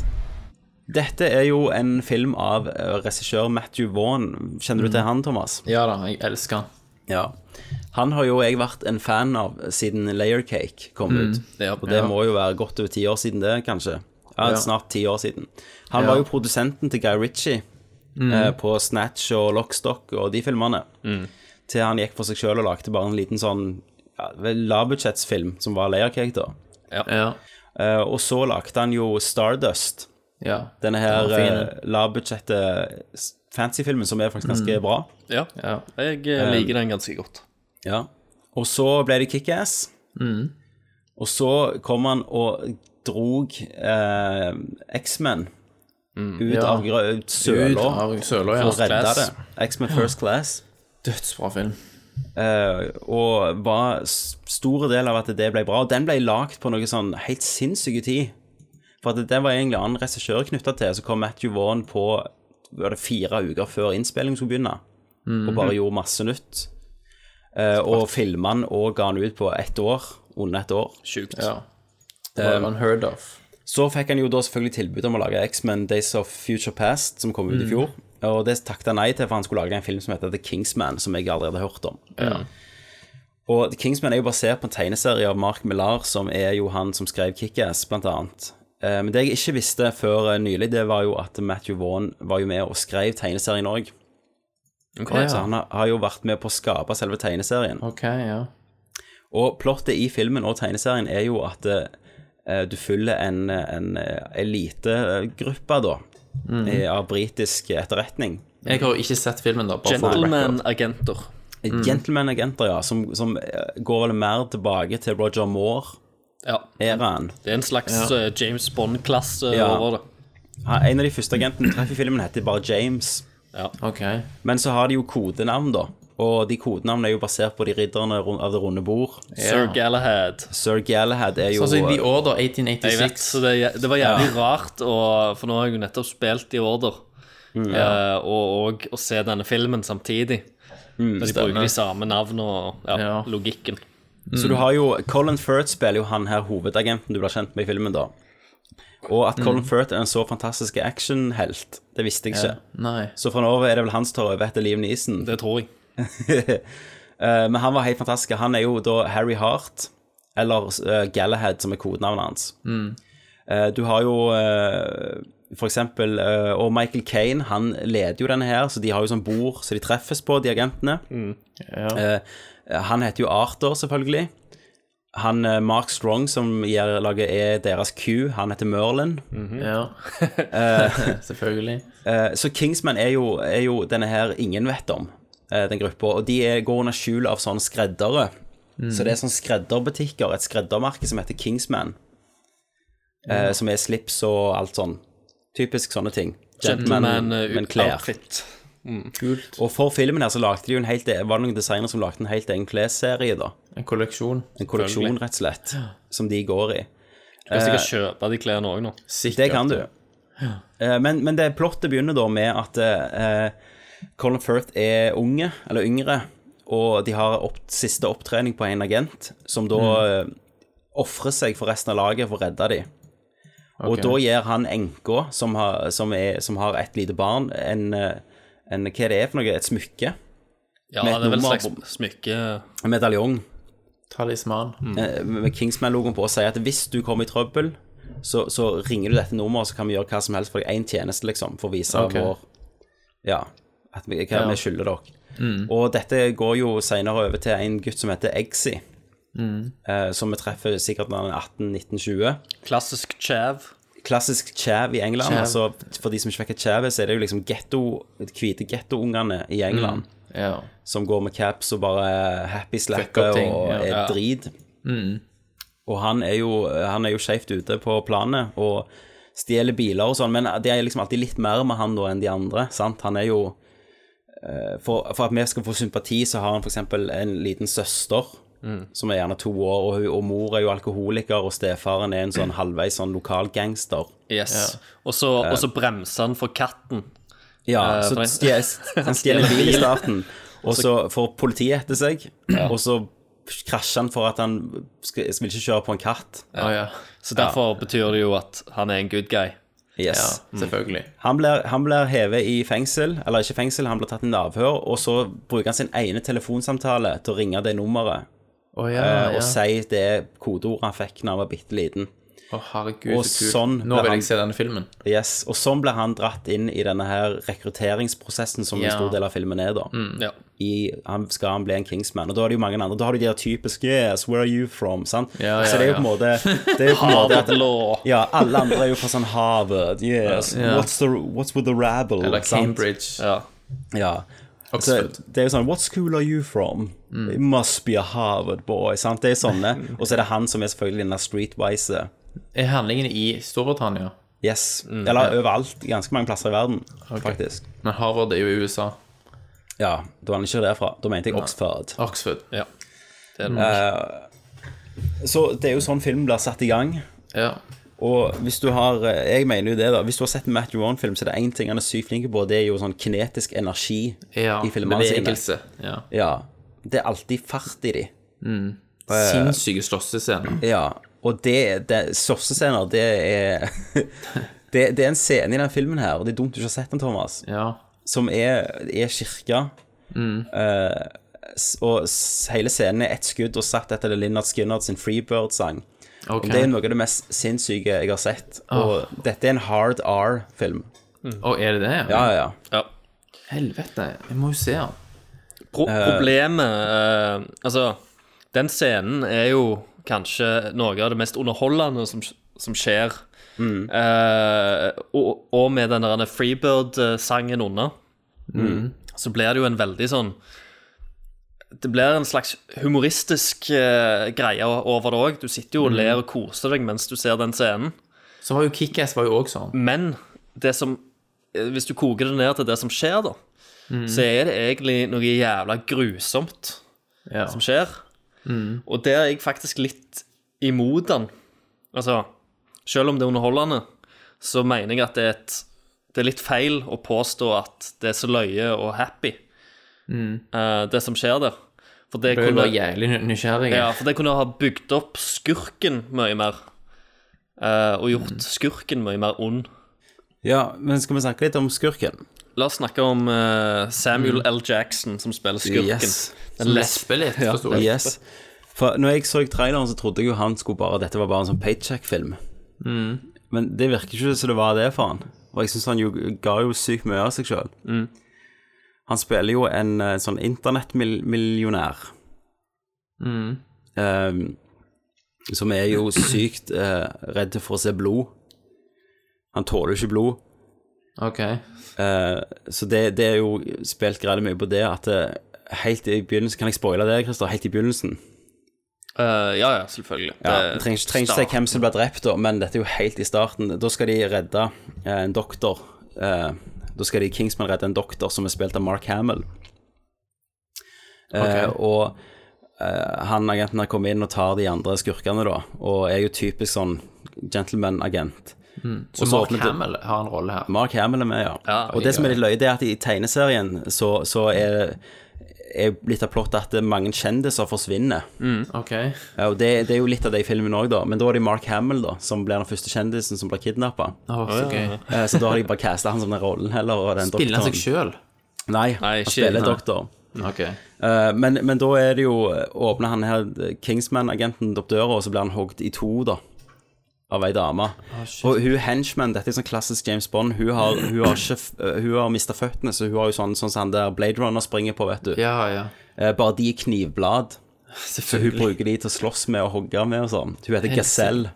S8: Dette er jo en film av eh, regissør Matthew Vaughn. Kjenner
S10: Mm.
S8: du til han, Thomas?
S10: Ja da, jeg elsker han.
S8: Ja. Han har jo jeg vært en fan av siden Layer Cake kom
S10: Mm.
S8: ut.
S10: Ja.
S8: og det
S10: Ja.
S8: må jo være godt over ti år siden det, kanskje. Ja,
S10: Ja.
S8: Snart ti år siden. Han
S10: Ja.
S8: var jo produsenten til Guy Ritchie
S10: Mm.
S8: eh, på Snatch og Lockstock og de filmene. Til han gikk for seg sjøl og lagde bare en liten sånn lavbudsjettsfilm som var Layer Cake, da. Eh, og så lagde han jo Stardust.
S10: Ja.
S8: Denne her eh, lavbudsjettet s- fancyfilmen som er faktisk ganske
S9: Mm.
S8: bra.
S9: Ja, jeg eh,
S8: Um,
S9: liker den ganske godt.
S8: Ja. Og så ble det Kickass.
S10: Mm.
S8: Og så kom han og drog eh, X-Men ut,
S10: Ja.
S8: av grø- ut søla
S10: Mm. Ut av søla, ja.
S8: for å redde
S10: First
S8: det.
S10: Class.
S8: X-Men
S10: Ja.
S8: First Class.
S10: Dødsbra film.
S8: Eh, og var s- store del av at det ble bra. Og den ble lagd på noe sånn helt sinnssyke tid. For at det var egentlig en annen regissør knytta til. Så kom Matthew Vaughn på var det fire uker før innspilling skulle begynne, og bare gjorde masse nytt. Eh, og filma den og ga den ut på ett år. Under ett år.
S9: Sjukt.
S10: Ja. Det var unheard of.
S8: Så fikk han jo da selvfølgelig tilbud om å lage X-Men Days of Future Past, som kom ut i
S10: Mm.
S8: fjor. Og det takket han nei til, for han skulle lage en film som heter The Kingsman, som jeg aldri hadde hørt om.
S10: Ja.
S8: Og The Kingsman er jo basert på en tegneserie av Mark Millar, som er jo han som skrev Kick-Ass, blant annet. Eh, Men det jeg ikke visste før eh, nylig, det var jo at Matthew Vaughn var jo med og skrev tegneserien òg.
S10: Ok,
S8: Så
S10: ja.
S8: han har- har jo vært med på å skape selve tegneserien.
S10: Ok, ja.
S8: Og plottet i filmen og tegneserien er jo at eh, du følger en, en elitegruppe, da,
S10: Mhm.
S8: eh, av britisk etterretning.
S10: Jeg har jo ikke sett filmen, da. Bare for record.
S9: Gentleman-agenter.
S10: Mhm.
S8: Gentleman-agenter, ja, som, som eh, går vel mer tilbake til Roger Moore-æraen.
S9: Det er en slags
S8: Ja.
S9: eh, James Bond-klasse eh,
S8: Ja.
S9: over det.
S8: Han- En av de første agentene du treffer i filmen, heter bare James. Men så har de jo kodenavn, da. Og de kodenavnene er jo basert på de ridderne ru- av det runde bord.
S9: Sir Galahad.
S8: Sir Galahad er jo
S10: Sånn som i The Order 1886.
S9: Jeg vet, så det, det var jævlig rart, og, for nå har jeg jo nettopp spilt i Order.
S10: Mm.
S9: eh, og, og å se denne filmen samtidig.
S8: Mm,
S9: Men de
S8: stemmer.
S9: bruker de samme navnene og ja, logikken.
S8: Så
S10: Mm.
S8: du har jo Colin Firth spiller jo han her hovedagenten du blir kjent med i filmen, da. Og at Colin
S10: Mm.
S8: Firth er en så fantastisk actionhelt, det visste jeg ikke.
S10: Ja. Nei.
S8: Så fra nå av er det vel han som tar over etter Liv Neeson.
S9: Det tror jeg.
S8: Eh, Men han var helt fantastisk. Han er jo da Harry Hart, eller eh, Galahad, som er kodenavnet hans.
S10: Mm.
S8: Eh, Du har jo eh, for eksempel eh, Og Michael Kane, han leder jo denne her, så de har jo sånn bord så de treffes på, de agentene. Eh, Han heter jo Arthur, selvfølgelig. Han eh, Mark Strong, som gjør, lager er deres Q, han heter Merlin.
S10: Ja.
S8: Eh,
S10: Selvfølgelig.
S8: Eh, Så Kingsman er jo, er jo denne her ingen vet om, eh, den gruppa. Og de er, går under skjul av sånne skreddere.
S10: Mm.
S8: Så det er sånne skredderbutikker, et skreddermerke som heter Kingsman. eh,
S9: Ja.
S8: Som er slips og alt sånn. Typisk sånne ting.
S9: Gentleman,
S8: Men-
S9: eh,
S8: men klær.
S9: outfit.
S8: Og for filmen her så lagde de jo en helt, e- var det noen designere som lagde en helt egen klesserie, da.
S10: En kolleksjon.
S8: En kolleksjon,
S10: Selvfølgelig.
S8: rett og slett, som de går i.
S9: Du kan sikkert
S8: Eh,
S9: kjøpe de klærne òg nå.
S8: det kan du. Eh, Men, men det plottet begynner da med at eh, Colin Firth er unge, eller yngre, og de har opp, siste opptrening på en agent, som da eh, ofrer seg for resten av laget for å redde dem. Og
S10: Ok.
S8: da gir han enka, som har, som, er, som har et lite barn, en, eh, en Hva er det for noe? Et smykke?
S9: Ja,
S8: Med
S9: det
S8: et
S9: er vel et
S8: nummer
S9: slags smykke
S8: på- En medaljong
S10: Talisman.
S8: eh, med Kingsman-logoen på og sier at hvis du kommer i trøbbel, så, så ringer du dette nummeret, så kan vi gjøre hva som helst for deg. Én tjeneste, liksom, for å vise
S10: Ok.
S8: vår Ja, at vi, hva
S10: Ja.
S8: vi skylder dere.
S10: Mm.
S8: Og dette går jo seinere over til en gutt som heter Eggsy,
S10: Mm.
S8: eh, som vi treffer sikkert når han er 18-19-20.
S9: Klassisk chav.
S8: Klassisk chav i England.
S9: Chav.
S8: altså For de som ikke vet hva chav er, så er det jo liksom ghetto, hvite gettoungene i England. Som går med caps og bare happy slapper
S10: Fuck up ting,
S8: og
S10: ja.
S8: er
S10: Ja. Mm.
S8: drit. Og han er jo, han er jo skjevt ute på planet og stjeler biler og sånn, men det er liksom alltid litt mer med han da enn de andre, sant? Han er jo eh, for, for at vi skal få sympati, så har han f.eks. en liten søster
S9: Mm.
S8: som er gjerne to år, og, hun- og mor er jo alkoholiker, og stefaren er en sånn halvveis sånn lokal gangster.
S9: Yes. Og så og så bremser han for katten.
S8: Eh. Ja,
S9: Eh,
S8: så
S9: for-
S8: stje- han stjeler en bil i starten, og så får politiet etter seg, og så krasjer han for at han skal, vil ikke kjøre på en katt.
S9: Ja. Så derfor betyr det jo at han er en good guy.
S8: Yes.
S9: Ja,
S10: selvfølgelig.
S8: Han blir, han blir hevet i fengsel, eller ikke fengsel, han blir tatt inn i avhør, og så bruker han sin ene telefonsamtale til å ringe det nummeret
S10: Å ja,
S8: eh, og
S10: ja.
S8: si det kodeordet han fikk da han var bitte liten.
S10: Å, herregud,
S8: og
S10: så kult.
S8: sånn
S10: Nå
S8: ble
S10: vil
S8: han-
S10: jeg se denne filmen.
S8: Yes, og sånn ble han dratt inn i denne her rekrutteringsprosessen som en
S10: Ja.
S8: stor del av filmen er, da.
S10: Mm. Ja.
S8: I, han, skal han bli en Kingsman? Og da er det jo mange andre. Da har du de der typiske Yes, where are you from? Sant?
S10: Ja,
S8: så
S10: ja,
S8: det er jo
S10: ja.
S8: på en måte det er jo på en måte at-
S10: Harvard-law.
S8: Ja, alle andre er jo fra sånn Harvard. Yes,
S10: Ja.
S8: what's, the, what's with the rabble?
S10: Eller
S8: sant?
S10: Cambridge.
S9: Ja.
S8: Ja.
S10: Oxford.
S8: Så det er jo sånn What school are you from?
S10: Mm.
S8: It must be a Harvard boy. Sant? Det er sånne. Og så er det han som er selvfølgelig den der streetwise.
S10: Er handlingen i Storbritannia?
S8: Yes.
S10: Mm.
S8: Eller
S10: Ja.
S8: overalt. Ganske mange plasser i verden, faktisk.
S10: Men Harvard er jo i USA.
S8: Ja, da var han ikke derfra. Da mente jeg
S10: Nei.
S8: Oxford.
S10: Oxford. Ja. Det er det nok.
S8: Eh, så det er jo sånn film blir satt i gang. Og hvis du har eh, Jeg mener jo det, da. Hvis du har sett en Matt Juan-film, så er det én ting han er sykt flink på, det er jo sånn kinetisk energi
S10: Ja,
S8: i filmene
S10: bevegelse, ja.
S8: ja. Det er alltid fart i de.
S10: Mm.
S8: Eh,
S10: Sinnssyke slåssescener.
S8: Ja. Og det, det slåssescener, det er det, det er en scene i den filmen her, og det er dumt du ikke har sett den, Thomas, som er, er kirka. Eh, s- og s- hele scenen er ett skudd og satt etter Linnard Skinnard sin Freebird-sang.
S10: Ok.
S8: Og Det er noe av det mest sinnssyke jeg har sett. Og dette er en hard R-film.
S10: Å, er det det?
S8: Ja, ja, ja.
S10: Helvete, jeg må jo se den.
S9: Pro problemet eh, Altså, den scenen er jo kanskje noe av det mest underholdende som, som skjer.
S10: Mm.
S9: Eh, og, og med den der Freebird-sangen under,
S10: Mm.
S9: så blir det jo en veldig sånn Det blir en slags humoristisk eh, greie over det òg. Du sitter jo og
S10: Mm.
S9: ler og koser deg mens du ser den scenen.
S10: Så var jo Kickass var jo også sånn.
S9: Men det som eh, Hvis du koker det ned til det som skjer, da,
S10: Mm.
S9: så er det egentlig noe jævla grusomt som skjer.
S10: Mm.
S9: Og der er jeg faktisk litt imot den. Altså, selv om det er underholdende, så mener jeg at det er, et, det er litt feil å påstå at det er så løye og happy,
S10: Mm.
S9: eh, det som skjer der. For det
S10: Bør jo
S9: kunne,
S10: være jævlig nysgjerrig.
S9: ja, for det kunne ha bygd opp skurken mye mer, eh, og gjort
S10: Mm.
S9: skurken mye mer ond.
S8: ja, men skal vi snakke litt om skurken?
S9: La oss snakke om eh,
S10: Mm.
S9: Samuel L. Jackson, som spiller skurken.
S8: Yes.
S9: Den lesbe-
S8: Ja,
S9: Ja, lesbe.
S8: yes. For når jeg så traileren, så trodde jeg jo han skulle bare dette var bare en sånn paycheck-film.
S10: Mm.
S8: Men det virker ikke som det var det for han. Og jeg syns han jo ga jo sykt mye av seg sjøl.
S10: Mm.
S8: Han spiller jo en eh, sånn internettmillionær.
S10: Mm.
S8: Ehm, som er jo sykt eh, redd for å se blod. Han tåler ikke blod.
S10: Ok.
S8: Eh, så det, det er jo spilt greit mye på det at eh, helt i begynnelsen Kan jeg spoile det, Christer? Helt i begynnelsen?
S9: Eh, ja, ja, selvfølgelig.
S8: Ja,
S9: Det-
S8: trenger ikke, trenger ikke si hvem som ble drept, da, men dette er jo helt i starten. Da skal de redde eh, en doktor. Eh, da skal de i Kingsman redde en doktor som er spilt av Mark Hamill. Eh,
S10: Ok.
S8: og eh, han agenten her kommer inn og tar de andre skurkene, da, og er jo typisk sånn gentleman-agent.
S10: Mm.
S8: Og
S10: Så
S8: så
S10: Mark
S8: åpnet det-
S10: Hamill har en rolle her.
S8: Mark Hamill er med, ja.
S10: Ja,
S8: og det som er litt løye, det er at i tegneserien så, så er, er litt av plottet at mange kjendiser forsvinner.
S10: Mm. Ok.
S8: Ja, og det, det er jo litt av det i filmen òg, da. Men da er det Mark Hamill da som blir den første kjendisen som blir kidnappa.
S10: Å, så gøy.
S8: Så da har de bare casta han som den rollen heller. Og den
S10: Spiller han seg
S8: Eh, doktoren.
S10: sjøl?
S8: Nei, han
S10: ikke-
S8: spiller
S10: nei.
S8: doktor.
S10: Ok.
S8: Eh, Men, men da er det jo eh, åpner han her eh, Kingsman-agenten opp døra, og så blir han hogd i to, da. Av ei dame.
S10: Å, Ah, shit.
S8: og hun henchman, dette er sånn klassisk James Bond, hun har, hun har, ikke f- eh, hun har mista føttene, så hun har jo sånn, sånn som han der Blade Runner springer på, vet du.
S10: Ja, ja.
S8: Eh, Bare de er knivblad. Så hun bruker de til å slåss med og hogge med og sånn. Hun heter
S10: Helt
S8: Gazelle.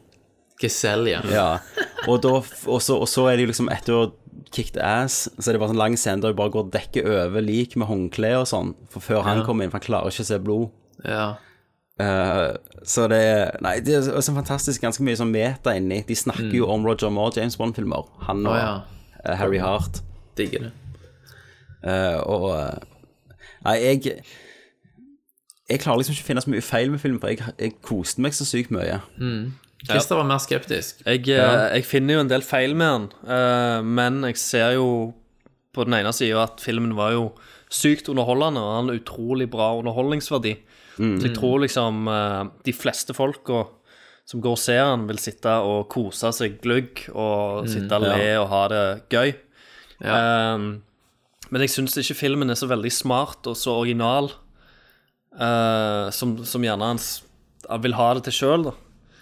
S10: Gazelle, ja.
S8: Ja. Og, da, og, så, og så er det jo liksom etter å ha kicked ass, så er det bare sånn lang scene der hun bare går og dekker over lik med håndkle og sånn, for før han
S10: Ja.
S8: kommer inn, for han klarer ikke å se blod.
S10: Ja.
S8: Eh, så det er Nei, det er så fantastisk ganske mye sånn meta inni. De snakker
S9: Mm.
S8: jo om Roger Moore, James Bond-filmer. Han og
S10: Å, ja.
S8: eh, Harry Hart.
S10: Digger det.
S8: Eh, og eh, Nei, jeg Jeg klarer liksom ikke å finne så mye feil med filmen, for jeg, jeg koste meg så sykt mye.
S10: Mm. Christer var mer skeptisk.
S9: Jeg,
S10: Ja.
S9: eh, jeg finner jo en del feil med den, eh, men jeg ser jo på den ene sida at filmen var jo sykt underholdende og har en utrolig bra underholdningsverdi.
S8: Mm.
S9: Så jeg tror liksom eh, de fleste folka som går og ser den, vil sitte og kose seg gløgg og
S10: Mm,
S9: sitte og
S10: ja.
S9: le og ha det gøy. Eh, men jeg syns ikke filmen er så veldig smart og så original eh, som, som gjerne han s- han vil ha det til sjøl, da.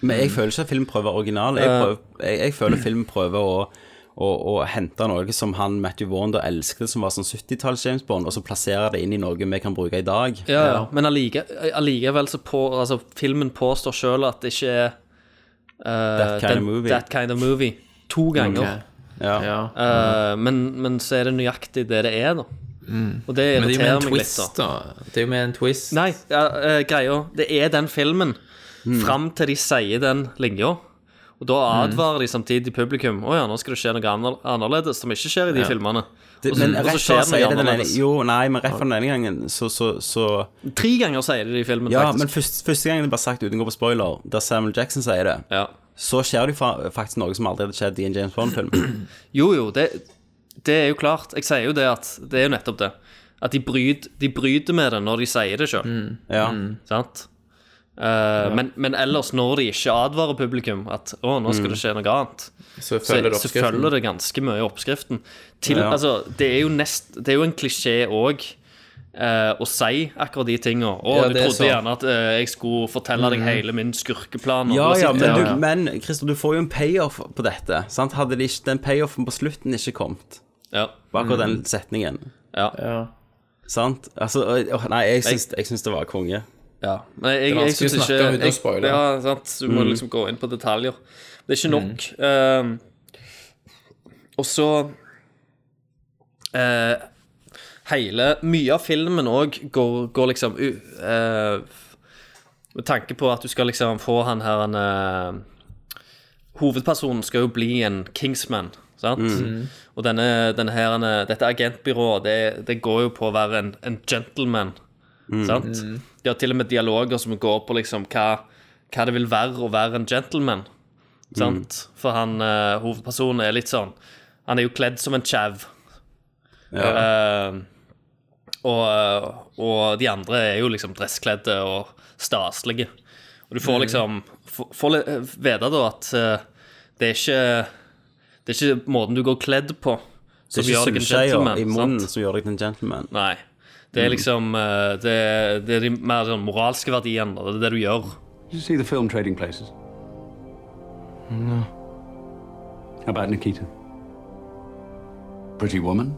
S8: Men jeg føler ikke at film prøver original. Jeg, prøver, jeg, jeg føler film prøver å, å, å hente noe som han Matthew Wanda elsket, som var sånn 70-talls James Bond, og så plassere det inn i noe vi kan bruke i dag.
S9: Ja, ja. Men allike, allikevel så på, altså, filmen påstår sjøl at det ikke er uh,
S8: That kind of movie.
S9: that kind of movie. To ganger.
S10: Ok. Ja. Ja.
S9: Uh, men, men så er det nøyaktig det det er, da.
S8: Mm.
S9: Og det
S10: Men det er jo
S9: irriterer
S10: med en
S9: meg litt, da.
S10: twist, da. Det er jo med en twist.
S9: Nei, ja, eh, greia Det er den filmen
S8: Mm.
S9: fram til de sier den linja. Og da advarer de samtidig publikum Å ja, nå skal det skje noe anner- annerledes som ikke skjer i de
S8: Ja.
S9: filmene.
S8: Det,
S9: Og så-
S8: men
S9: og så
S8: rett
S9: skjer
S8: før
S9: det
S8: sier
S9: noe
S8: det den ene
S9: annerledes.
S8: Jo, nei, men rett før den ene gangen, så, så, så
S9: Tre ganger sier de det i filmen,
S8: Ja,
S9: faktisk.
S8: men først, første gangen det ble sagt uten å gå på spoiler, der Samuel Jackson sier det, så skjer det jo fa- faktisk noe som aldri hadde skjedd i en James Bond-film.
S9: Jo, jo, det, det er jo klart. Jeg sier jo det at Det er jo nettopp det. At de, bryt, de bryter med det når de sier det sjøl.
S8: Ja.
S9: Sant? Eh, men, men ellers, når de ikke advarer publikum at å, nå skal det skje noe annet,
S10: Så Mm. følger det
S9: så
S10: oppskriften.
S9: følger det ganske mye oppskriften. Til,
S10: Ja.
S9: altså, det, er jo nest, det er jo en klisjé òg å si akkurat de tinga. Å,
S8: Ja,
S9: du
S8: det er
S9: trodde
S8: så.
S9: gjerne at eh, jeg skulle fortelle deg
S8: Mhm.
S9: hele min skurkeplan. og
S8: Ja,
S9: da
S8: ja,
S9: sitter
S8: men,
S9: jeg-
S8: du, men Christer, du får jo en payoff på dette. Sant? Hadde det ikke, den payoffen på slutten ikke kommet
S9: Ja.
S8: på akkurat den
S9: Mhm.
S8: setningen
S9: Ja.
S8: Sant? Altså, åh, nei, jeg syns, jeg syns det var konge.
S9: Ja. Nei, jeg, jeg syns ikke jeg, Ja, sant. Du må
S8: Mm.
S9: liksom gå inn på detaljer. Det er ikke nok. Ehm, og så eh, Hele Mye av filmen òg går, går liksom u- eh, Med tanke på at du skal liksom få han her en eh, Hovedpersonen skal jo bli en Kingsman, sant?
S10: Mm.
S9: Og denne, denne her, en- dette agentbyrået, det, det går jo på å være en, en gentleman.
S10: Mm.
S9: Sant?
S10: Mm.
S9: De har til og med dialoger som går på liksom hva, hva det vil være å være en gentleman. Sant?
S8: Mm.
S9: For han eh, hovedpersonen er litt sånn Han er jo kledd som en chav. Eh, og, eh, og de andre er jo liksom dresskledde og staselige. Og du får
S10: Mm.
S9: liksom Får får li- vite da at eh, det er ikke Det er ikke måten du går kledd på
S8: Det
S9: som
S8: er
S9: gjør
S8: ikke
S9: deg en
S8: sylskeier i
S9: gentleman. sant?
S8: munnen som gjør deg til en gentleman.
S9: Nei. Det er
S8: Mm.
S9: liksom eh, det, det er de mer sånn moralske verdiene, og det er det du gjør.
S19: Did you see the film Trading Places?
S3: No.
S19: How about Nikita? Pretty woman?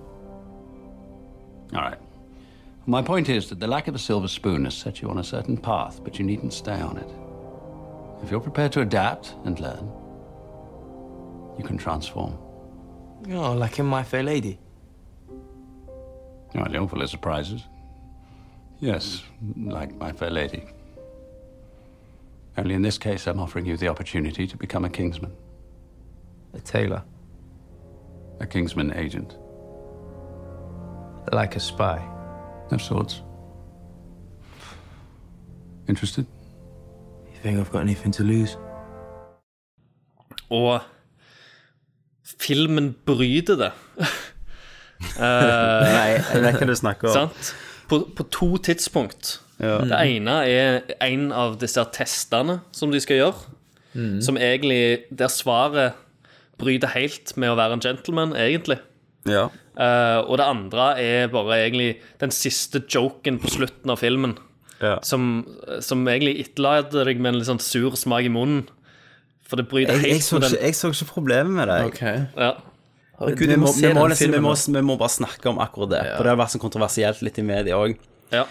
S19: All right. My point is that the lack of a silver spoon has set you on a certain path, but you needn't stay on it. If you're prepared to adapt and learn, you can transform.
S20: Oh, like in My Fair Lady.
S19: You know, I don't full of surprises. Yes, like my fair lady. Only in this case, I'm offering you the opportunity to become a kingsman.
S20: A tailor?
S19: A kingsman agent.
S20: Like a spy.
S19: No swords. Interested?
S20: You think I've got anything to lose?
S9: Og filmen bryter det. Nei,
S8: jeg vet hva du snakker om.
S9: Sant? På, på to tidspunkt.
S8: Ja.
S9: Det ene er en av disse testene som de skal gjøre,
S8: Mhm.
S9: som egentlig Der svaret bryter helt med å være en gentleman, egentlig.
S8: Ja.
S9: Eh, og det andre er bare egentlig den siste joken på slutten av filmen. Som, som egentlig etterlater deg med en litt sånn sur smak i munnen. For det bryter
S8: Jeg, jeg,
S9: helt
S8: så
S9: med
S8: ikke,
S9: den.
S8: jeg så ikke problemet med det. jeg.
S9: Ja.
S8: Herregud, vi, må, vi, må nesten, vi, må, vi må bare snakke om akkurat det. For det har vært sånn kontroversielt litt i media òg. Eh,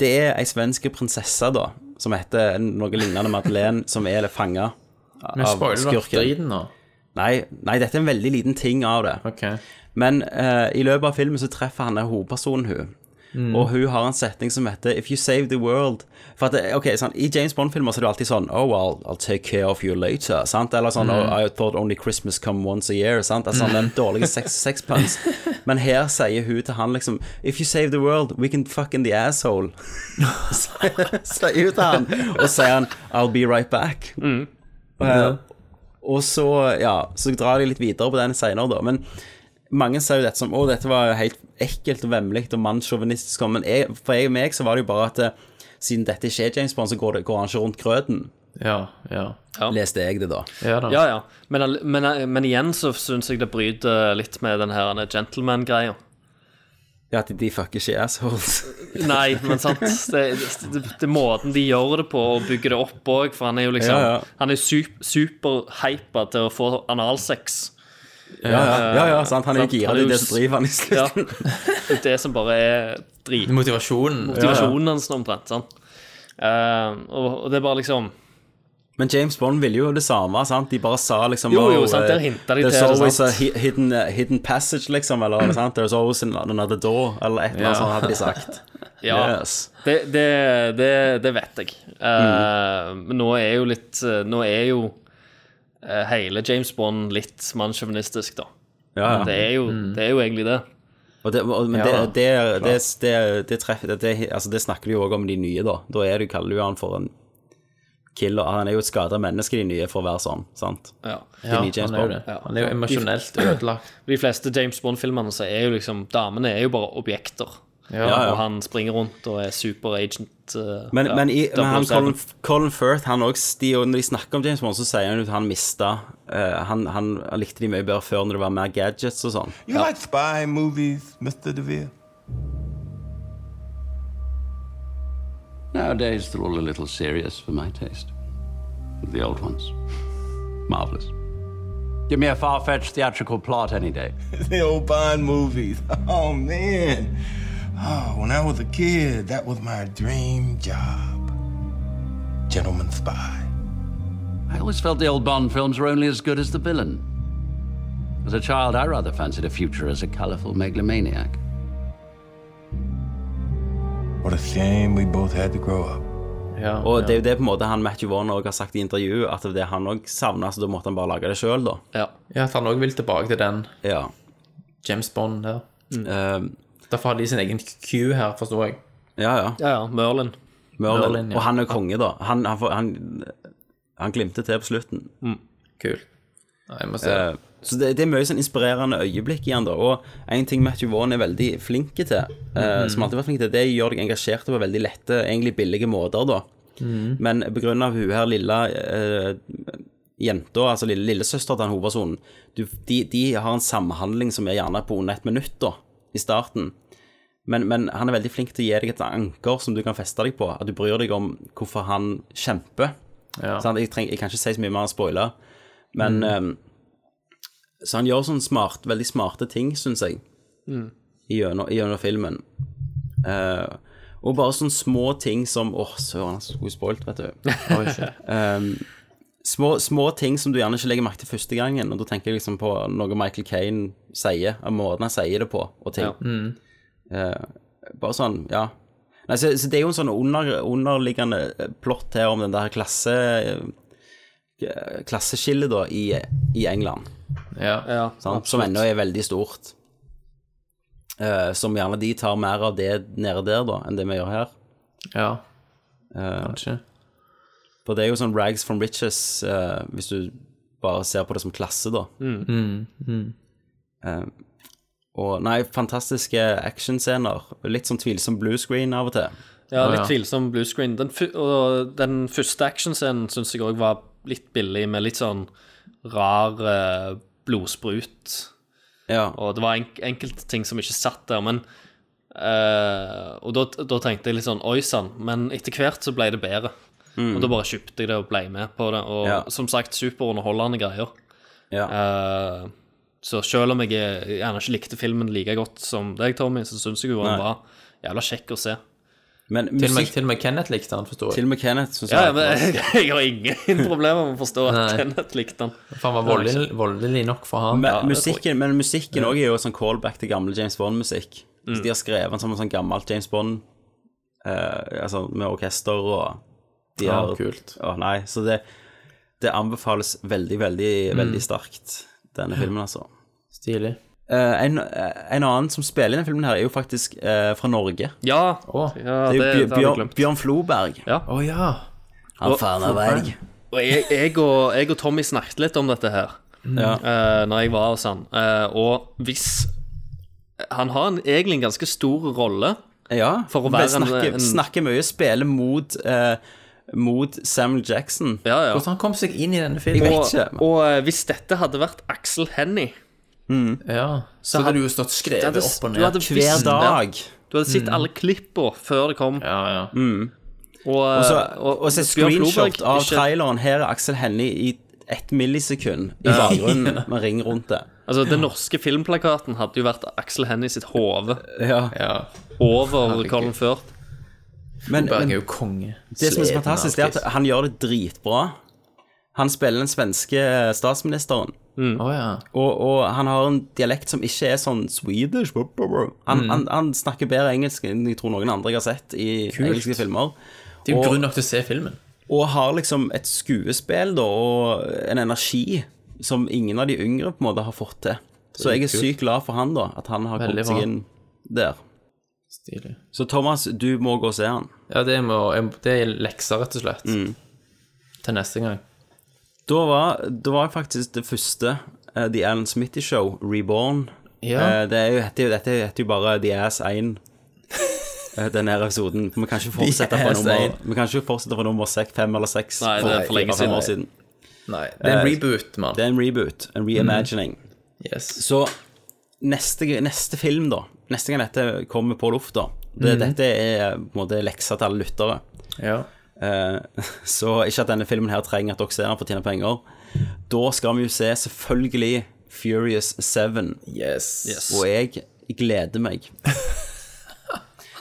S8: Det er ei svenske prinsesse da som heter noe lignende Madeleine, som er fanga
S10: Men
S8: av
S10: spoiler du
S8: skurken.
S10: driten nå?
S8: Nei, nei, dette er en veldig liten ting av det. Men eh, i løpet av filmen så treffer han der hovedpersonen hun.
S10: Mm.
S8: Og hun har en setning som heter If you save the world For at det, ok, sånn, I James Bond-filmer så er det alltid sånn Oh, I'll, I'll take care of you later. Sant? Eller sånn
S10: Mm.
S8: oh, I thought only Christmas come once a year. Sant?
S10: Mm.
S8: Altså, sånn, den dårlige sex, sexpuns. Men her sier hun til han liksom If you save the world, we can fuck in the asshole. Sier sier hun til han. Og sier han I'll be right back.
S10: Mm. Ja.
S8: Eh, og så, ja, så drar de litt videre på den senere, da. Men mange ser jo dette som Å, dette var jo helt ekkelt og vemmelig og mannssjåvinistisk. Men jeg, for jeg og meg så var det jo bare at eh, siden dette ikke er James Bond, så går, det, går han ikke rundt grøten. Leste jeg det, da.
S9: Ja, ja. Men, all- men, men igjen så syns jeg det bryter litt med den her denne gentleman-greia.
S8: Ja, at de fucker ikke assholes.
S9: Nei, men sant. Det, det, det er måten de gjør det på, og bygger det opp òg, for han er jo liksom
S8: Ja, ja.
S9: Han er sup, superhypa til å få analsex. Eh,
S8: Ja, ja, ja, ja, sant. Han er jo gira, det er
S9: jo
S8: det som driver han i
S9: s- Ja. Det er det som bare er drit.
S10: Motivasjonen.
S8: er
S9: Motivasjonen hans, omtrent. sant? Eh, og, og det er bare liksom
S8: Men James Bond ville jo det samme, sant? De bare sa liksom
S9: Jo, jo,
S8: «Oh,
S9: sant,
S8: eh,
S9: der hintet de
S8: There's
S9: til det,
S8: always
S9: sant?»
S8: a hi- hidden, eh, hidden passage, liksom, eller sant? There's always an- another door, eller et eller annet
S9: Ja.
S8: sånt hadde de sagt.
S9: Ja,
S8: Yes.
S9: det, det, det, det vet jeg. Eh, Men nå er jo litt eh, Nå er jo eh, hele James Bond litt mannssjåvinistisk, da.
S8: Ja, ja.
S9: Det, er jo, det er jo egentlig det.
S8: Og det, og, men
S9: Ja,
S8: det, det, det,
S9: klart.
S8: det, det, treff, det, det, altså det snakker du jo òg om de nye, da. Da er du, kaller du han for en killer. Han er jo et skada menneske, de nye, for å være sånn, sant?
S9: Ja.
S8: De nye James Bond.
S9: Ja.
S10: er jo emosjonelt
S9: De-
S10: ødelagt.
S9: De fleste James Bond-filmene så er jo liksom Damene er jo bare objekter.
S8: Ja, ja.
S9: Og han springer rundt og er superagent. eh,
S8: Men,
S9: ja,
S8: men, i, men han,
S9: 007.
S8: Colin, Colin Firth, han også, de, og når de snakker om James Bond, så sier han jo at han mista eh, han, han likte de mye bedre før når det var mer gadgets og sånn.
S1: You like spy movies, Mr. DeVere?
S21: Nowadays, they're all a little serious for my taste. The old ones. Marvelous. Give me a far fetched theatrical plot any day.
S22: the old Bond movies. Oh, man. Oh, when I was a kid, that was my dream job.
S21: Gentleman Spy. I always felt the old Bond films were only as good as the villain. As a child, I rather fancied a future as a colourful megalomaniac.
S22: What a shame we both had to grow up.
S8: og det er jo det på en måte han Matthew Warner også har sagt i intervju, at det er det han òg savna, så da måtte han bare lage det sjøl, da.
S10: Ja, at han òg vil tilbake til den
S8: Ja.
S10: James Bond der.
S8: Eh,
S10: Derfor har de sin egen Q her, forstår jeg.
S8: ja, ja.
S9: Ja, ja. Merlin.
S8: Merlin.
S10: Merlin, ja.
S8: Og han er konge, da. Han, han, får- han, han glimter til på slutten.
S10: Kul. Ja, jeg må se.
S8: Eh, så det, det er mye sånn inspirerende øyeblikk i han da. Og en ting Matthew Vaughn er veldig flink til, eh,
S10: Mhm.
S8: som alltid har vært flink til, det gjør deg engasjert på veldig lette, egentlig billige måter, da.
S10: Mhm.
S8: Men på grunn av hun her lille eh, jenta, altså lille, lillesøster til han hovedpersonen, du, de, de har en samhandling som er gjerne på under ett minutt, da, i starten. Men, men han er veldig flink til å gi deg et anker som du kan feste deg på. At du bryr deg om hvorfor han kjemper.
S10: Ja.
S8: Sant? jeg, treng, jeg kan ikke si så mye mer enn spoiler. Men
S10: Mm.
S8: eh, Så han gjør sånne smart, veldig smarte ting, syns jeg,
S10: Mm.
S8: gjennom, gjennom filmen. Eh, og bare sånne små ting som Åh, søren, han skulle spoilt, vet du.
S10: Oi, shit.
S8: Ehm, små, små ting som du gjerne ikke legger merke til første gangen. Og da tenker jeg liksom på noe Michael Kane sier, og måten han sier det på, og ting.
S10: Ja. Mm.
S8: Eh, bare sånn, ja. Nei, så, så det er jo en sånn under, underliggende eh, plott her om den der klasse eh, klasseskillet da i, i England,
S10: Ja.
S8: sant? som ennå er veldig stort. Eh, som gjerne de tar mer av det nede der da, enn det vi gjør her.
S10: Ja.
S8: Kanskje. For det er jo sånn rags from riches, eh, hvis du bare ser på det som klasse, da.
S10: Mm. Mm.
S8: Eh, og nei, fantastiske actionscener. Litt sånn tvilsom blue screen av og til.
S9: Ja, litt tvilsom bluescreen. Den, fu- og den første actionscenen syns jeg òg var litt billig, med litt sånn rar eh, blodsprut. Og det var enk enkelte ting som ikke satt der, men eh, Og da, da tenkte jeg litt sånn Oi sann, men etter hvert så ble det bedre.
S8: Mm.
S9: Og da bare kjøpte jeg det og ble med på det. Og
S8: Ja.
S9: som sagt, superunderholdende greier. Eh, så selv om jeg er- gjerne ikke likte filmen like godt som deg, Tommy, så syns jeg jo den
S10: Nei.
S9: var jævla kjekk å se.
S8: Men
S10: Til og, med, til og med Kenneth likte han, forstår jeg.
S8: Til og med Kenneth synes
S9: Ja, ja, men jeg, har ingen problemer med å forstå at
S10: Nei.
S9: Kenneth likte den.
S10: For han var voldelig, voldelig nok for han.
S8: Men musikken, men musikken også er jo sånn callback til gamle James Bond-musikk.
S9: Mm.
S8: Så De har skrevet en sånn, sånn gammelt James Bond eh, altså med orkester og de
S10: Ja,
S8: har-
S10: kult.
S8: Å, nei, så det, det anbefales veldig, veldig,
S10: Mm.
S8: veldig sterkt, denne filmen, altså.
S10: Stilig.
S8: Eh, en, en annen som spiller i denne filmen, her er jo faktisk eh, fra Norge.
S9: Ja,
S8: det er jo
S9: det
S8: Bjør-
S9: har vi
S8: Bjørn,
S9: glemt.
S8: Bjørn Floberg.
S9: Ja.
S10: Å ja.
S8: Han faen av verg.
S9: Og jeg, jeg, og, jeg og Tommy snakket litt om dette her
S8: Ja.
S9: eh, Når jeg var hos han Eh, Og hvis Han har en, egentlig en ganske stor rolle
S8: Ja,
S9: For å være en-
S8: snakker,
S9: en-
S8: snakker mye, spiller mot, eh, mot Samuel Jackson.
S9: ja, ja.
S10: Hvordan han kom seg inn i denne
S9: og,
S10: filmen?
S9: og eh, hvis dette hadde vært Axel Hennie
S10: Ja. Så, hadde du jo stått skrevet
S9: Du hadde-
S10: opp og
S9: du
S10: ned
S9: hadde visst- Ja. Du hadde sett
S10: Mm.
S9: alle klippa før det kom.
S10: Ja, ja.
S9: Og,
S8: Mm.
S9: eh,
S8: Og så
S9: og-
S8: og så et
S9: Bjørn Floberg
S8: screenshot av
S9: ikke-
S8: traileren. Her er Aksel Hennie i ett millisekund i
S9: Ja.
S8: bakgrunnen
S9: Ja.
S8: med ring rundt det.
S9: Altså, Den norske filmplakaten hadde jo vært Aksel Hennie sitt hode
S8: Ja.
S9: over
S8: Herregud.
S9: Colin Firth.
S8: Men-
S10: Floberg
S8: men-
S10: er jo konge.
S8: Det som er så fantastisk, det er at han gjør det dritbra. Han spiller den svenske eh, statsministeren. Og, og han har en dialekt som ikke er sånn Swedish. blah, blah, blah. Han,
S10: Mm.
S8: han, han snakker bedre engelsk enn jeg tror noen andre jeg har sett i
S10: Kult.
S8: engelske filmer.
S10: Det er jo
S8: Og-
S10: grunn nok til å se filmen.
S8: Og har liksom et skuespill da, og en energi som ingen av de yngre på en måte har fått til. Så jeg er
S10: Kult.
S8: sykt glad for han, da. At han har
S10: Veldig
S8: kommet seg
S10: bra.
S8: inn der.
S10: Stilig.
S8: Så Thomas, du må gå og se han.
S10: Ja, det, må, jeg, det er lekser, rett og slett.
S8: Mm.
S10: Til neste gang.
S8: Da var, da var faktisk det første eh, The Alan Smitty Show, Reborn.
S10: Ja.
S8: Eh, det er jo, heter jo, dette heter jo bare The Ass 1, eh, denne her episoden. Vi kan ikke fortsette
S10: The
S8: fra
S10: Ass
S8: nummer,
S10: 1.
S8: vi kan ikke fortsette fra nummer 6, 5 eller 6
S9: Nei, det er for lenge siden.
S8: år siden.
S10: Nei, det er en
S8: Eh,
S10: reboot, mann.
S8: Det er en reboot, en reimagining. Så neste, neste film, da, neste gang dette kommer på lufta det,
S10: Mhm.
S8: Dette er på en måte leksa til alle lyttere.
S10: Ja.
S8: Eh, Så ikke at denne filmen her trenger at dere ser den for å tjene penger. Da skal vi jo se selvfølgelig Furious 7.
S10: Yes.
S8: Og jeg gleder meg.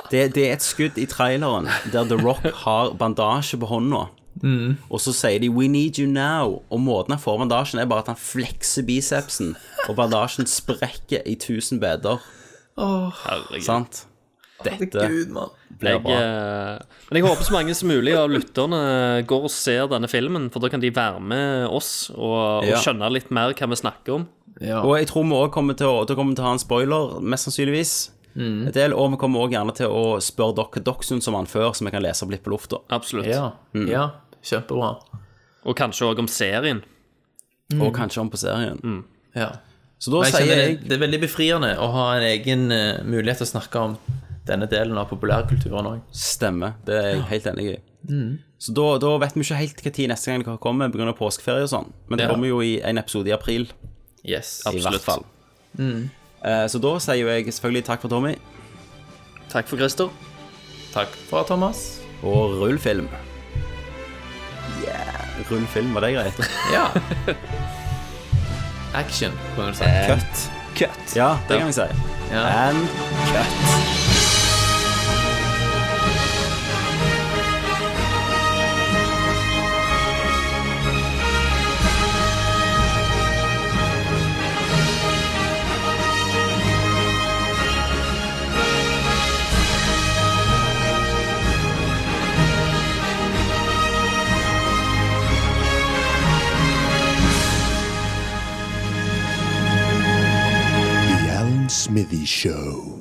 S8: Det, det er et skudd i traileren der The Rock har bandasje på hånda.
S10: Mm.
S8: Og så sier de 'We need you now', og måten han får bandasjen, er bare at han flekser bicepsen, og bandasjen sprekker i tusen beder.
S10: Åh,
S9: Herregud.
S8: Sant? Dette
S10: Herregud, mann.
S8: blir
S9: Jeg,
S8: bra.
S9: eh, men jeg håper så mange som mulig av lytterne går og ser denne filmen, for da kan de være med oss og, og
S8: Ja.
S9: skjønne litt mer hva vi snakker om.
S8: Og jeg tror vi òg kommer til å Da kommer vi til å ha en spoiler, mest sannsynligvis.
S9: Mm.
S8: En del, og vi kommer òg gjerne til å spørre dere dere syns om han før, så vi kan lese opp litt på lufta.
S9: Absolutt.
S10: Ja.
S8: Mm.
S10: ja. Kjempebra.
S9: Og kanskje òg om serien.
S8: Og kanskje om på serien.
S10: Ja.
S8: Så da
S10: Mm. Men
S8: sier
S10: kjenner
S8: jeg
S10: det, det er veldig befriende å ha en egen eh, mulighet til å snakke om denne delen av populærkulturen òg.
S8: Stemmer. Det er jeg helt enig i. Så da, da vet vi ikke helt hva tid neste gang det kommer pga. påskeferie og sånn. Men det
S10: Ja.
S8: kommer jo i en episode i april.
S10: Yes,
S8: I hvert fall.
S10: Mm.
S8: Eh, Så da sier jo jeg selvfølgelig takk for Tommy.
S9: Takk for Christer.
S10: Takk for Thomas.
S8: Og rull film. Yeah. Rull film, var det greit?
S10: Ja. Action, kan du si.
S8: Cut. Cut. Eh, Ja, det kan vi si. And cut.
S2: The Alan Smithy Show.